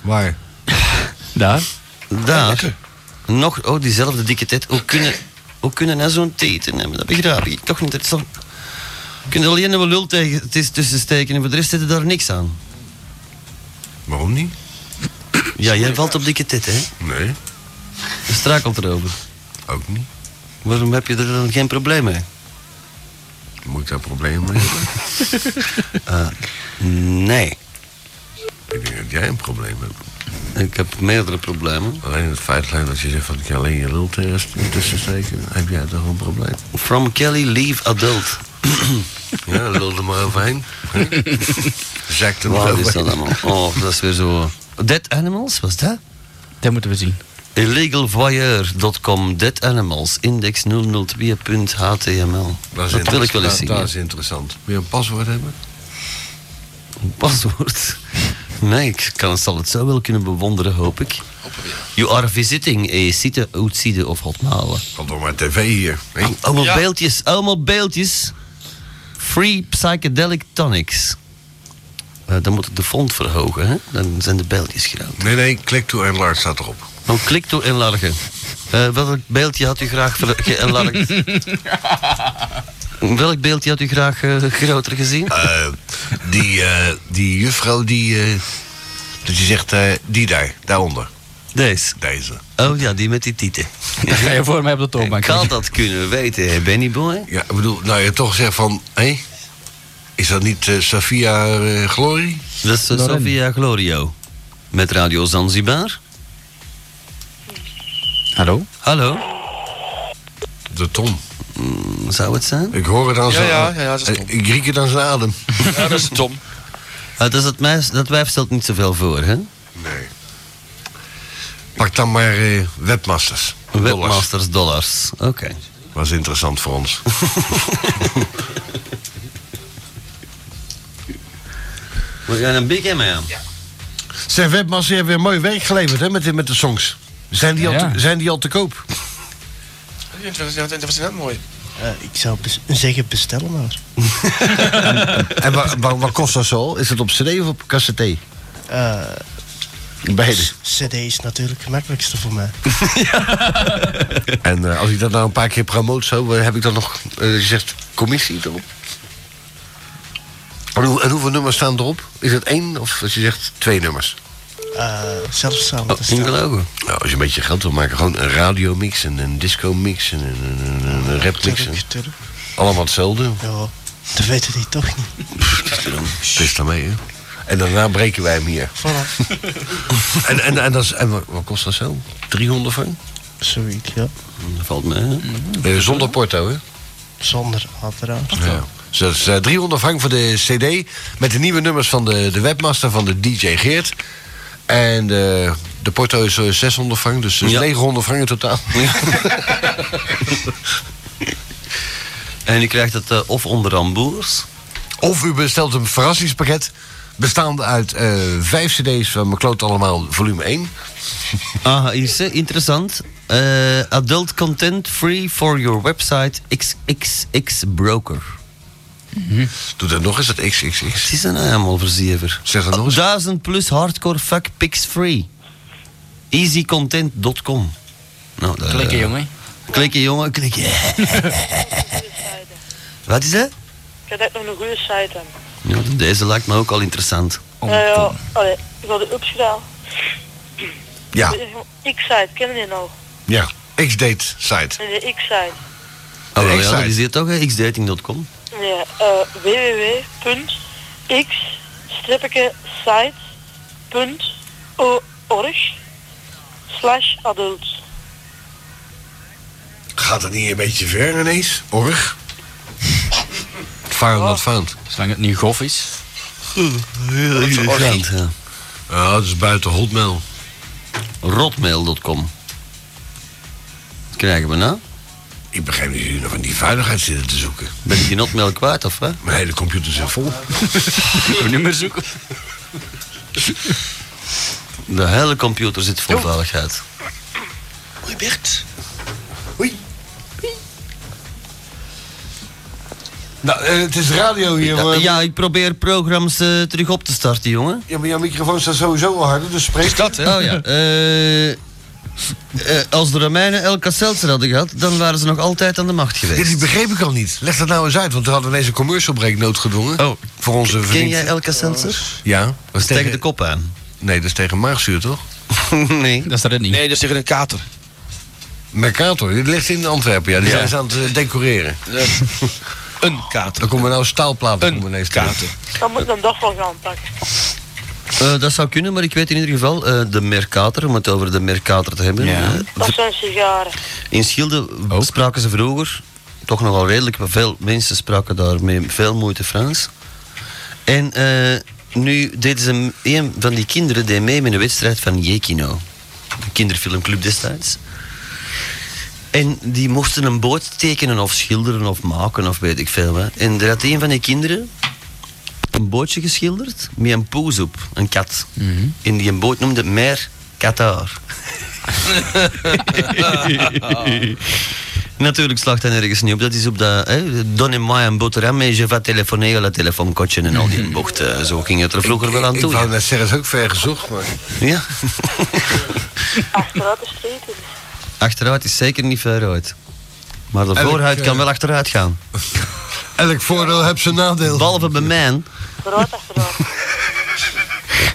Waar? Daar. Daar. Nog, oh, diezelfde dikke tet. Hoe kunnen, hoe kunnen nou zo'n teten hebben? Dat begrijp ik toch niet. Dat is toch... Je kunt er alleen een lul tegen, het is tussen steken en voor de rest zit er daar niks aan. Waarom niet? Ja, jij valt op dikke tet, hè? Nee. Je strakelt erover. Ook niet. Waarom heb je er dan geen probleem mee? Moet ik daar problemen mee hebben? Eh, nee. Ik denk dat jij een probleem hebt. Ik heb meerdere problemen. Alleen het feit alleen dat je zegt van ik kan alleen je lul tegen- tussen steken, heb jij toch een probleem? From Kelly, leave adult. Ja, lul er maar overheen. Zak er maar Wat is overheen. dat allemaal? Oh, dat is weer zo. Dead Animals, was dat? Dat moeten we zien. Illegalvoyeur.com Dead Animals, index 002.html. Dat, is Dat, wil ik wel eens dat- zien. Dat ja. is interessant. Wil je een paswoord hebben? Een paswoord. Nee, ik kan, het- zal het zo wel kunnen bewonderen, hoop ik. You are visiting a site outside of hotmalen. Komt door mijn tv hier. hè? Allemaal beeldjes, allemaal beeldjes. Free psychedelic tonics. Eh, dan moet ik de font verhogen, hè? Dan zijn de beeldjes groot. Nee, nee, klik to enlarge staat erop. Dan klik door enlargen. Eh, welk beeldje had u graag ver- geënlargd? Eh, welk beeldje had u graag eh, groter gezien? Eh, die, eh, die juffrouw die. eh, dat je zegt, eh, die daar, daaronder. Deze. Deze. Oh ja, die met die tieten. Dan ga je voor mij op de toonbank. Kan dat kunnen weten, hè, Benny Boy? Ja, ik bedoel, nou je toch zegt van. Hé, is dat niet eh, Safia eh, Glory? Dat is eh, Lauren. Sofia Glorio. Met Radio Zanzibar. Hallo? Hallo? Mm, De Tom. zou het zijn? Ik hoor het aan Ja, zijn ja, ja, dat is eh, Tom. Ik riek het aan zijn adem. Ja, dat is Tom. Ah, dus dat, meis, dat wijf stelt niet zoveel voor, hè? Nee. Pak dan maar eh, webmasters. Webmasters dollars. Oké. Was interessant voor ons. We gaan een big M aan. Zijn webmasters hebben weer mooi werk geleverd hè, met, de- met de songs. Zijn die, al Ja. te, zijn die al te koop? Dat was, dat was net mooi. Eh, ik zou bes- zeggen, bestel maar. en wa- wa- wat kost dat zo? Is het op cd of op cassette? Eh, Beide. CD is natuurlijk het makkelijkste voor mij. En eh, als ik dat nou een paar keer promoot zo, eh, heb ik dan nog, eh, je zegt, commissie erop? En, hoe- en hoeveel nummers staan erop? Is het één of als je zegt twee nummers? Eh, zelfs samen te stellen. Ingelogen. Nou, als je een beetje geld wil maken, gewoon een radiomix en een disco mix en een, een, een, een rapmix. en- Tuurlijk, tuurlijk. Allemaal hetzelfde. Ja. Dat weten die toch niet. Pist daarmee, hè? En daarna breken wij hem hier. Voilà. en en, en, dat is, en wat, wat kost dat zo? 300 van? Zoiets, ja. Dat valt me, Mhm. Eh, Zonder porto, hè? Zonder, uiteraard. Ja. Dus dat is eh, 300 vang voor de CD. Met de nieuwe nummers van de, de webmaster van de DJ Geert. En eh, de porto is eh, 600 vang, dus eh, Ja. 900 vang in totaal. En u krijgt het eh, of onder ramboers. Of u bestelt een verrassingspakket. Bestaande uit eh, vijf CD's van mijn kloot allemaal, volume 1. Ah, hier is eh, interessant. Eh, adult content free for your website XXX broker. Doe dat nog eens, dat XXX. Mhm. Het is een aanmalverziever. Zeg dat nog eens. 1000 plus hardcore fuck pics free. Easycontent.com. Nou, daar, Klikken, eh, jongen. Klikken, jongen, klikken. Wat is dat? Ik heb echt nog een goede site hebben. Ja, deze lijkt me ook al interessant. Oh, Ja, Oh, ja. Allee, ik had de ups gedaan. Ja. Ik site, kennen die nou? Ja, X-date site. Nee, de X-site. Oh, wel, ja, X-site. dat is hier toch, hè? xdating.com. Nee, eh www.x-site.org slash adult. Gaat dat niet een beetje ver ineens? Org? Found not found. Zolang het niet gof is. Ja, Ja, dat is buiten hotmail. Rotmail.com. Wat krijgen we nou? Ik begrijp dat jullie nog aan die veiligheid zitten te zoeken. Ben ik die hotmail kwijt of wat? Mijn hele computer zit vol. Uw nummer zoeken. De hele computer zit vol veiligheid. Hoi Bert. Nou, eh, het is radio hier. Ja, maar- ja, ik probeer programma's eh, terug op te starten, jongen. Ja, maar jouw microfoon staat sowieso al harder, dus spreek. Is dat, hè? Oh ja. eh, eh, als de Romeinen Elka Seltzer hadden gehad, dan waren ze nog altijd aan de macht Dit geweest. die begreep ik al niet. Leg dat nou eens uit, want we hadden ineens een commercial break noodgedwongen. Oh. Voor onze Ken vriend. jij Elka Seltzer? Ja. Dat Steek de kop aan. Nee, dat is tegen maagzuur, toch? nee. Dat is dat niet. Nee, dat is tegen een kater. Mercator, dit ligt in Antwerpen, ja. Die Ja. zijn ze aan het eh, decoreren. Een kater. Dan komen we nou staalplaten. komen we Een ineens kater. Dan moet ik dan toch wel gaan pakken. Eh, dat zou kunnen, maar ik weet in ieder geval, eh, de Mercator, om het over de Mercator te hebben. eh, Dat zijn sigaren. in Schilde Oh. spraken ze vroeger, toch nogal redelijk, maar veel mensen spraken daar met veel moeite Frans. En eh, nu deden ze, een van die kinderen deed mee met een wedstrijd van Jekino. Een kinderfilmclub destijds. En die mochten een boot tekenen of schilderen of maken of weet ik veel wat. En er had een van die kinderen een bootje geschilderd met een poes op, een kat. En die een boot noemde Mer Qatar. Natuurlijk slaagt hij nergens niet op. Dat is op dat... Hè, Donne moi een boterham en je va téléphoner à la telefoonkotje en al die bochten. Zo ging het er vroeger wel aan Ik toe. wou ja. net zeggen, dat is ook ver gezocht, maar... Ja. Achteruit is street. Achteruit is zeker niet ver uit. Maar de Elk, vooruit kan eh, wel achteruit gaan. Elk voordeel heeft zijn nadeel. Behalve bij mij, Vooruit, achteruit.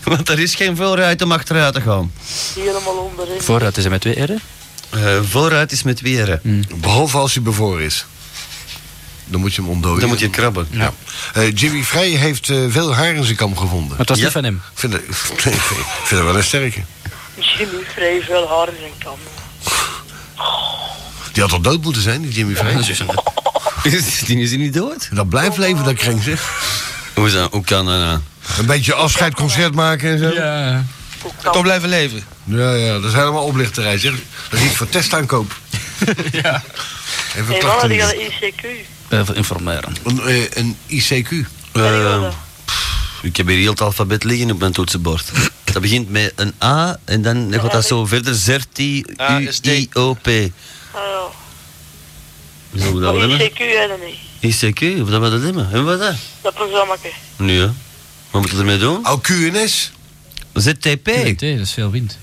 want er is geen vooruit om achteruit te gaan. Helemaal onderin. Vooruit is hij met twee R'en. Eh, vooruit is met weren. Behalve als hij bevoren is. Dan moet je hem ontdooien. Dan moet je krabben. Oh, Ja. Eh, Jimmy Vrij heeft eh, veel haar in zijn kam gevonden. Maar het was Ja. niet van hem. Ik vind dat, ik vind dat wel een sterke. Jimmy vrij veel haar in zijn kam. Die had al dood moeten zijn, die Jimmy Vrij. dus Die is niet dood. Dat blijft leven, dat kring zeg. Hoe, is dat? Hoe kan dat nou? Een beetje afscheidconcert maken en zo. Ja, Ja. Toch blijven leven. ja, dat zijn allemaal oplichterij. Zeg. Dat is iets voor testaankoop. ja. Even Hey, wat klachten. had ik aan Een, de ICQ? Even informeren. eh, een ICQ. Ja, Eh, ik heb hier heel het alfabet liggen op mijn toetsenbord. Dat begint met een A en dan gaat dat zo verder. Zerti, A U, is D. I, O, P. Ah, Zullen we ja. dat Maar hebben? ICQ hebben niet. ICQ, of dat we dat hebben? Hebben we dat? Dat programma. Nee, hè. Wat moeten we ermee doen? Oh, QNS. ZTP. Nee, dat is veel wind.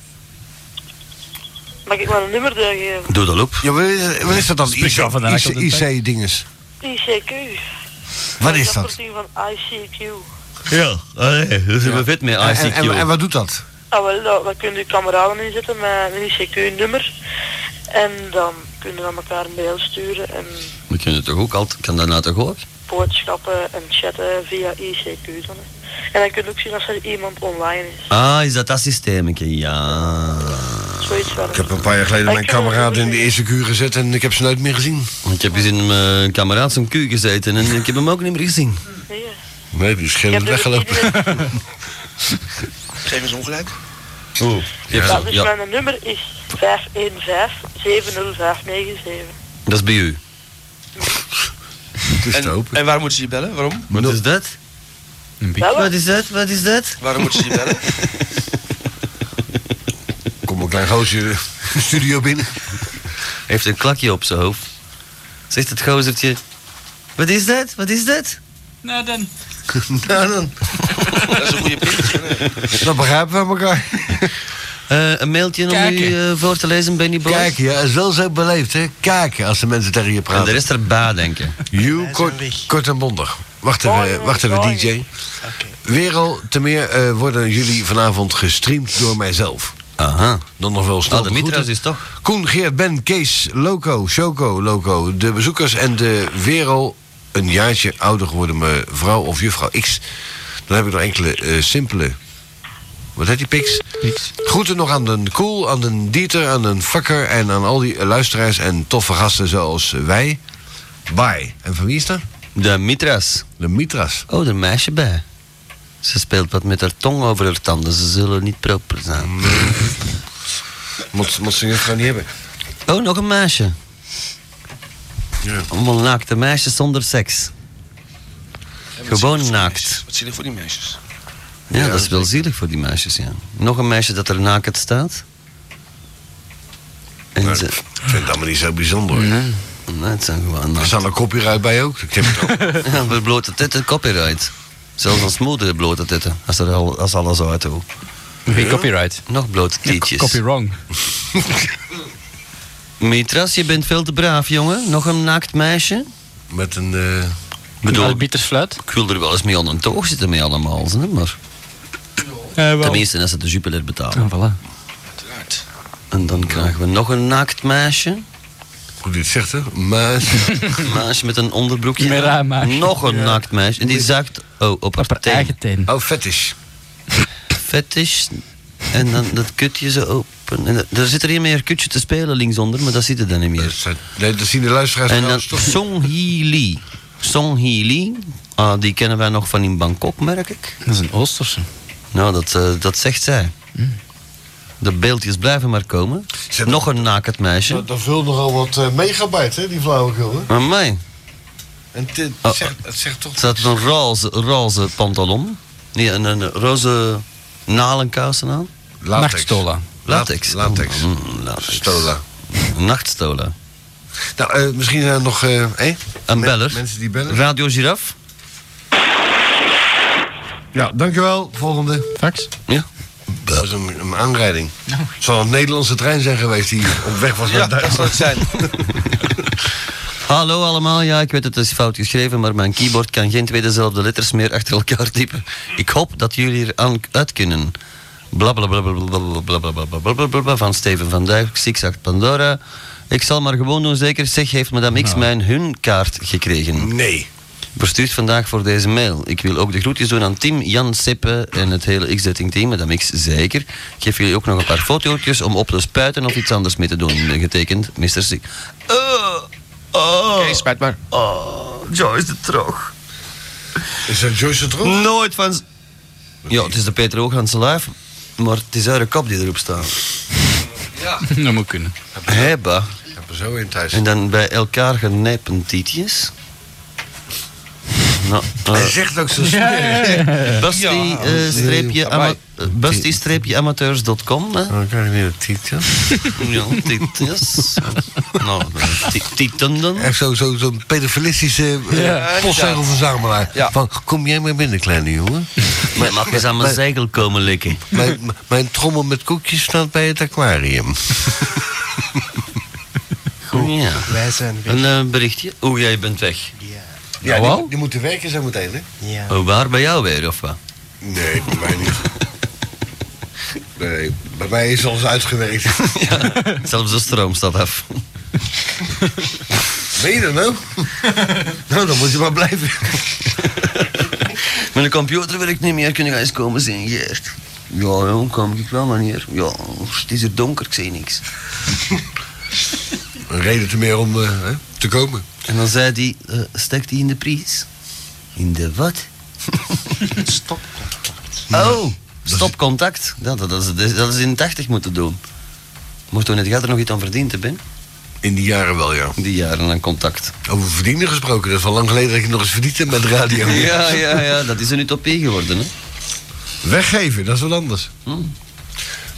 Mag ik maar een nummer doorgeven? Doe dat op. Ja, wat is, wat is dat dan? Speciaal van de Nacht op de Tijd. IC-dinges. ICQ. Wat is Dat dat? voorzien van ICQ. Ja, allee, dat zijn we vet mee, En, en, ICQ. en- en wat doet dat? Ah, wel, daar, daar kun je kameraden in zetten met een ICQ-nummer. En dan kun je aan elkaar een mail sturen. En We kunnen toch ook altijd, kan dat nou toch ook? boodschappen en chatten via ICQ dan. hè. En dan kun je ook zien als er iemand online is. Ah, is dat dat systeemetje? Ja. Zoiets wel. Ik heb een paar jaar geleden mijn kameraden in de eerste kuur gezet en ik heb ze nooit meer gezien. Ik heb eens in mijn kameraad zijn kuur gezeten en ik heb hem ook niet meer gezien. Nee, die is geen weggelopen. Geef eens ongelijk. Oeh, Ja, dus mijn nummer is 515-70597. Dat is bij u. en, en waar moeten ze je bellen? Waarom? Wat is dat? Wat is dat? Wat is dat? Waarom moeten ze je bellen? Kom een klein gozer de studio binnen. Heeft een klakje op zijn hoofd. Zegt het gozertje. Wat is dat? Wat is dat? Nou dan. nou dan. Dat is een goede punt. Dat begrijpen we elkaar. Eh, een mailtje om u eh, voor te lezen, Benny Boy. Kijk, ja, zo zo beleefd, hè? Kijken als de mensen tegen je praten. En de rest erbij denken. You kort, kort en bondig. Wacht even, wacht even DJ. Wereld, te meer eh, worden jullie vanavond gestreamd door mijzelf. Aha. Dan nog wel snel. Ah, de groeten. Mitra's is toch? Koen, Geert, Ben, Kees, Loco, Choco, Loco. De bezoekers en de wereld, een jaartje ouder geworden mevrouw of juffrouw X. Dan heb ik nog enkele eh, simpele. Wat heet die Pix? Groeten nog aan den Koel, aan den Dieter, aan den Fakker en aan al die eh, luisteraars en toffe gasten zoals wij. Bye. En van wie is dat? De Mitra's. De Mitra's. Oh, er een meisje bij. Ze speelt wat met haar tong over haar tanden. Ze zullen niet proper zijn. Moet, moet ze juffrouw niet hebben. Oh, nog een meisje. Ja. Allemaal naakte meisjes zonder seks. Gewoon naakt. Wat zie je voor die meisjes? Ja, dat is wel zielig voor die meisjes, ja. Nog een meisje dat er naakt staat. En ze... Ik Nou, vind dat maar niet zo bijzonder. hoor. Nee, nee het zijn gewoon Er naakt. staat een copyright bij ook. Ik heb het ook. Ja, bij blote titten, copyright. Zelfs als moeder blote titten, als, er al, als alles uit hoe. Geen copyright. Nog blote tietjes. Copy wrong. Mitras, je bent veel te braaf, jongen. Nog een naakt meisje? Met een... eh Bedoel, Arbitersfluit. ik wil er wel eens mee onder een toog zitten mee allemaal, hè, maar... Tenminste, als ze de Jupiler Ah, betalen. Uiteraard. En dan krijgen we nog een naakt meisje. Hoe dit zegt, hè? Meisje. meisje met een onderbroekje. Met haar meisje. Nog een naakt meisje. En die zakt oh, op, haar teen. Eigen teen. Oh, fetish. Fetish. En dan dat kutje zo open. En dat- er zit er hier meer kutje te spelen linksonder, maar dat zit er dan niet meer. Nee, dat zien de luisteraars En dan trouwens toch. Song Hee Lee. Song Hee Lee, ah, die kennen wij nog van in Bangkok, merk ik. Dat is een Oosterse. Nou, dat, eh, dat zegt zij. De beeldjes blijven maar komen. Nog een naakt meisje. Dat Nou, vult nogal wat eh, megabyte, hè, die flauwekul. hè? Maar mij, En het, het Oh. zegt, het zegt toch... het staat een roze, roze pantalon. Nee, een, een roze nalenkousen aan. Latex. Nachtstola. Latex. Latex. Mm, mm, latex. Stola. Nachtstola. Nou, eh, misschien zijn er nog... eh, eh, Een men- beller. Mensen die bellen. Radio Giraf. Ja, dankjewel. Volgende. Fax. Ja. Dat is een, een aanrijding. Het zal een Nederlandse trein zijn geweest die op weg was naar Ja, dat Duitsland. zal het zijn. Hallo allemaal, ja, ik weet het, het is fout geschreven, maar mijn keyboard kan geen twee dezelfde letters meer achter elkaar typen. Ik hoop dat jullie er aan uit kunnen. Bla bla bla bla bla bla bla bla bla bla bla bla bla bla van Steven van Dijk, Zigzag Pandora. Ik zal maar gewoon doen, zeker. Zeg, heeft madame X mijn hun kaart gekregen? Nee. Verstuurd vandaag voor deze mail. Ik wil ook de groetjes doen aan Tim, Jan, Seppe en het hele X-Dating team. Madame X, zeker. Ik geef jullie ook nog een paar fotootjes om op te spuiten of iets anders mee te doen. Getekend, Eh, Mr. Sick. Oké, spijt maar. Oh, Joyce de Troog. Is dat Joyce het Roel? Nooit van... z- Ja, het is de Peter Hooglandse live, maar het is haar kop die erop staat. dat moet kunnen. Hebba. Ik heb er zo in thuis. En dan bij elkaar genepen tietjes. Nou, eh, Hij zegt ook zo smerig. Basti, eh, streepje ama- eh, Basti-amateurs.com. hè? Dan krijg Oh, ik weer een titel. Ja, tietjes. Nou, ti- tieten dan. Echt zo'n zo, zo'n pedofilistische eh, Ja, postzegelverzamelaar. Ja. Van, kom jij maar binnen, kleine jongen. Maar mag eens aan mijn zegel komen likken. Mijn, m- mijn trommel met koekjes staat bij het aquarium. Ja. Wij zijn weg. Een eh, berichtje. Oeh, jij bent weg. Ja, Nou, die, wel? die moeten werken zo meteen, hè? Ja. Oh, waar? Bij jou weer, of wat? Nee, bij mij niet. Nee, bij mij is alles uitgewerkt. Zelfs de stroom staat af. Meen je dat nou? nou, dan moet je maar blijven. Mijn computer werkt niet meer, kun je eens komen zien, Geert? Ja, ja, kom ik wel, meneer. Ja, het is er donker, ik zie niks. Een reden te meer om eh, te komen. En dan zei hij, eh, steekt hij in de prijs? In de wat? Stopcontact. Oh, stopcontact. Ja, dat, dat, is, dat is in 80 moeten doen. Mocht toen net gaat er nog iets aan verdiend te ben? In die jaren wel, ja. In die jaren aan contact. Over verdienen gesproken, dat is al lang geleden dat je nog eens verdiend hebt met radio. Ja, ja, ja, dat is een utopie geworden. Hè? Weggeven, dat is wat anders.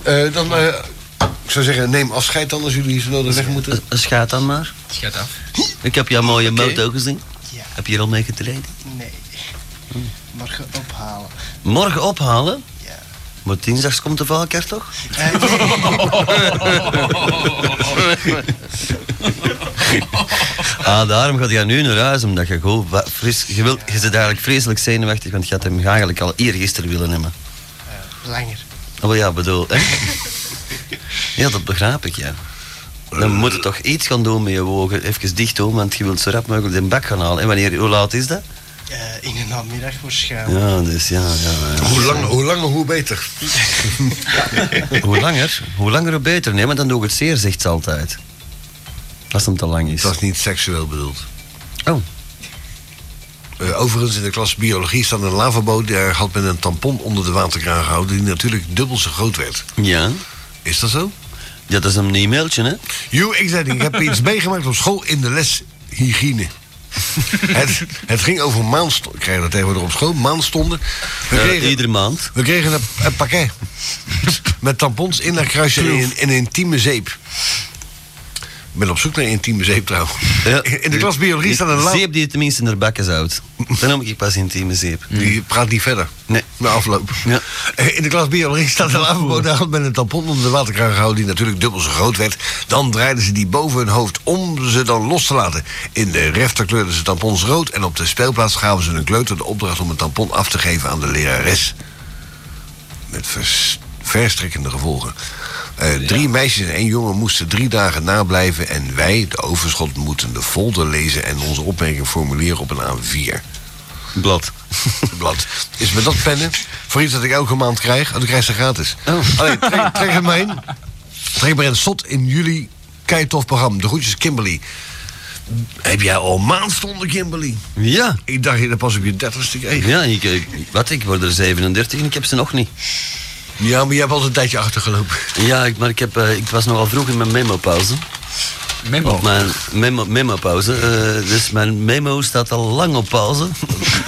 Eh, dan, eh, ik zou zeggen, neem afscheid dan als jullie zo nodig weg moeten. Schaat dan maar. Schat af. Ik heb jouw mooie Oké. moto gezien. Ja. Heb je hier al mee getraind? Nee. Morgen ophalen. Morgen ophalen? Ja. Maar dinsdags komt de valkaart toch? Eh, ah, daarom gaat hij nu naar huis, omdat je gewoon wa- fris... Je, wilt, je zit eigenlijk vreselijk zenuwachtig, want je had hem eigenlijk al eergisteren willen hebben. Langer. Oh ja, bedoel, hè? ja, dat begrijp ik, ja. Dan moet je toch iets gaan doen met je wogen. Even dicht doen, want je wilt zo rap mogelijk de bak gaan halen. En wanneer, hoe laat is dat? eh, in de namiddag waarschijnlijk. Ja, dus ja, ja. ja. Hoe langer, hoe langer, hoe beter. Hoe langer, hoe langer hoe beter. Nee, maar dan doe ik het zeer, zegt ze altijd. Als het te lang is. Dat is niet seksueel bedoeld. Oh. Eh, overigens, in de klas biologie staat een lavabo. Daar had men een tampon onder de waterkraan gehouden... die natuurlijk dubbel zo groot werd. Ja. Is dat zo? Ja, dat is een e-mailtje, hè? Jo, ik zei het niet. Ik heb iets meegemaakt op school in de les hygiëne. het, het ging over maandstonden. Ik krijg dat tegenwoordig op school. Maandstonden. We Eh, kregen, iedere maand. we kregen een, een pakket. Met tampons in haar kruisje en in, in een intieme zeep. Ik ben op zoek naar intieme zeep trouwens. In de klas biologie staat een la- Zeep die je tenminste naar bakken houdt. Dan noem ik pas intieme zeep. Die praat niet verder. Nee. Na afloop. Eh, In de klas biologie staat een lavabo. Daar had men een tampon onder de waterkraan gehouden... die natuurlijk dubbel zo groot werd. Dan draaiden ze die boven hun hoofd om ze dan los te laten. In de refter kleurden ze tampons rood... en op de speelplaats gaven ze een kleuter de opdracht... om een tampon af te geven aan de lerares. Met vers- verstrekkende gevolgen. Eh, Drie meisjes en één jongen moesten drie dagen nablijven... en wij, de overschot, moeten de folder lezen... en onze opmerking formuleren op een A4. Blad. Blad. Is met dat pennen voor iets dat ik elke maand krijg? Oh, dan krijg je ze gratis. Oh. Allee, trek, trek het maar in. Trek maar in. Slot in juli. Keitof programma. De groetjes Kimberly. Heb jij al maandstonden, Kimberly? Ja. Ik dacht je dat pas op je dertigste kreeg. Ja, ik, ik- wat, ik word er 37 en ik heb ze nog niet. Ja, maar jij hebt al een tijdje achtergelopen. Ja, ik, maar ik, heb, eh, ik was nogal vroeg in mijn memo-pauze. Memo? Op mijn memo- memo-pauze. eh, dus mijn memo staat al lang op pauze.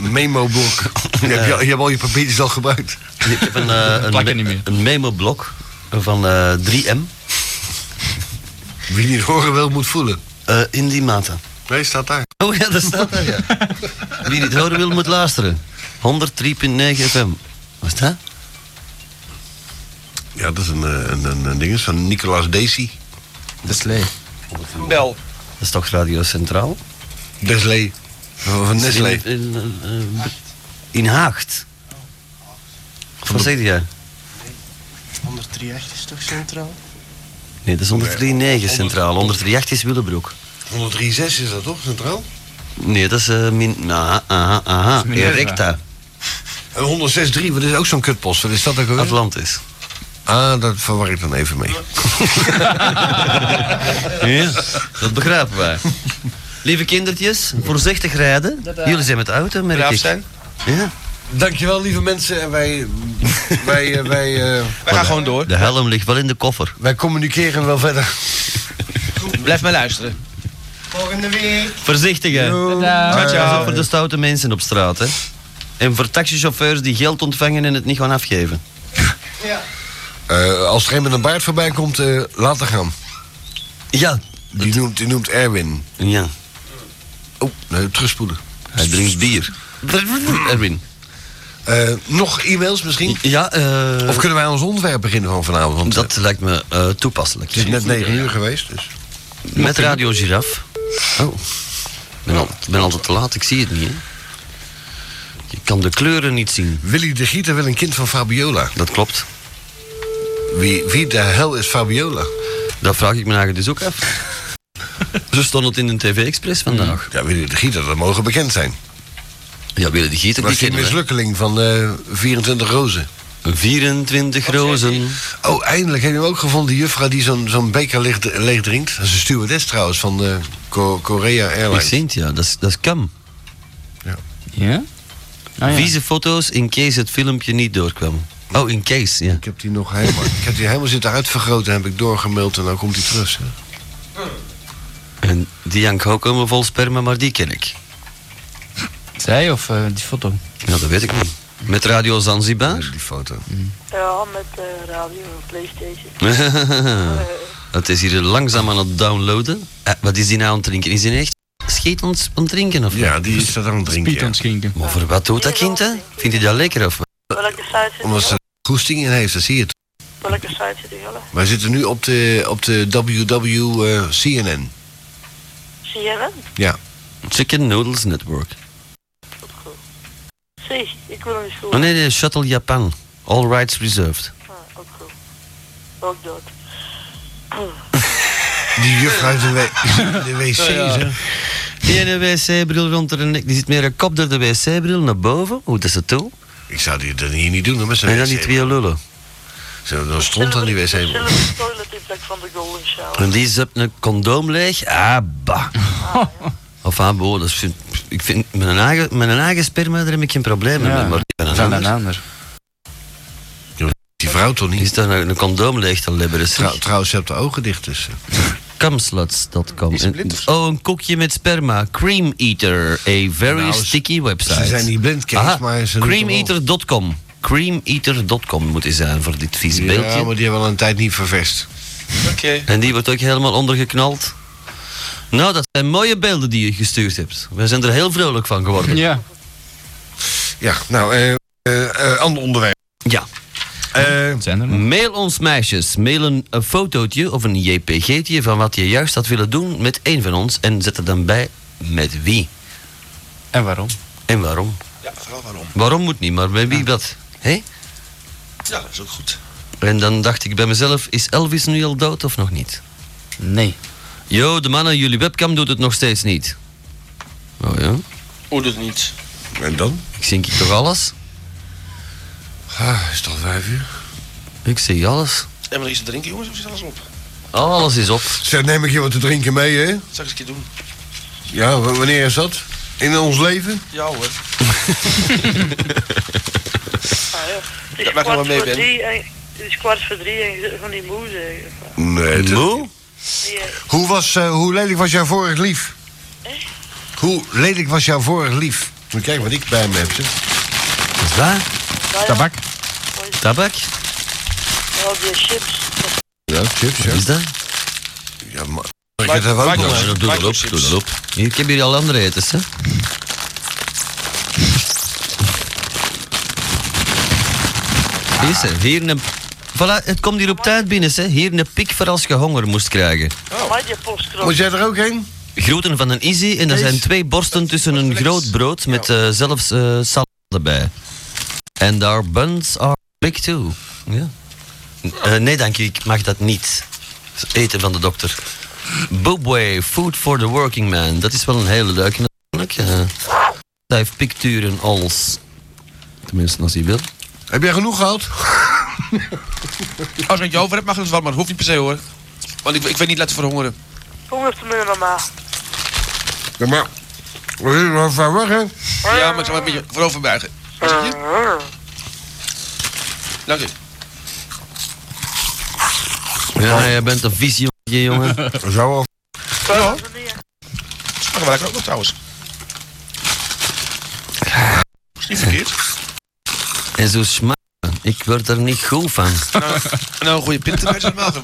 Memo-blok. Je, hebt je- je hebt al je papiertjes al gebruikt. Ik heb een, eh, een, me- een memo-blok van eh, 3M. Wie niet horen wil, moet voelen. Eh, in die mate. Nee, staat daar. Oh ja, dat staat daar, ja. Wie niet horen wil, moet luisteren. 103.9 FM. Wat is dat? Ja, dat is een, eh, een, een, een ding is van Nicolaas Desi. Desley. Bel. Dat is toch Radio Centraal? Desley. Van Dat is Nestlé. In, in, eh, eh, in Haagd. Of wat zeg jij? 138 is toch centraal? Nee, dat is 103.9 Centraal. 138 is Willebroek. 103.6 is dat toch, centraal? Nee, dat is... eh, min, aha, aha, aha. Dat is Minerva. Erecta. En 106.3, Eh, wat is ook zo'n kutpost? Wat is dat ook alweer? Atlantis. Ah, dat verwar ik dan even mee. Ja, dat begrijpen wij. Lieve kindertjes, voorzichtig rijden. Jullie zijn met de auto, merk Braaf ik. zijn. Ja. Dankjewel, lieve mensen. En wij, wij, eh, wij, eh, gaan gewoon door. De helm ligt wel in de koffer. wij communiceren wel verder. Blijf maar luisteren. Volgende week. Voorzichtig, hè. Tada. Ciao, ciao. Bye. Voor de stoute mensen op straat, hè. En voor taxichauffeurs die geld ontvangen en het niet gaan afgeven. Eh, als er een met een baard voorbij komt, eh laat haar gaan. Ja. Die noemt, die noemt Erwin. Ja. Oh, nee, terugspoelen. Hij drinkt bier. Erwin. Eh, nog e-mails misschien? Ja, eh, Of kunnen wij ons ontwerp beginnen van vanavond? Want, dat lijkt me eh, toepasselijk. Het is net 9 uur geweest, dus. Met Radio Giraf. Oh. Ik ben, al, ik ben altijd te laat, ik zie het niet, hè. Je kan de kleuren niet zien. Willy de Gieter wil een kind van Fabiola. Dat klopt. Wie, wie de hel is Fabiola? Dat vraag ik me eigenlijk dus ook af. Zo stond het in de TV-express vandaag. Ja, Willy de Gieter, dat mogen bekend zijn. Ja, Willy de Gieter, was die kennen we. mislukkeling van eh, 24 rozen. 24 rozen. Oh, eindelijk hebben we hem ook gevonden, die juffrouw die zo'n zo'n beker leeg, leeg drinkt. Dat is een stewardess trouwens van eh, Co- Korea Ik Airlines. zie het, ja. Dat is, dat is Cam. Ja. Ja? Ah, ja. Vieze foto's in case het filmpje niet doorkwam. Oh, in case, ja. Ik heb die nog helemaal, ik heb die helemaal zitten uitvergroten, heb ik doorgemaild en dan komt die terug. hè. En die Jank ook helemaal vol sperma, maar die ken ik. Zij of eh, die foto? Ja, dat weet ik niet. Met Radio Zanzibar? die foto. Ja, met eh, radio en Playstation. Eh. het is hier langzaam aan het downloaden. Eh, wat is die nou aan het drinken? Is die echt scheet aan het- aan het drinken? Of ja, die is dat aan het drinken. aan het drinken. Maar voor wat doet dat kind, hè? Vindt hij dat lekker of wat? Welke site zit Omdat ze er goesting in heeft, dat zie je het. Welke site zit die jullie? Wij zitten nu op de, op de WW eh, CNN. CNN? Ja. Chicken Noodles Network. Zeg, ik wil hem niet Oh voelen. nee, nee, Shuttle Japan. All rights reserved. Ook dood. Die juffrouw uit de, w- de wc, Ja, ja. hè? Die ene wc-bril rond haar nek. Die zit meer een kop door de wc-bril naar boven. Hoe dat is het toe? Ik zou die dat hier niet doen, hè, met zo'n En dan die wc. twee lullen. Zo, dan stond aan die wc. Silver toilet in plek van de golden shower. En die zept een condoom leeg. Ah, bah. Of ah, boh, dat is- ik vind, met een, eigen, met een eigen sperma daar heb ik geen probleem mee. Ja, Maar die van van een een ander. Die vrouw toch niet? Is daar nou, een, een condoom leeg te libberen? Trouw- trouwens, je hebt de ogen dicht dus, eh. tussen. Kamslots.com. Oh, een koekje met sperma. Cream Eater. A very Nou, ze- sticky website. ze zijn niet blind, Kees, Aha, maar ze doen Creameater.com. Creameater.com moet hij zijn voor dit vies Ja, beeldje. maar die hebben al een tijd niet vervest. Oké. En die wordt ook helemaal ondergeknald. Nou, dat zijn mooie beelden die je gestuurd hebt. We zijn er heel vrolijk van geworden. Ja. Ja, nou, eh, eh, eh, ander onderwerp. Eh, Ja. Mail ons meisjes. Mail een, een fotootje of een jpg'tje van wat je juist had willen doen met één van ons. En zet er dan bij met wie. En waarom? En waarom. Ja, vooral waarom. Waarom moet niet, maar bij wie wat. Hé? Ja, dat is ook goed. En dan dacht ik bij mezelf, is Elvis nu al dood of nog niet? Nee. Yo, de mannen, jullie webcam doet het nog steeds niet. Oh ja? Hoe doet niet? En dan? Ik zie hier toch alles? Ah, is het al vijf uur? Ik zie alles. Oh, En maar er is te drinken, jongens, of zit alles op? Alles is op. Zeg, neem ik je wat te drinken mee, hè? Dat zal ik eens een keer doen. Ja, w- wanneer is dat? In ons leven? Ja Ah, hoor. Het is Ja, waar gaan we kwart mee, voor Ben? drie en- Het is kwart voor drie en je zit van die moe zeggen. Oh. Nee. dat- Hoe, was, eh, hoe lelijk was jouw vorig lief? Hoe lelijk was jouw vorig lief? Moet je kijken wat ik bij me heb, zeg. Wat is dat? Tabak. Tabak? Al die chips. Ja, chips, ja. Wat is dat? Ja, maar... Ik heb er wel Ja, nog. doe dat op, doe dat op. Hier, Ik heb hier al andere etens, hè. Hier, ze, hier een... Voilà, het komt hier op tijd binnen, hè. Hier een pik voor als je honger moest krijgen. Maar die postkroon. Moet jij er ook heen? Groeten van een Izzy en er zijn twee borsten tussen een groot brood met eh, zelfs eh, salade bij. And our buns are big too. Ja. Eh, nee, dank je, ik mag dat niet. Eten van de dokter. Boobway, food for the working man. Dat is wel een hele leuke natuurlijk. eh. Hij heeft picturen als... Tenminste, als hij wil. Heb jij genoeg gehad? Als ik met je over heb, mag het wel, maar dat hoeft niet per se hoor. Want ik, ik weet niet laten verhongeren. Kom even met mama. Ja, maar... We zitten wel ver weg, hè? Ja, maar ik zal me een beetje voorover buigen. Wat zeg je? Uh-huh. Dank u. Ja, jij bent een visie, jongen. Zo wel. Ja. Smaken wel lekker ook nog trouwens. Is niet verkeerd. En zo smaak. Ik word er niet goed van. Nou, nou een goede pint erbij is wel goed.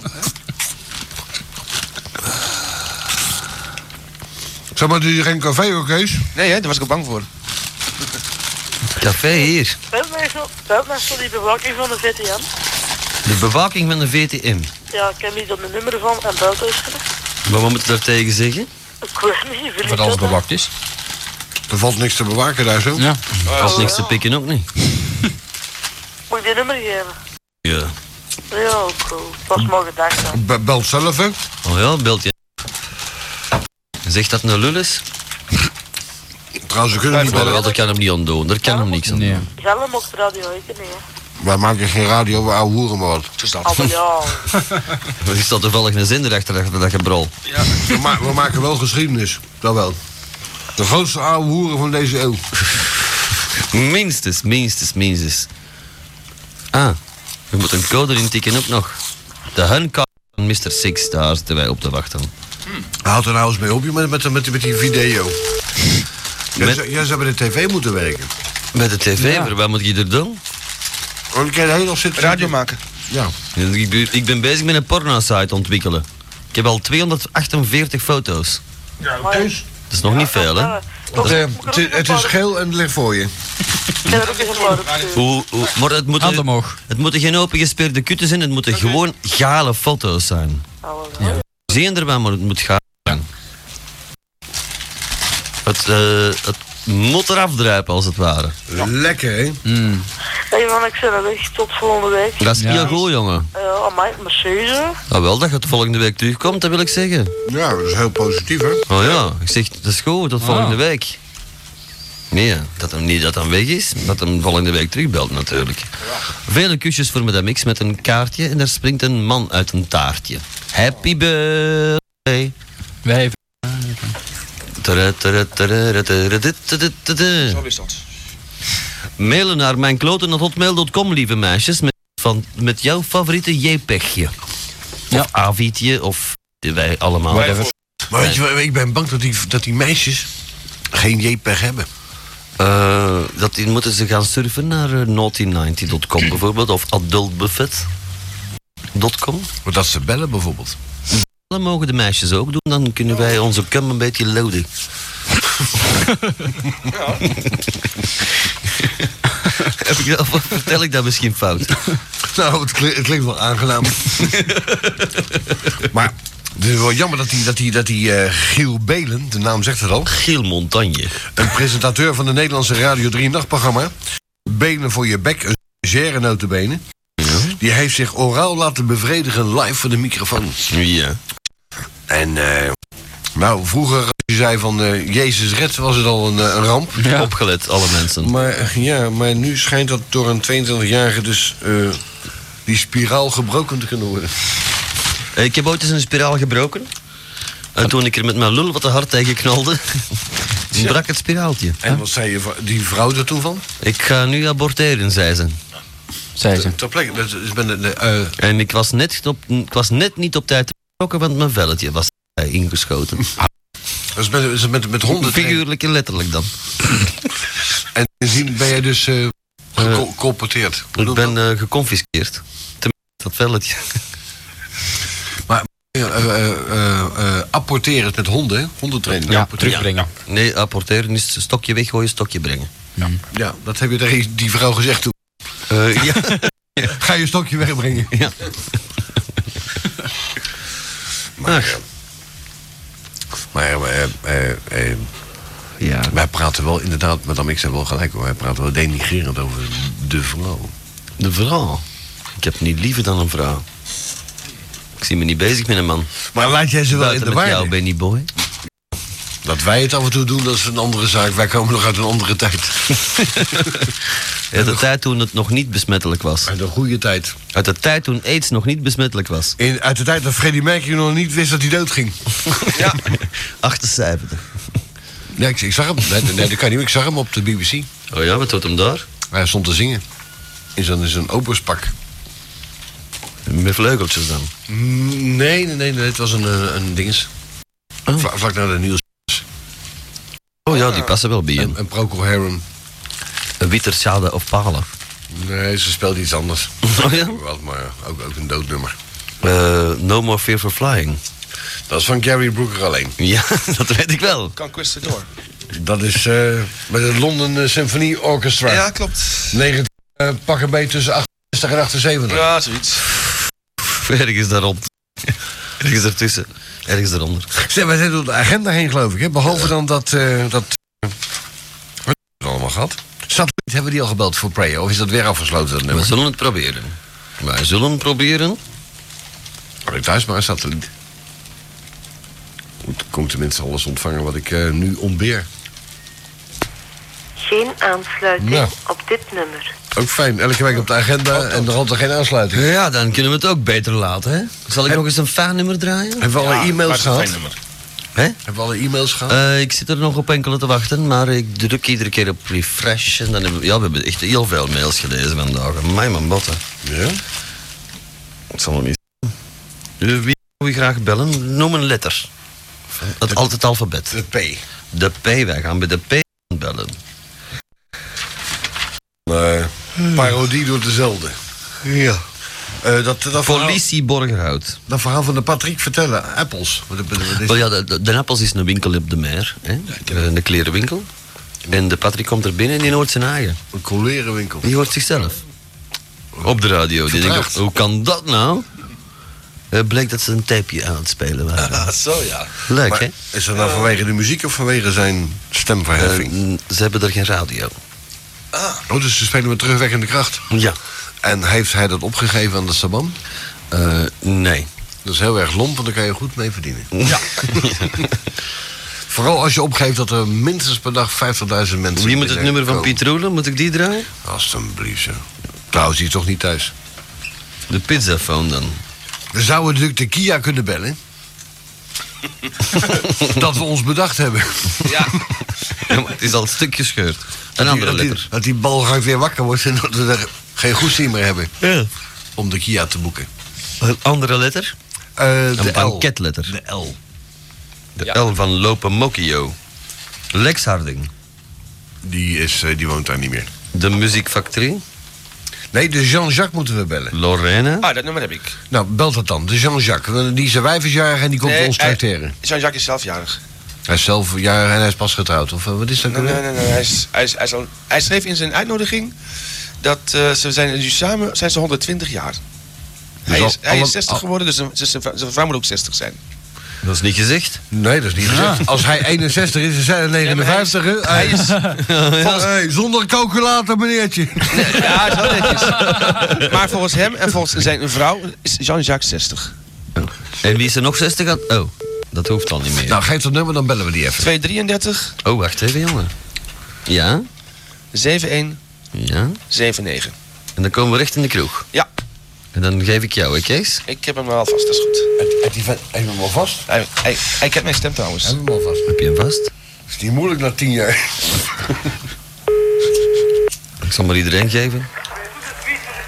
Zeg maar, doe je geen café, hoor, Kees? Nee, hè, daar was ik al bang voor. Café hier. Bel mij zo, bel mij zo die bewaking van de VTM. De bewaking van de VTM. Ja, ik heb hier dan de nummer van en belt eens. Maar wat moet je daar tegen zeggen? Ik weet niet, wil ik dat? bewakt is. Er valt niks te bewaken daar zo. Ja. Er valt niks te pikken ook niet. Moet ik die nummer geven? Ja. Ja, cool. Dat was mijn gedachte. Bel zelf, hè? Oh ja, belt je. zegt dat het een lul is? Trouwens, we kunnen niet niet Dat kan hem niet ontdoen. Daar kan hem niks aan doen. Zelf op de radio, ik niet. hè. Wij maken geen radio waar oude hoeren wordt. Het is Ah, maar ja. Er staat toevallig een zender achter dat- dat gebrol. We, ma- we maken wel geschiedenis, dat wel. De grootste oude hoeren van deze eeuw. Minstens, minstens, minstens. Ah, we moeten een code erin tikken ook nog. De hunkaart van Mr. Six, daar zitten wij op te wachten. Houd er nou eens mee op, je met, met, met, met die video. Jij zou- Jij zou bij de tv moeten werken. Met de tv, Ja. maar wat moet ik er doen? Want ik kan heel nog zitten... Radio maken. Ja. Ik ben- Ik ben bezig met een porno-site ontwikkelen. Ik heb al 248 foto's. Ja, thuis. Dat is nog niet veel, hè? Want, eh, het, is- het is geel en het ligt voor je. Hoe, hoe, maar het moeten, het moeten geen opengespierde kutten zijn, het moeten gewoon gale foto's zijn. Ja. Zien erbij, maar het moet gaal zijn. Het, eh, het moet eraf druipen, als het ware. Lekker, hè? Hey man, ik zeg dat echt tot volgende week. Dat is heel goed, jongen. Eh, amai, Mercedes. Nou wel, dat je het volgende week terugkomt, dat wil ik zeggen. Ja, dat is heel positief, hè? Oh ja, ik zeg, dat is goed, tot volgende week. Nee, hè, dat hem niet dat hem weg is, dat hem volgende week terugbelt natuurlijk. Vele kusjes voor Madame X met een kaartje en daar springt een man uit een taartje. Happy birthday. Wij Zo is dat. Mailen naar mijnkloten.hotmail.com, lieve meisjes, met, van, met jouw favoriete JPEGje. Of Avietje, of wij allemaal. Maar weet je, wat, ik ben bang dat die, dat die meisjes geen JPEG hebben. Eh, dat die moeten ze gaan surfen naar eh, naughty90.com bijvoorbeeld of adultbuffet.com. Maar dat ze bellen bijvoorbeeld. Dat mogen de meisjes ook doen, dan kunnen wij onze cum een beetje loaden. Heb ik dat, of vertel ik dat misschien fout? Nou, het, kli- het klinkt wel aangenaam. maar het is wel jammer dat die, dat die, dat die eh, Giel Belen, de naam zegt het al. Giel Montagne. Een presentateur van de Nederlandse Radio 3 Nachtprogramma. Benen voor je bek, een zere notenbenen. Die heeft zich oraal laten bevredigen live voor de microfoon. Ja. En eh, nou, vroeger als je zei van eh, Jezus red, was het al een, eh, een ramp. Opgelet, alle mensen. Maar eh, ja, maar nu schijnt dat door een 22-jarige dus eh, die spiraal gebroken te kunnen worden. Eh, Ik heb ooit eens een spiraal gebroken. En toen ik er met mijn lul wat te hard tegen knalde, brak het spiraaltje. En wat zei je, va- die vrouw er toen van? Ik ga nu aborteren, zei ze. Zei ze. Ter plekke, dat is eh, ben, En ik was net, op, ik was net niet op tijd gebroken, want mijn velletje was eh, ingeschoten. Ah. dat is met, dat is met, met honden. Figuurlijk en letterlijk dan. En sindsdien ben jij dus eh gecolporteerd. Ik ben eh, geconfiskeerd. Tenminste, dat velletje. Maar eh eh, eh, eh, apporteren het met honden, hè? hondentrainen. Ja. Nee, apporteren is stokje weggooien, stokje brengen. Ja. Mm, Ja, dat heb je tegen die vrouw gezegd toen. Eh, ja. Ga je stokje wegbrengen. Ja. maar eh, maar eh, eh, eh, wij praten wel inderdaad, madame ik zei wel gelijk hoor, wij praten wel denigrerend over de vrouw. De vrouw? Oh, Ik heb niet liever dan een vrouw. Ik zie me niet bezig met een man. Maar laat jij ze wel Buiten in de met war jou, leggen. Benny Boy. Dat wij het af en toe doen, dat is een andere zaak. Wij komen nog uit een andere tijd. Uit de tijd toen het nog niet besmettelijk was. Uit de goede tijd. Uit de tijd toen aids nog niet besmettelijk was. In, uit de tijd dat Freddie Mercury nog niet wist dat hij doodging. Ja. 78. Nee, ik, ik zag hem. Nee, nee, dat kan niet. Ik zag hem op de BBC. Oh ja, wat doet hem daar? Hij stond te zingen. In zo'n in zo'n operspak. Met vleugeltjes dan. Mm, Nee, nee, nee, nee, het was een, eh, een, een dinges. Vla- vlak na de nieuws. Ah. Oh ja, die passen wel bij hem. Een Procol Harum. Een witterschade of palen. Nee, ze speelt iets anders. Oh ja? Wat, maar ook, ook een doodnummer. Eh, no More Fear for Flying. Dat is van Gary Brooker alleen. Ja, dat weet ik wel. Conquistador. Dat is eh, met het London eh, Symphony Orchestra. Ja, klopt. 19, eh, pak een beetje tussen 68 en 78. Ja, zoiets. Ergens daarop. Ergens ertussen. Ergens eronder. Zeg, wij zijn door de agenda heen, geloof ik. Hè? Behalve dan dat... eh dat eh, wat hebben we allemaal gehad? Satelliet hebben die al gebeld voor Prayer? Of is dat weer afgesloten, dat We nummer? zullen het proberen. Wij zullen het proberen. Ik thuis maar een satelliet. Moet- Kon tenminste alles ontvangen wat ik eh, nu ontbeer. Geen aansluiting Nou. op dit nummer. Ook fijn, elke week op de agenda en er altijd geen aansluiting. Oh, Ja, dan kunnen we het ook beter laten, hè? Zal ik nog eens een faannummer draaien? Hebben we alle e-mails gehad? Hè? Hebben we alle e-mails gehad? Eh, ik zit er nog op enkele te wachten, maar ik druk iedere keer op refresh. En dan hebben we, ja, we hebben echt heel veel mails gelezen vandaag. Mijn man botten. Ja? Ik zal hem eens... Eh, Wie wil je graag bellen? Noem een letter. Het, al- het alfabet. De P. De P, wij gaan bij de P bellen. Nee. Eh, Hmm. Parodie door dezelfde. Ja. dat, dat Politie Borgerhout. Dat verhaal van de Patrick vertellen, appels. Wat, wat- wat is Wel ja, de, de, de Appels is een winkel op de Meer, hè? Eh, een klerenwinkel. En de Patrick komt er binnen en die hoort zijn eigen. Een kolerenwinkel. Die hoort zichzelf. Op de radio. Die denkt, Vertraagd. hoe kan dat nou? Het bleek dat ze een tapeje aan het spelen waren. Ah, zo ja. Leuk, Maar hè? Is dat nou vanwege de muziek of vanwege zijn stemverheffing? Eh, ze hebben er geen radio. Oh, dus ze spelen met terugwerkende kracht? Ja. En heeft hij dat opgegeven aan de Saban? Eh, nee. Dat is heel erg lomp, want daar kan je goed mee verdienen. Ja. Vooral als je opgeeft dat er minstens per dag 50.000 mensen... Wie moet het nummer van Piet Roelen? Moet ik die draaien? Alsjeblieft, zo. Trouwens, die is toch niet thuis? De pizzafoon dan. We zouden natuurlijk de Kia kunnen bellen. dat we ons bedacht hebben. Ja. maar het is al een stuk gescheurd. Een andere dat die, letter. Dat die balgelijk weer wakker wordt en dat we er geen goesting meer hebben. Om de Kia te boeken. Eh, Een andere letter? de een L. banketletter. De L. De L van Lopen Mokio. Lex Harding. Die, is, eh, die woont daar niet meer. De Muziekfactory. Nee, de Jean-Jacques moeten we bellen. Lorraine. Ah, dat nummer heb ik. Nou, belt dat dan. De Jean-Jacques. Want Die is een wijfjesjarig en die komt Nee, ons hij- tracteren. Jean-Jacques is zelfjarig. Hij is zelf jarig en hij is pas getrouwd. Of eh, wat is dat? Nee, ook nee, weer? nee. nee. Hij, is, hij, is, hij, is al- hij schreef in zijn uitnodiging dat eh, ze zijn nu samen zijn ze 120 jaar. hij Dus al- is, hij alle- is 60 al- geworden, dus zijn, zijn, zijn vrouw moet ook 60 zijn. Dat is niet gezegd. Nee, dat is niet Ja. gezegd. Als hij 61 is en zij een 59, hè? hij is- Vol- hey, zonder calculator, meneertje. Ja, dat is wel netjes. Maar volgens hem en volgens zijn vrouw is Jean-Jacques 60. En wie is er nog 60 aan? Oh, dat hoeft al niet meer. Nou, geef dat nummer, dan bellen we die even. 233 Oh, wacht even, jongen. Ja? 71 Ja? 79. En dan komen we recht in de kroeg. Ja. En dan geef ik jou, hè, Kees? Ik heb hem wel vast, dat is goed. Heb je hem al vast? Hij, hij, hij kent mijn stem trouwens. Heb hem al vast. Heb je hem vast? Is niet moeilijk na 10 jaar. Ik zal maar iedereen geven.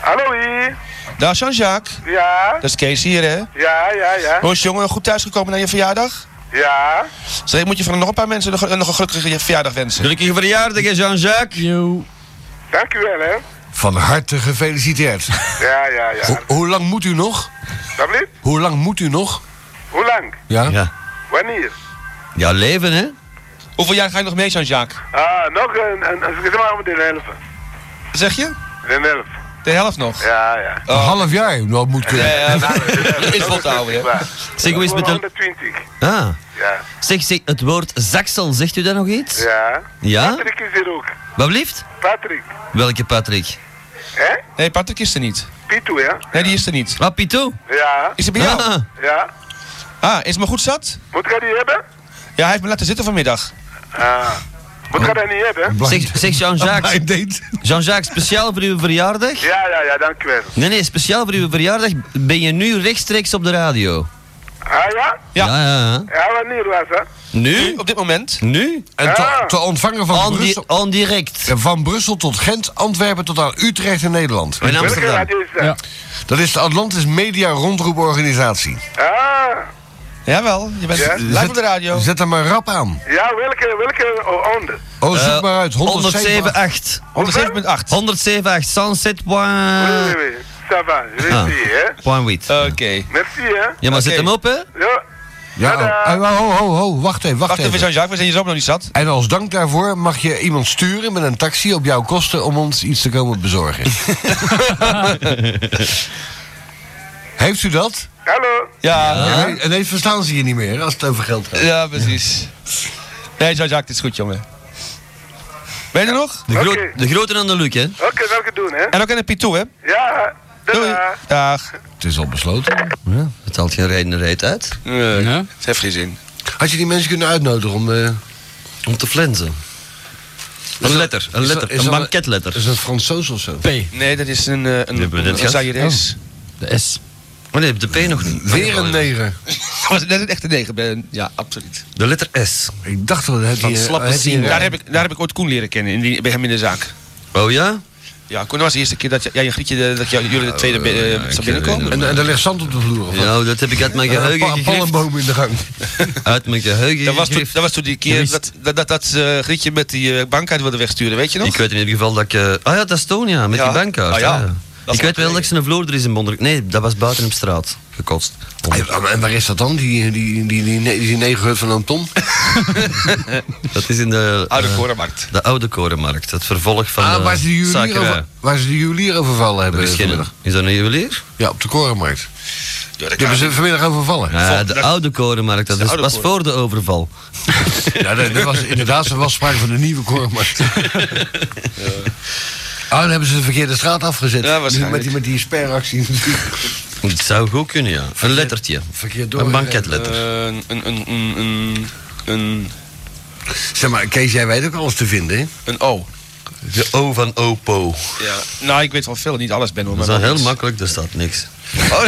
Hallo hier. Dag Jean-Jacques. Ja, Dat is Kees hier, hè? Oh, ja, ja, ja. Hoi jongen, goed thuisgekomen naar je verjaardag? Ja. Zeg, ik moet je van nog een paar mensen nog, een- nog een gelukkige verjaardag wensen. Gelukkige verjaardag, hè, Jean-Jacques? Dank u wel, hè. Van harte gefeliciteerd. Ja, ja, ja. Ho- hoe lang moet u nog? Dat blieft? Hoe lang moet u nog? Hoe lang? Ja? Wanneer? Ja, leven, hè? Hoeveel jaar ga je nog mee, Jean-Jacques? Ah, nog een, een, een zeg maar meteen helpen. Zeg je? Een help. De helft nog? Ja, ja. Een half jaar nou moet kunnen. Eh, is vol te houden, hè? Zeg, hoe is het met de... 120. Ah. Ja. Zeg, zeg, het woord zaksel, zegt u dat nog iets? Ja. Ja? Patrick is hier ook. Wat blieft? Patrick. Welke Patrick? Hè? Nee, Patrick is er niet. Pitu, hè? Nee, die is er niet. Ah, Pito? Ja. Is hij bij jou? Ah. Ja. Ah, is het me goed zat? Moet ik die hebben? Ja, hij heeft me laten zitten vanmiddag. Ah. Moet ik dat niet hebben? Zeg, zeg Jean-Jacques. Jean-Jacques, speciaal voor uw verjaardag? Ja, ja, ja, dank u wel. Nee, nee, speciaal voor uw verjaardag ben je nu rechtstreeks op de radio. Ah, ja? Ja. ja, ja. Ja, wanneer was dat? Nu? Op dit moment? Nu? Ah. En te, te ontvangen van On, Brussel. di- on direct. Ja, Van Brussel tot Gent, Antwerpen tot aan Utrecht en Nederland. En Amsterdam. Welke radio is dat? Dat is de Atlantis Media Rondroeporganisatie. Ah. Jawel, je bent Ja? live op de radio. Zet hem maar rap aan. Ja, welke, welke o- onder? Oh, zoek Eh, maar uit. 107. 107.8. 107.8. 107.8. Sunset Oui, oui, Point... oui. Ça va, je vais Ah. essayer, hè? Point wit. Oké. Merci, hè? Ja, maar zet Oké. hem op, hè? Ja. Ja, oh, oh, ho, ho, ho, wacht even, wacht, eh, Wacht even, even. Jean-Jacques, we zijn hier zo nog niet zat. En als dank daarvoor mag je iemand sturen met een taxi op jouw kosten om ons iets te komen bezorgen. Heeft u dat? Hallo. Ja, ja, Ja, nee, ineens verstaan ze je niet meer als het over geld gaat. precies. Nee, Jean-Jacques, dit is goed, jongen. Ben je er nog? De, gro Oké. de grote aan de Luc, hè? Oké, zal ik het doen, hè? En ook in de Pitou, hè? Ja. Doei. Doei. Dag. Het is al besloten. Ja. Het haalt geen reden reet uit. Nee, Het heeft geen zin. Had je die mensen kunnen uitnodigen om, eh, om te flensen? Een letter, een letter, een banketletter. Is dat Fransoos of zo? P. Nee, dat is een, eh, een, Die hebben we net een gehad. Zairees. De S. Maar nee, de P nog niet. Weer een neger. Was net een echte neger, ben- ja, absoluut. De letter S. Ik dacht dat het Van slappe zien. Daar heb, Daar ik, daar heb ik ooit Koen leren kennen, in die, bij hem in de zaak. Oh ja? Ja, Koen dat was de eerste keer dat jij, jij en Grietje, de- dat jij- jullie de tweede Oh, bi- eh, zou binnenkomen. en, Eh, en daar ligt zand op de vloer. Of wat? Ja, Nou, dat heb ik uit mijn een geheugen pa- gegrift. palmboom in de gang. Uit mijn geheugen Dat was, toen, gegrift. dat was toen die keer dat, dat, dat, dat eh, Grietje met die eh, bankkaart wilde wegsturen, weet je nog? Ik weet in ieder geval dat ik... eh, Ah ja, dat is Toon, ja, met Ja. die bankkaart. Ah ja. ja. Dat is Ik weet wel dat ik zijn vloer er is in Bonderk. Nee, dat was buiten op straat. Gekost. En, en waar is dat dan, die, die, die, die, die, ne- die negerhut van Oom Tom? Dat is in de... Oude eh, Korenmarkt. De Oude Korenmarkt. Het vervolg van eh, ah, de waar ze de juwelier, Zakerij. over, waar ze de juwelier overvallen hebben Er is, geen, vanmiddag. is dat een juwelier? Ja, op de korenmarkt. Ja, Die hebben ze vanmiddag overvallen. Ja, de oude korenmarkt, dat De is, oude was koren. voor de overval. Ja, nee, dat was, inderdaad, er was sprake van een nieuwe korenmarkt. Ah, dan hebben ze de verkeerde straat afgezet. Ja, waarschijnlijk. Met die, met die sperractie. Het zou goed kunnen, ja. Een lettertje. Verkeerd door. Een banketletter. Eh, een, een, een, een, een, Zeg maar, Kees, jij weet ook alles te vinden, hè? een O. De O van Opo. Ja. Nou, ik weet wel veel, niet alles ben hoor. Dat is maar dan wel heel iets. makkelijk, daar staat niks. Oh, Oh,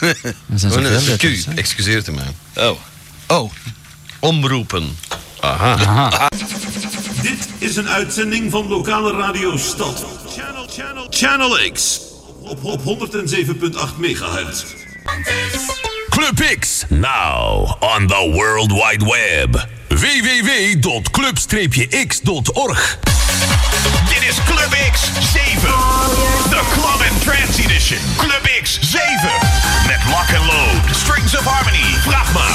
nee, dat is een letters, Q, excuseert u mij. Oh. Oh. Omroepen. Aha. Dit is een uitzending van lokale radio Stad. Channel, channel, channel X. Op, op 107.8 megahertz. Club X, now on the World Wide Web. www.club-x.org Dit is Club X 7. De Club and Trance Edition. Club X 7. Met Lock and Load, Strings of Harmony, Brahma,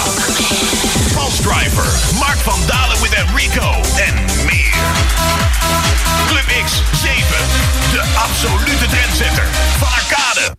Pulse Driver, Mark van Dalen with Enrico en meer. Club X 7. De absolute trendsetter van Arcade.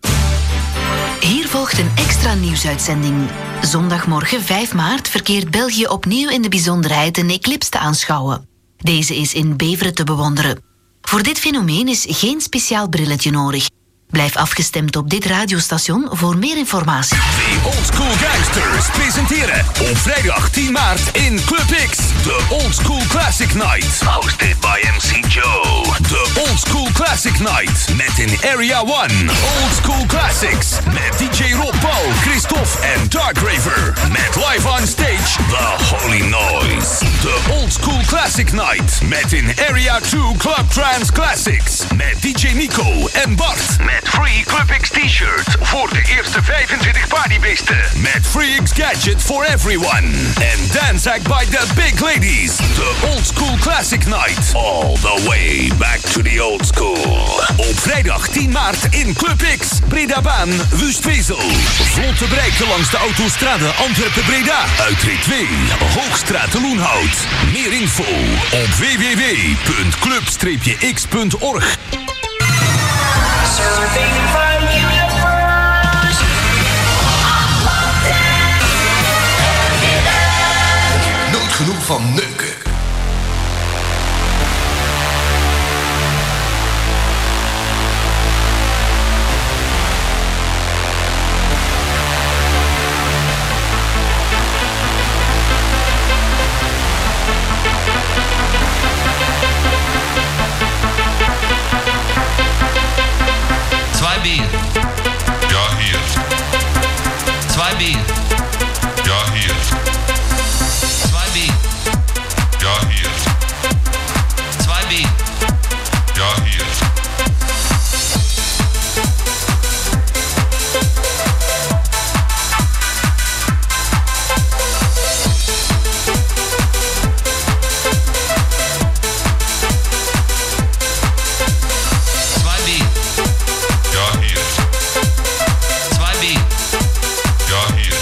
Hier volgt een extra nieuwsuitzending. Zondagmorgen 5 maart verkeert België opnieuw in de bijzonderheid een eclips te aanschouwen. Deze is in Beveren te bewonderen. Voor dit fenomeen is geen speciaal brilletje nodig. Blijf afgestemd op dit radiostation voor meer informatie. De Old School Gangsters presenteren op vrijdag 10 maart in Club X de Old School Classic Night. Hosted by MC Joe. De Old School Classic Night met in Area 1 Old School Classics met DJ Rob Paul, Christophe en Dark Raver. Met live on stage The Holy Noise. De Old School Classic Night met in Area 2 Club Trans Classics met DJ Nico en Bart. Met Free Club X T-shirt voor de eerste 25 partybeesten. Met Free X Gadget for everyone. And Dance Act by the Big Ladies. The Old School Classic Night. All the way back to the old school. Op vrijdag 10 maart in Club X. Bredabaan, Wustwezel. Vlot te bereiken langs de autostrade Antwerpen-Breda. Uitrit 2, Hoogstraat de Loenhout. Meer info op www.club-x.org. Surfing from universe. Nooit genoeg van neuken. Zwei Bier. Ja, hier. Zwei Bier. Ja, hier. Zwei Bier. Ja, hier. Zwei Bier. Ja, hier. Zwei Bier. Ja, hier. Zwei Bier. Ja, hier.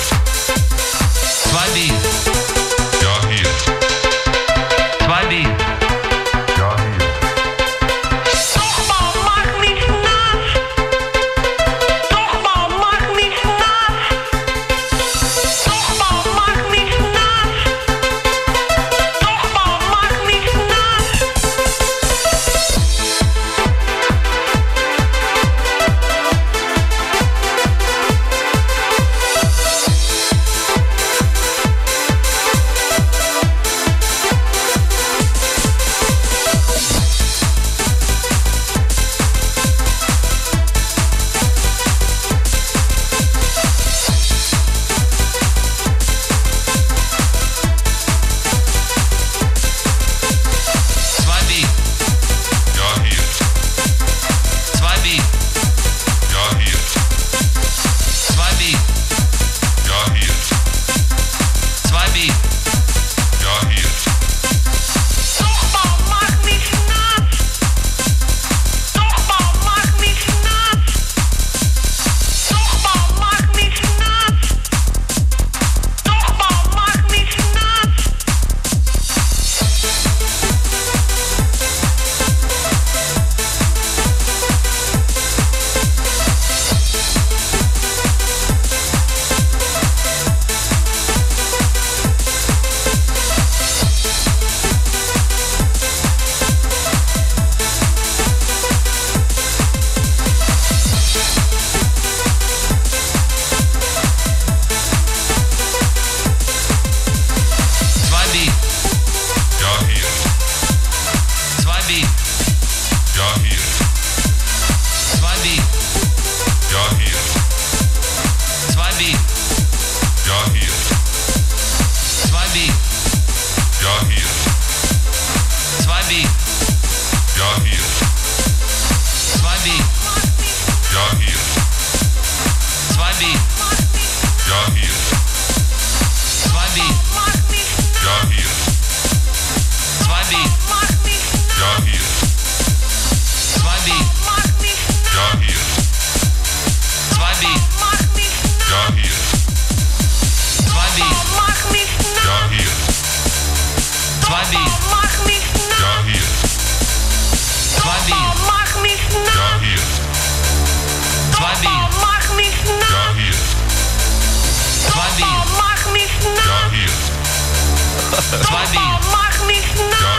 mag niet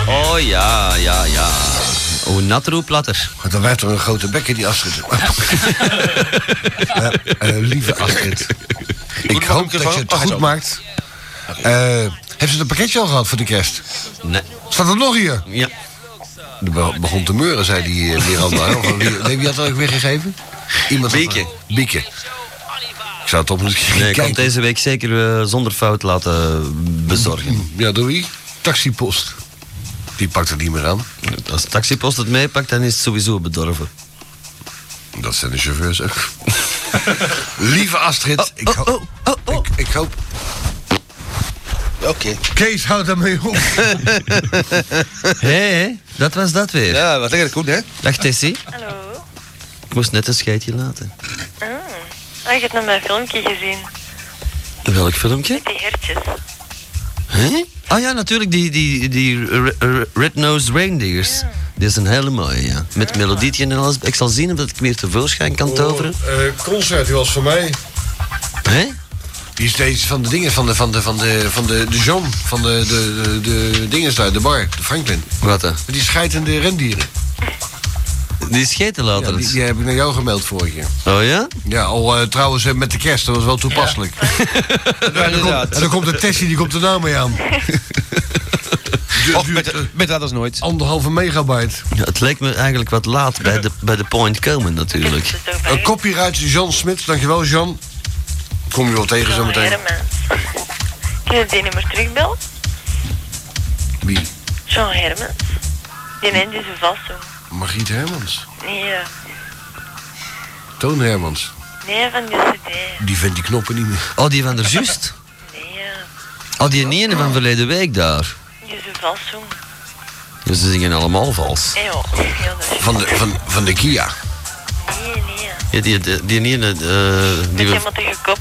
na. Oh ja, ja, ja. Hoe natter, hoe platter. Want dan werd er een grote bekken die Astrid. Eh, eh, lieve Astrid. Ik hoop dat Oh, je het goed maakt. Eh hebben ze het pakketje al gehad voor de kerst? Nee. Staat er nog hier? Ja. Er be- begon te meuren, zei die eh, Miranda. Of wie- Nee, wie had dat ook weer gegeven? Iemand had- Bieke. Bieke. Ik zou het op moeten Nee, ik kan kijken. het deze week zeker eh, zonder fout laten bezorgen. Mm, Ja, door wie? Taxipost. Die pakt het niet meer aan. Als de taxipost het meepakt, dan is het sowieso bedorven. Dat zijn de chauffeurs ook. Lieve Astrid, ik, ho- Ik, ik hoop. Oké. Kees, houd daarmee op. Hé, hé, dat was dat weer. Ja, wat lekker goed, hè? Dag Tessie. Hallo. Ik moest net een scheidje laten. Ah, je hebt nog mijn filmpje gezien. Welk filmpje? Die hertjes. Hè? Ah ja, natuurlijk, die, die, die re- re- Red-Nosed Reindeers. Dit is een hele mooie, ja. Met melodietje en alles. Ik zal zien of dat ik meer tevoorschijn Oh. kan toveren. eh, concert, die was voor mij. Hé? Die is steeds van de dingen, van de, van de, van de, van de, de zoom, van de, de, de, de dinges daar, de bar, de Franklin. Wat dan? Die scheidende rendieren. Die scheten later. Ja, die, die heb ik naar jou gemeld vorig keer. Oh ja? Ja, al eh, trouwens eh, met de kerst, dat was wel toepasselijk. en, dan komt, en dan komt de Tessie, die komt er nou mee aan. Och, Oh, met, met dat als nooit. Anderhalve megabyte. Ja, het leek me eigenlijk wat laat bij de, bij de point komen, natuurlijk. Een copyright Jean Smit, dankjewel Jean. Kom je wel tegen zo meteen. Hermans. Kun je die nummer terugbellen? Wie? John Hermans. Die neemt die zo vast doen. Margriet Hermans. Nee, eh, Toon Hermans. nee, van die cd. Die vindt die knoppen niet meer. Oh, die van der Just? Nee, eh, Oh, die ene van verleden week daar. die zo vast doen. Dus ze zingen allemaal vals. Nee, Eh, joh. Nee, joh, dat is- Van de, van, van de Kia. Nee, nee. eh. Ja, die, die, die ene... eh, die Met we- helemaal tegen kop.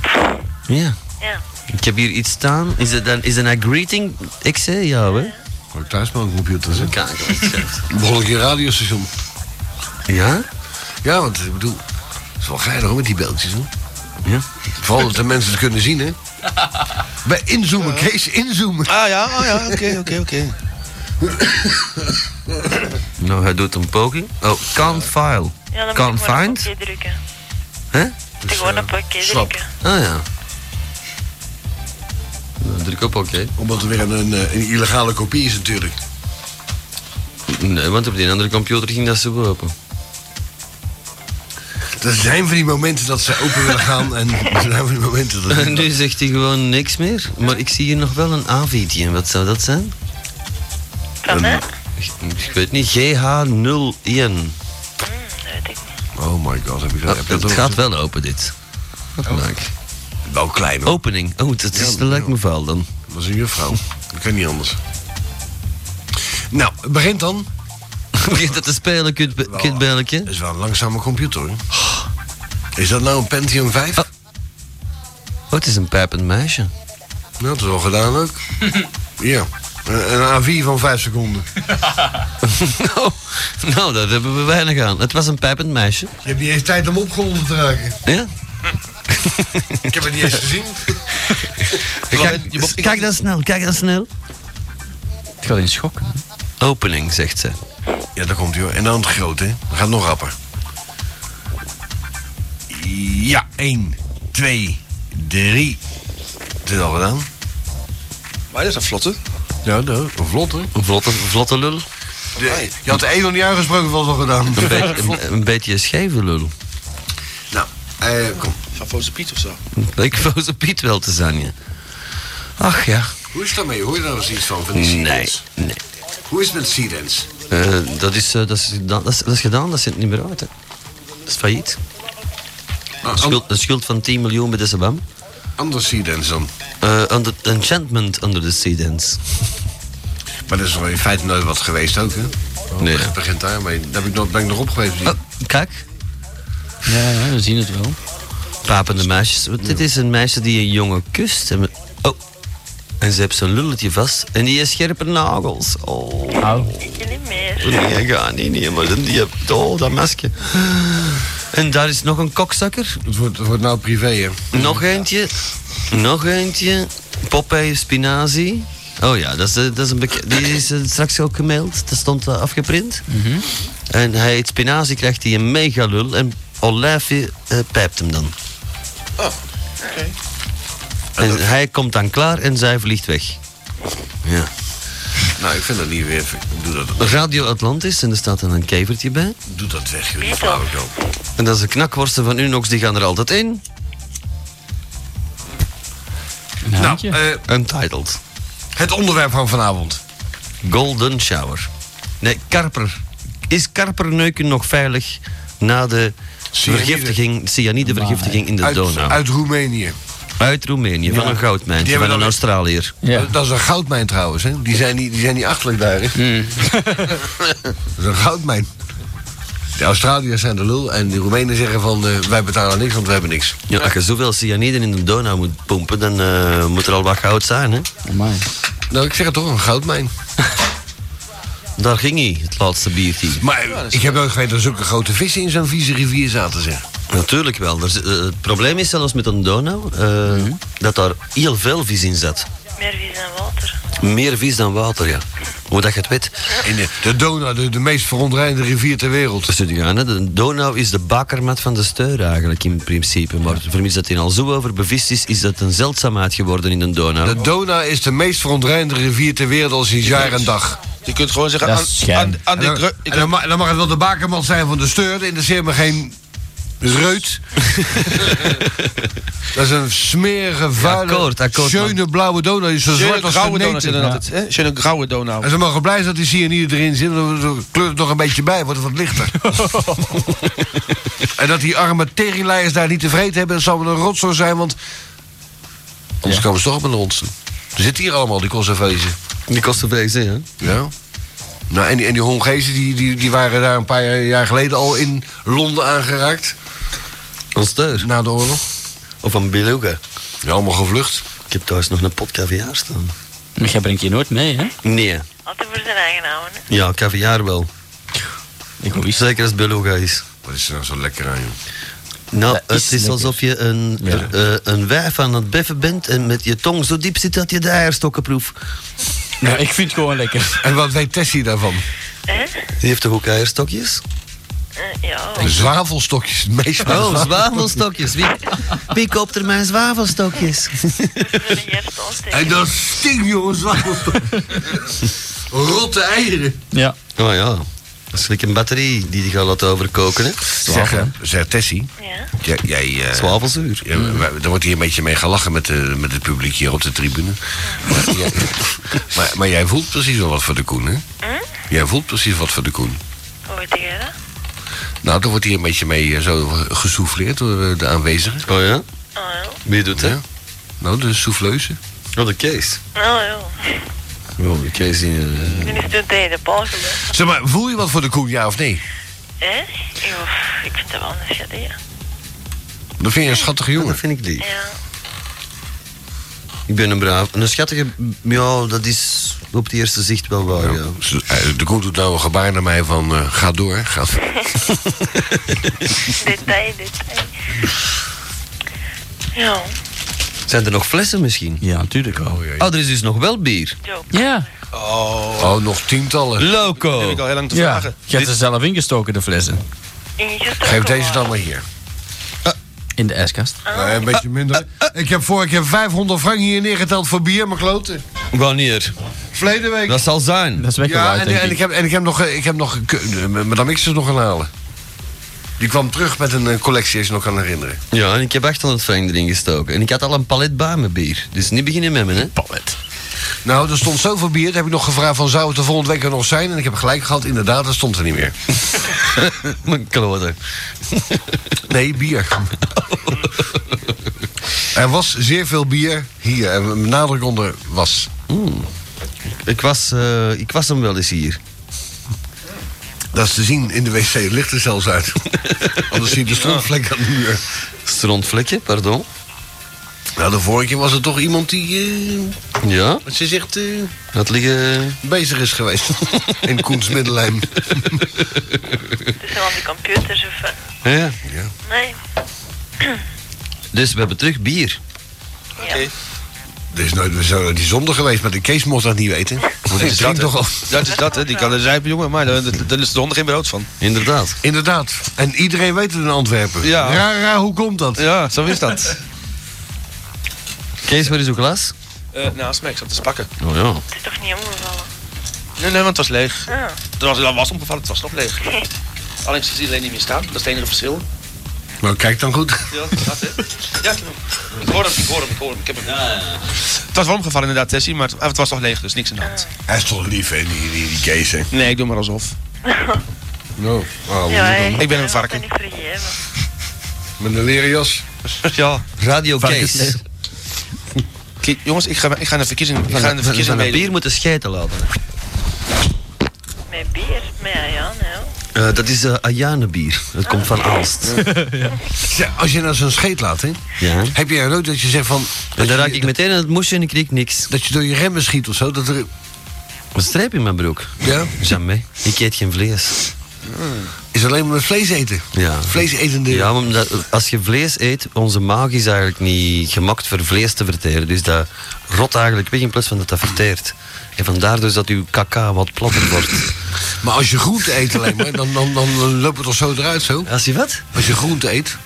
Ja. Ja. Ik heb hier iets staan. Is het dan is het een greeting? Ik zei jou, hè? Kan ik thuis mijn computer zijn? Kijk, Begon ik in radiostation. Ja? Ja, want ik bedoel, het is wel geinig hoor met die beeldjes hoor. Ja? Vooral dat de mensen het kunnen zien hè. Bij inzoomen, Kees, inzoomen. Ah ja, ah ja, oké, oké, oké. Nou, hij doet een poging. Oh, can't file. Ja, dan can't moet je gewoon een find. pakje drukken. Hè? Moet je gewoon een pakje Dus, eh, slap. drukken. Ah ja. Nou, druk op oké. Omdat er weer een, een, eh, een illegale kopie is natuurlijk. Nee, want op die andere computer ging dat zo open. Er zijn van die momenten dat ze open willen gaan en er zijn van die momenten dat... nu zegt hij gewoon niks meer. Maar ik zie hier nog wel een AV'tje. Wat zou dat zijn? Van hè? Ik, ik weet niet. GH01. eh, Oh my god, heb ik Oh. Oh, het gaat wel open, dit. Wat leuk. Wel klein hoor. Opening. Oh, dat is Ja, dat lijkt me vuil dan. Dat is een juffrouw. Dat kan niet anders. Nou, het begint dan. Begint dat te spelen, kut, kutbelletje? Dat is wel een langzame computer hoor. Is dat nou een Pentium 5? Oh, het is een pijpend meisje. Nou, dat is wel gedaan ook. ja. Een, een A4 van 5 seconden. nou, nou, daar hebben we weinig aan. Het was een pijpend meisje. Je hebt niet eens tijd om opgewonden te raken. Ja? Ik heb het niet eens gezien. Kijk, kijk dan snel, kijk dan snel. Ik ga in schok. Opening, zegt ze. Ja, daar komt hij hoor. En dan het grote, hè. Dat gaat nog rapper. Ja, 1, 2, 3. Het is al gedaan. Maar dat is een vlotte. Ja, dat een vlotte. Een vlotte, een vlotte lul. De, je had de E nog niet uitgesproken, was al gedaan. Een, beetje een, een beetje een scheve lul. Nou, eh, kom. Van Foze Piet of zo. Ik wou ze Piet wel te zijn, ja. Ach ja. Hoe is het daarmee? Hoor je daar eens iets van? van die Nee, Seedance? nee. Hoe is het met Seedance? Eh, dat, is, eh, dat, is, gedaan- dat, is, dat is gedaan, dat zit niet meer uit. Hè. Dat is failliet. Een schuld, een schuld van 10 miljoen bij de Sabam. Anders Seedance dan? Eh, under, enchantment under the sea dance. Maar dat is wel in feite nooit wat geweest ook, hè? Nee. Oh. Het begint daarmee. Daar heb ik nog, ben ik nog op geweest. die- Kijk, Ja, ja, we zien het wel. papende meisjes. Want Dit is een meisje die een jongen kust. En met- oh, en ze heeft zijn lulletje vast. En die heeft scherpe nagels. Oh. Ik niet meer. Nee, ga niet, nee, maar die hebt, oh, dat mesje. En daar is nog een kokzakker. Het wordt, het wordt nou privé, hè? Nog eentje. Nog eentje. Popeye spinazie. Oh ja, dat is, eh, dat is een beke- die is eh, straks ook gemaild. Dat stond eh, afgeprint. Mhm. En hij eet spinazie, krijgt hij een mega lul. En olijfje eh, pijpt hem dan. Oh, oké. En hij komt dan klaar en zij vliegt weg. Ja. Nou, ik vind dat niet weer. Doe dat, Radio Atlantis, en er staat dan een kevertje bij. doe dat weg, jullie flauwekul. En dat is de knakworsten van Unox, die gaan er altijd in. Nou, eh, Untitled. het onderwerp van vanavond. Golden Shower. Nee, karper. Is karperneuken nog veilig na de Cyanide. vergiftiging, cyanidevergiftiging in de uit, Donau? Uit Roemenië. Uit Roemenië, van Ja. een Die goudmijntje, hebben van een dan- Australiër. Eh, Dat is een goudmijn trouwens, hè? Die zijn niet, die zijn niet achterlijk daar. Hè? Mm. dat is een goudmijn. De Australiërs zijn de lul en de Roemenen zeggen van eh, wij betalen niks, want we hebben niks. Ja, als je zoveel cyanide in de Donau moet pompen, dan eh, moet er al wat goud zijn, hè? Nou, ik zeg het toch, een goudmijn. Daar ging hij, het laatste biertje. Maar ik heb nooit geweten dat er zulke grote vissen in zo'n vieze rivier zaten, zeg. Natuurlijk wel. Er zit- eh, het probleem is zelfs met een Donau eh, Mhm. dat daar heel veel vis in zat. Meer vis en water. Meer vis dan water, ja. Hoe dat je het weet. In de, de Donau, de, de meest verontreinigde rivier ter wereld. Dus die gaan, hè, de Donau is de bakermat van de steur eigenlijk in principe. Maar vermits dat hij al zo over bevist is, is dat een zeldzaamheid geworden in de Donau. De Donau is de meest verontreinigde rivier ter wereld al sinds jaar en dag. Je kunt gewoon zeggen, Dat aan, is schijn. aan, aan En die dan, gru- en dan ma- dan mag het wel de bakermat zijn van de steur, in de me geen reut. dat is een smerige, vuile, akkoord, akkoord, man. schöne blauwe donau. Die is zo Schöne zwart als grauwe donau geneten. zit er altijd, hè? Schöne grauwe donau. En ze mogen blij zijn dat die cyanide erin zit, want dan kleurt het nog een beetje bij, wordt het wat lichter. en dat die arme teringleiers daar niet tevreden hebben, dat zal wel een rotzooi zijn, want anders komen ze toch op een rotsen. Er zitten hier allemaal, die conservezen. Die kosten vrezen, hè? Ja. Nou, en die, en die Hongezen, die, die, die waren daar een paar jaar, jaar geleden al in Londen aangeraakt. Een steur. Na de oorlog. Of een beluga. Ja, allemaal gevlucht. Ik heb thuis nog een pot caviar staan. Maar jij brengt je nooit mee, hè? Nee. Altijd voor zijn eigen houden. hè. Ja, caviar wel. Zeker als het beluga is. Wat is er nou zo lekker aan, joh? Nou, Dat is het is lekker. alsof je een, eh, een wijf aan het beffen bent en met je tong zo diep zit dat je de eierstokken proeft. Ja, ik vind het gewoon lekker. En wat weet Tessie daarvan? Die heeft toch ook eierstokjes? Eh, ja. Zwavelstokjes, het meest van de Oh, zwavelstokjes. zwavelstokjes. Wie, wie koopt er mijn zwavelstokjes? En dat stinkt, joh, zwavelstokjes. Rotte eieren. Ja. Oh ja, dat is like een batterie die je gaat laten overkoken. Hè? Zeg, eh, zeg Tessie. Jij, jij, eh, Zwavelzuur. Ja, maar Er wordt hier een beetje mee gelachen met, de, Eh, met het publiek hier op de tribune. Maar, jij- maar, maar jij voelt precies wel wat voor de koen, hè? Jij voelt precies wat voor de koen. Hoe weet jij dat? Nou, er wordt hier een beetje mee eh, zo gesouffleerd door eh, de aanwezigen. Oh ja? Wie doet dat? Nou, de souffleuse. Oh, de Kees. Nou ja, Oh, de Kees die... eh, nu is het een tijd de paal gebeurd. Zeg maar, voel je wat voor de koen, ja of nee? Hè? Ja, Eh? ik vind het wel een schat, ja. Dat vind je een schattige jongen. dat vind ik lief. Ja. Ik ben een braaf. Een schattige... Ja, dat is op het eerste zicht wel waar, ja. Ze- eh, De koen doet nou een gebaar naar mij van, eh, ga door, ga Detail, detail. Ja, Zijn er nog flessen misschien? Ja, natuurlijk wel. Oh, er is dus nog wel bier. Ja. Oh, nog tientallen. Loco. heb ik al heel lang te Ja. vragen. Je hebt er zelf ingestoken, de flessen. Geef deze dan maar hier. In de ijskast. Nou, een beetje minder. Ik heb vorige keer 500 frank hier neergeteld voor bier, maar kloten. Wanneer? Verleden week. Dat zal zijn. Dat is Ja, weggewaaid, en, denk en, ik heb, en ik heb nog, eh, ik heb nog een ke- eh, Madame X is nog gaan halen. Die kwam terug met een eh, collectie, als je nog kan herinneren. Ja, en ik heb 800 frank erin gestoken. En ik had al een palet bij me bier. Dus niet beginnen met me, hè. Pallet. Nou, er stond zoveel bier, daar heb ik nog gevraagd van zou het er volgende week er nog zijn? En ik heb gelijk gehad, inderdaad, dat stond er niet meer. Mijn kloten. Nee, bier. er was zeer veel bier hier, en nadruk onder was. Ik was, eh, ik was hem wel eens hier. Dat is te zien, in de wc ligt er zelfs uit. Anders zie je de stroomvlek aan de muur. Strontvlekje, pardon. Nou, de vorige keer was er toch iemand die, eh, Ja, wat ze zegt, eh, dat liggen... bezig is geweest. in Koens Middelheim. dus aan die computers of... eh, Ja. Nee, Dus we hebben terug bier. Oké. Er is nooit we zijn nooit die zonde geweest, maar de Kees mocht dat niet weten. Want Dat ik is dat, drink hè. toch al. dat is dat, hè. Die kan er zuipen, jongen, maar daar daar- daar is de hond geen brood van. Inderdaad. Inderdaad. En iedereen weet het in Antwerpen. Ja. Raar, raar, hoe komt dat? Ja, zo is dat. Kees, waar is uw glas? Eh naast mij, ik zat te spakken. Oh ja. Het is toch niet omgevallen? Nee, nee, want het was leeg. Ah. Er was, dat was onbevallen, het was nog leeg. Alleen ziet iedereen niet meer staan, dat is het enige verschil. Maar Nou, kijk dan goed. Ja, dat hè. Ja, ik heb hem. Ik hoor hem, ik hoor hem, ik hoor hem. Ik heb hem. Het was wel omgevallen inderdaad, Tessie, maar het, het was nog leeg, dus niks aan de hand. Hij is toch lief, hè, die, die, die Kees, hè? Nee, ik doe maar alsof. Nou, oh, Ja, hè. ik ben een varken. Niet vergeven. Met een leren jas. Ja. Radio Varkens. Kees. Kijk, jongens, ik ga, ik ga naar de verkiezingen. Ik Van, ga naar de van, van verkiezingen een meedoen. bier moeten scheiden laten. Met bier, met Ayan, hè. Eh, dat is eh Ajanebier. Dat komt van Ah. Aalst. Ja, als je nou zo'n scheet laat, hè? Ja. Heb je nou nooit dat je zegt van... En dan raak ik meteen aan het moesje en ik kreeg niks. Dat je door je remmen schiet of zo? Dat er... Een streep in mijn broek. Ja? Jamais. Ik eet geen vlees. Is alleen maar met vlees eten. Ja. Vleesetende. Ja, maar omdat- als je vlees eet, onze maag is eigenlijk niet gemaakt voor vlees te verteren. Dus dat rot eigenlijk weg in plaats van dat dat verteert. En vandaar dus dat uw kaka wat platter wordt. Maar als je groente eet alleen maar, dan, dan, dan loopt het toch zo eruit zo? Als je wat? Als je groente eet.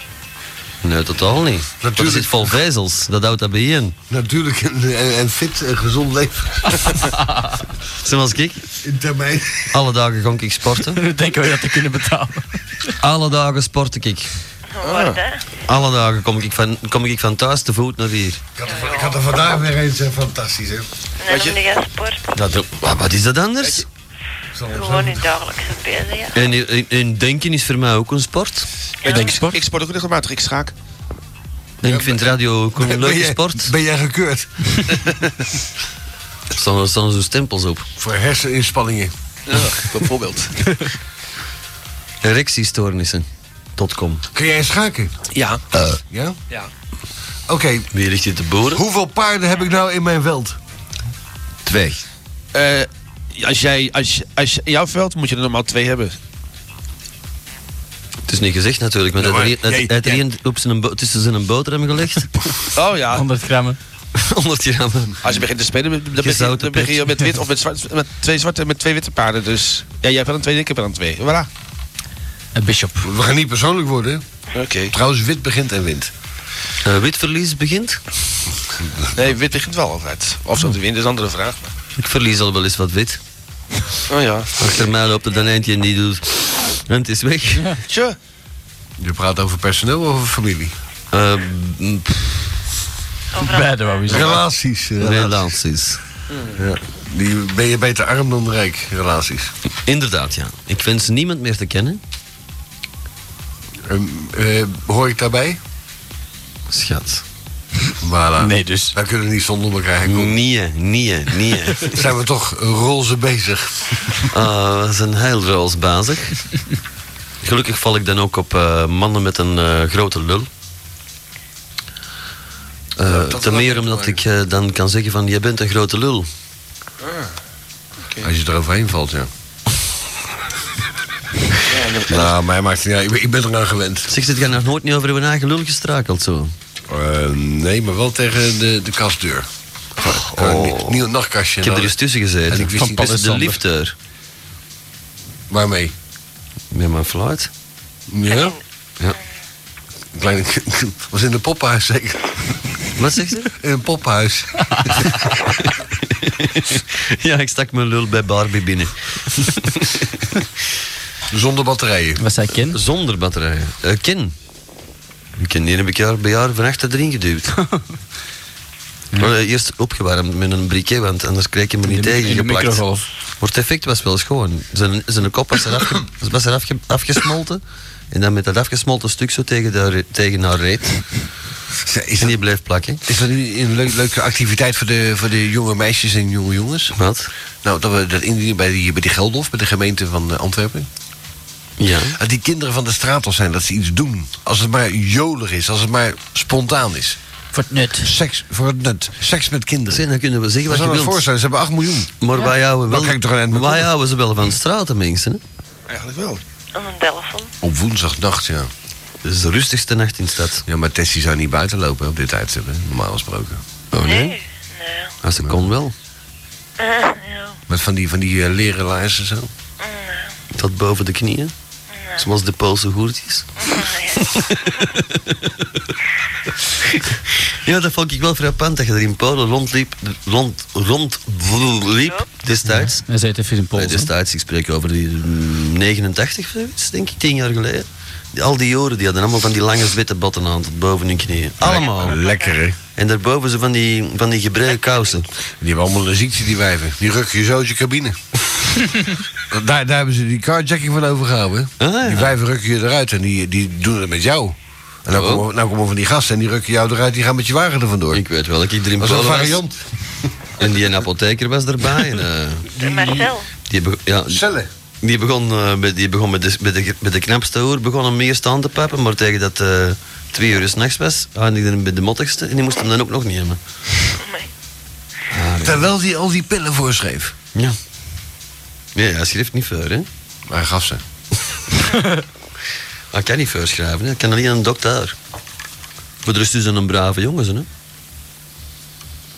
Nee, totaal niet. Natuurlijk. Dat Natuurlijk. zit vol vezels. Dat houdt dat bij in. Natuurlijk, en, en- en fit en gezond leven. Zoals ik. In termijn. Alle dagen gonk ik sporten. Denken we dat te kunnen betalen. Alle dagen sport ik. Wat, hè? Alle dagen kom ik van, kom ik van thuis te voet naar hier. Ik had, er, ik had er vandaag weer eens eh, fantastisch, hè? En dan moet je gaan sporten. Dat, wa- wat is dat anders? Gewoon je dagelijkse bezig, ja. En, en, en denken is voor mij ook een sport. Ik, sport. ik sport ook regelmatig, ik schaak. En ik vind radio ook een leuke jij- sport. Ben jij gekeurd? Er staan, er staan zo stempels op. Voor herseninspanningen. Ja, bijvoorbeeld. Erectiestoornissen.com. Kun jij schaken? Ja. Ja? Ja. Oké, Eh, Wie ligt hier te boren? hoeveel paarden heb ik nou in mijn veld? Twee. Eh, als jij, als, als, in jouw veld moet je er normaal twee hebben. Het is niet gezegd natuurlijk, maar Ja, dat maar er een- dat jij- dat er een op zijn bo- tussen zijn boterham gelegd. Oh ja. 100 grammen. 100 gram. Als je begint te spelen, dan begin, je- Gezouten dan begin je pit. met wit of met, zwart, met twee zwarte en met twee witte paarden. Dus ja, jij hebt wel een twee, ik heb wel een twee. Voilà. Een bishop. We gaan niet persoonlijk worden. hè? Oké. Trouwens, wit begint en wint. Eh, witverlies begint. Nee, wit begint wel altijd. Of zo te winnen is een andere vraag. maar- Ik verlies al wel eens wat wit. Oh ja. Achter mij loopt er dan eentje en die doet... En het is weg. Tja. Je praat over personeel of over familie? Eh, mm, pff, Beide wou je zeggen. Relaties. eh, relaties. Ja. Die ben je beter arm dan rijk, relaties. Inderdaad, ja. Ik wens niemand meer te kennen. Ehm, eh, hoor ik daarbij? Schat. Voilà. Nee, dus. Daar kunnen we niet zonder elkaar heen komen. Nee, nee, nee. Zijn we toch roze bezig? Ah, we zijn heel roos bezig. Gelukkig val ik dan ook op eh, mannen met een eh, grote lul. Eh, dat had ten meer ook omdat te ik eh, dan kan zeggen van, jij bent een grote lul. Als je er overheen valt, ja. Ja, en dan- Nou, mij maakt het niet uit. Ik ben- Ik ben eraan gewend. Zeg, zit jij nog nooit niet over je eigen lul gestrakeld zo? Eh, nee, maar wel tegen de, de kastdeur. Oh. Nieuw nachtkastje. Ik heb en er dan- eens tussen En gezeten. ik wist Van niet- Paul de Sander. liefdeur. Waarmee? Met mijn fluit. Ja? Ja. Kleine, was in een poppenhuis zeker. Wat zegt ze? In een poppenhuis. ja, ik stak mijn lul bij Barbie binnen. Zonder batterijen. Wat zei Ken? Zonder batterijen. Eh, kin. Kin, die heb ik jaar bij jaar van achter erin geduwd. Maar, eh, eerst opgewarmd met een briquet, want anders kreeg je me niet In de- in de tegengeplakt. Maar microgolf. het effect was wel schoon. Zijn, zijn kop was, er afge, was er afge- afgesmolten. En dan met dat afgesmolten stuk zo tegen, de, re- tegen haar reet. Is En dat, die bleef plakken. is dat nu een leuk- leuke activiteit voor de, voor de jonge meisjes en jonge jongens? Wat? Nou, dat we dat indienen bij die, bij die Geldof, bij de gemeente van eh, Antwerpen. Ja. Dat die kinderen van de straat al zijn, dat ze iets doen. Als het maar jolig is, als het maar spontaan is. Voor het nut. Seks voor het nut. Seks met kinderen. Zeg, dan kunnen we zeggen Dat wat zou je me wilt. voorstellen, ze hebben 8 miljoen. Maar wij houden, Dan kijk ik toch aan het wel, bekomen. wij houden ze wel van straten, mensen. hè? Eigenlijk wel. Dat is een telefoon. Op woensdagnacht, ja. Dat is de rustigste nacht in de stad. Ja, maar Tessie zou niet buiten lopen hè, op dit tijdstip, hè, normaal gesproken. Oh Nee. Nee. Ja. Maar ze kon wel. Eh, ja. Met van die, van die eh, leren laarzen zo. Tot boven de knieën. Zoals de Poolse hoertjes. ja, dat vond ik wel frappant dat je er in Polen rondliep. Rond, rond, liep destijds. Hij zei het even in Nee, destijds, ik spreek over die mm, 89 of zoiets, denk ik, tien jaar geleden. Die- Al die joren die hadden allemaal van die lange witte botten aan tot boven hun knieën. Allemaal. Lekker, hè? En daarboven ze van die, van die gebreide kousen. Die hebben allemaal een ziekte, die wijven. Die rukken je zo uit je cabine. daar, daar hebben ze die carjacking van overgehouden. Oh, hè? Die wijven rukken je eruit en die, die doen het met jou. En nou komen, nou komen van die gasten en die rukken jou eruit, die gaan met je wagen er vandoor. Oh. Ik weet wel, ik iedereen Dat is een Polen was. variant. En die een apotheker was erbij. En, eh, De Marcel. die beg- ja, Cellen. Die begon, eh, met, die begon met, de, met, de, met de knapste hoer, begon hem meer staan te pappen, maar tegen dat eh twee uur s'nachts was, eindigde hem bij de mottigste en die moest hem dan ook nog nemen. Terwijl hij al die pillen voorschreef. Ja. Nee, hij schreef niet voor, hè? Maar hij gaf ze. hij kan niet voorschrijven, hè. hij kan alleen een dokter. Maar de rest is dan een brave jongen, hè?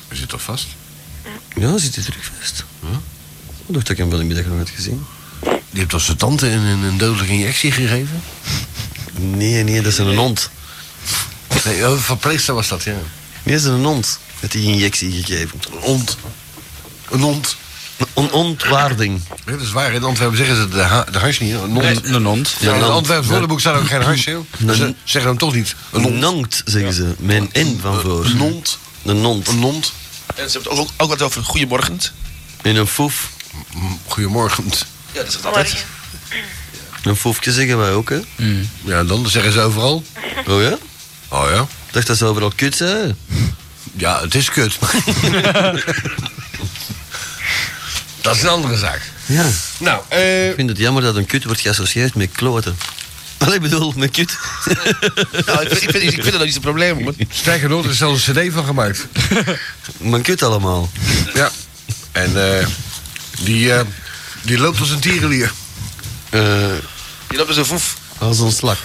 Is het toch vast? Ja, zit hij terug vast. Ja. Ik dacht dat ik hem wel in de middag nog had gezien. Die hebt als zijn tante een, een, een dodelijke injectie gegeven? Nee, nee, dat is een hond. Nee, oh, verpleegster was dat, ja. Nee, dat is een hond. Met die injectie gegeven. Een hond. Een hond. Een ontwaarding. Ja, dat is waar. In Antwerpen zeggen ze de, ha de hash niet. hè? Een hond. Nee, een hond. Ja, in Ja, een het hond. Antwerps Ja. woordenboek staat ook geen hash, joh. Een- Ze zeggen hem toch niet. Een hond. Een nonkt, zeggen ze. Mijn N van voor. Een nont. Een nont. Een nont. En ze hebben het ook, ook wat over goeiemorgen. In een foef. Goedemorgen. Ja, dat is het altijd. Een foefje zeggen wij ook, hè? Ja, dan zeggen ze overal. Oh ja? Oh ja? Ik dacht dat ze overal kut zijn. Ja, het is kut. dat is een andere zaak. Ja. Nou, eh... Ik vind het jammer dat een kut wordt geassocieerd met kloten. Allee, ik bedoel, met kut. Nou, ik, vind- ik, vind, ik vind dat ook niet zo'n probleem. hoor. Sterker nog, er is zelfs een cd van gemaakt. Mijn kut allemaal. Ja. En eh, die, eh, die loopt als een tierenlier. Eh, Die loopt dus een voef. als een slak.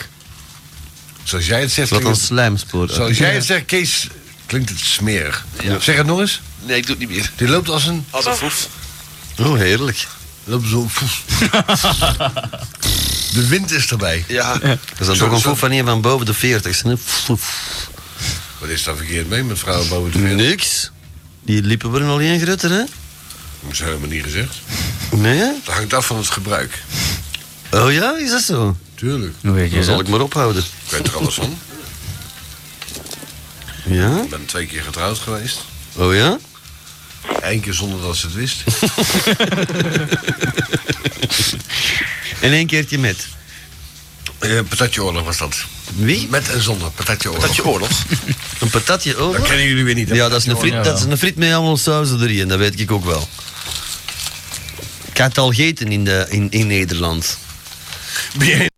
Zoals jij het zegt... Wat een klinkt het- slijmspoor. Zoals jij het zegt, Kees, klinkt het smerig. Zeg het nog eens. Nee, ik doe het niet meer. Die loopt als een... Als een voef. Oh, heerlijk. Loopt zo... De wind is erbij. Ja. Dat is dan Zo- toch een zo- foef van een van boven de 40. hè? Foef. Wat is daar verkeerd mee met vrouwen boven de wereld? Niks. Die liepen worden al één grutter, hè? Dat is helemaal niet gezegd. Nee? Dat hangt af van het gebruik. Oh ja, is dat zo? Tuurlijk. Hoe weet Dan zal ik maar ophouden. Ik weet er alles van. Ja? Ik ben twee keer getrouwd geweest. Oh ja? Eén keer zonder dat ze het wist. En één keertje met. Eh, patatje oorlog was dat. Wie? Met en zonder patatje oorlog. Dat je oorlog. Een patatje Dat over? kennen jullie weer niet. hè? Ja, dat is een friet, Patatje dat is een friet met allemaal sauzen erin, dat weet ik ook wel. Ik had het al gegeten in, de, in, in Nederland. oorlog. Ben jij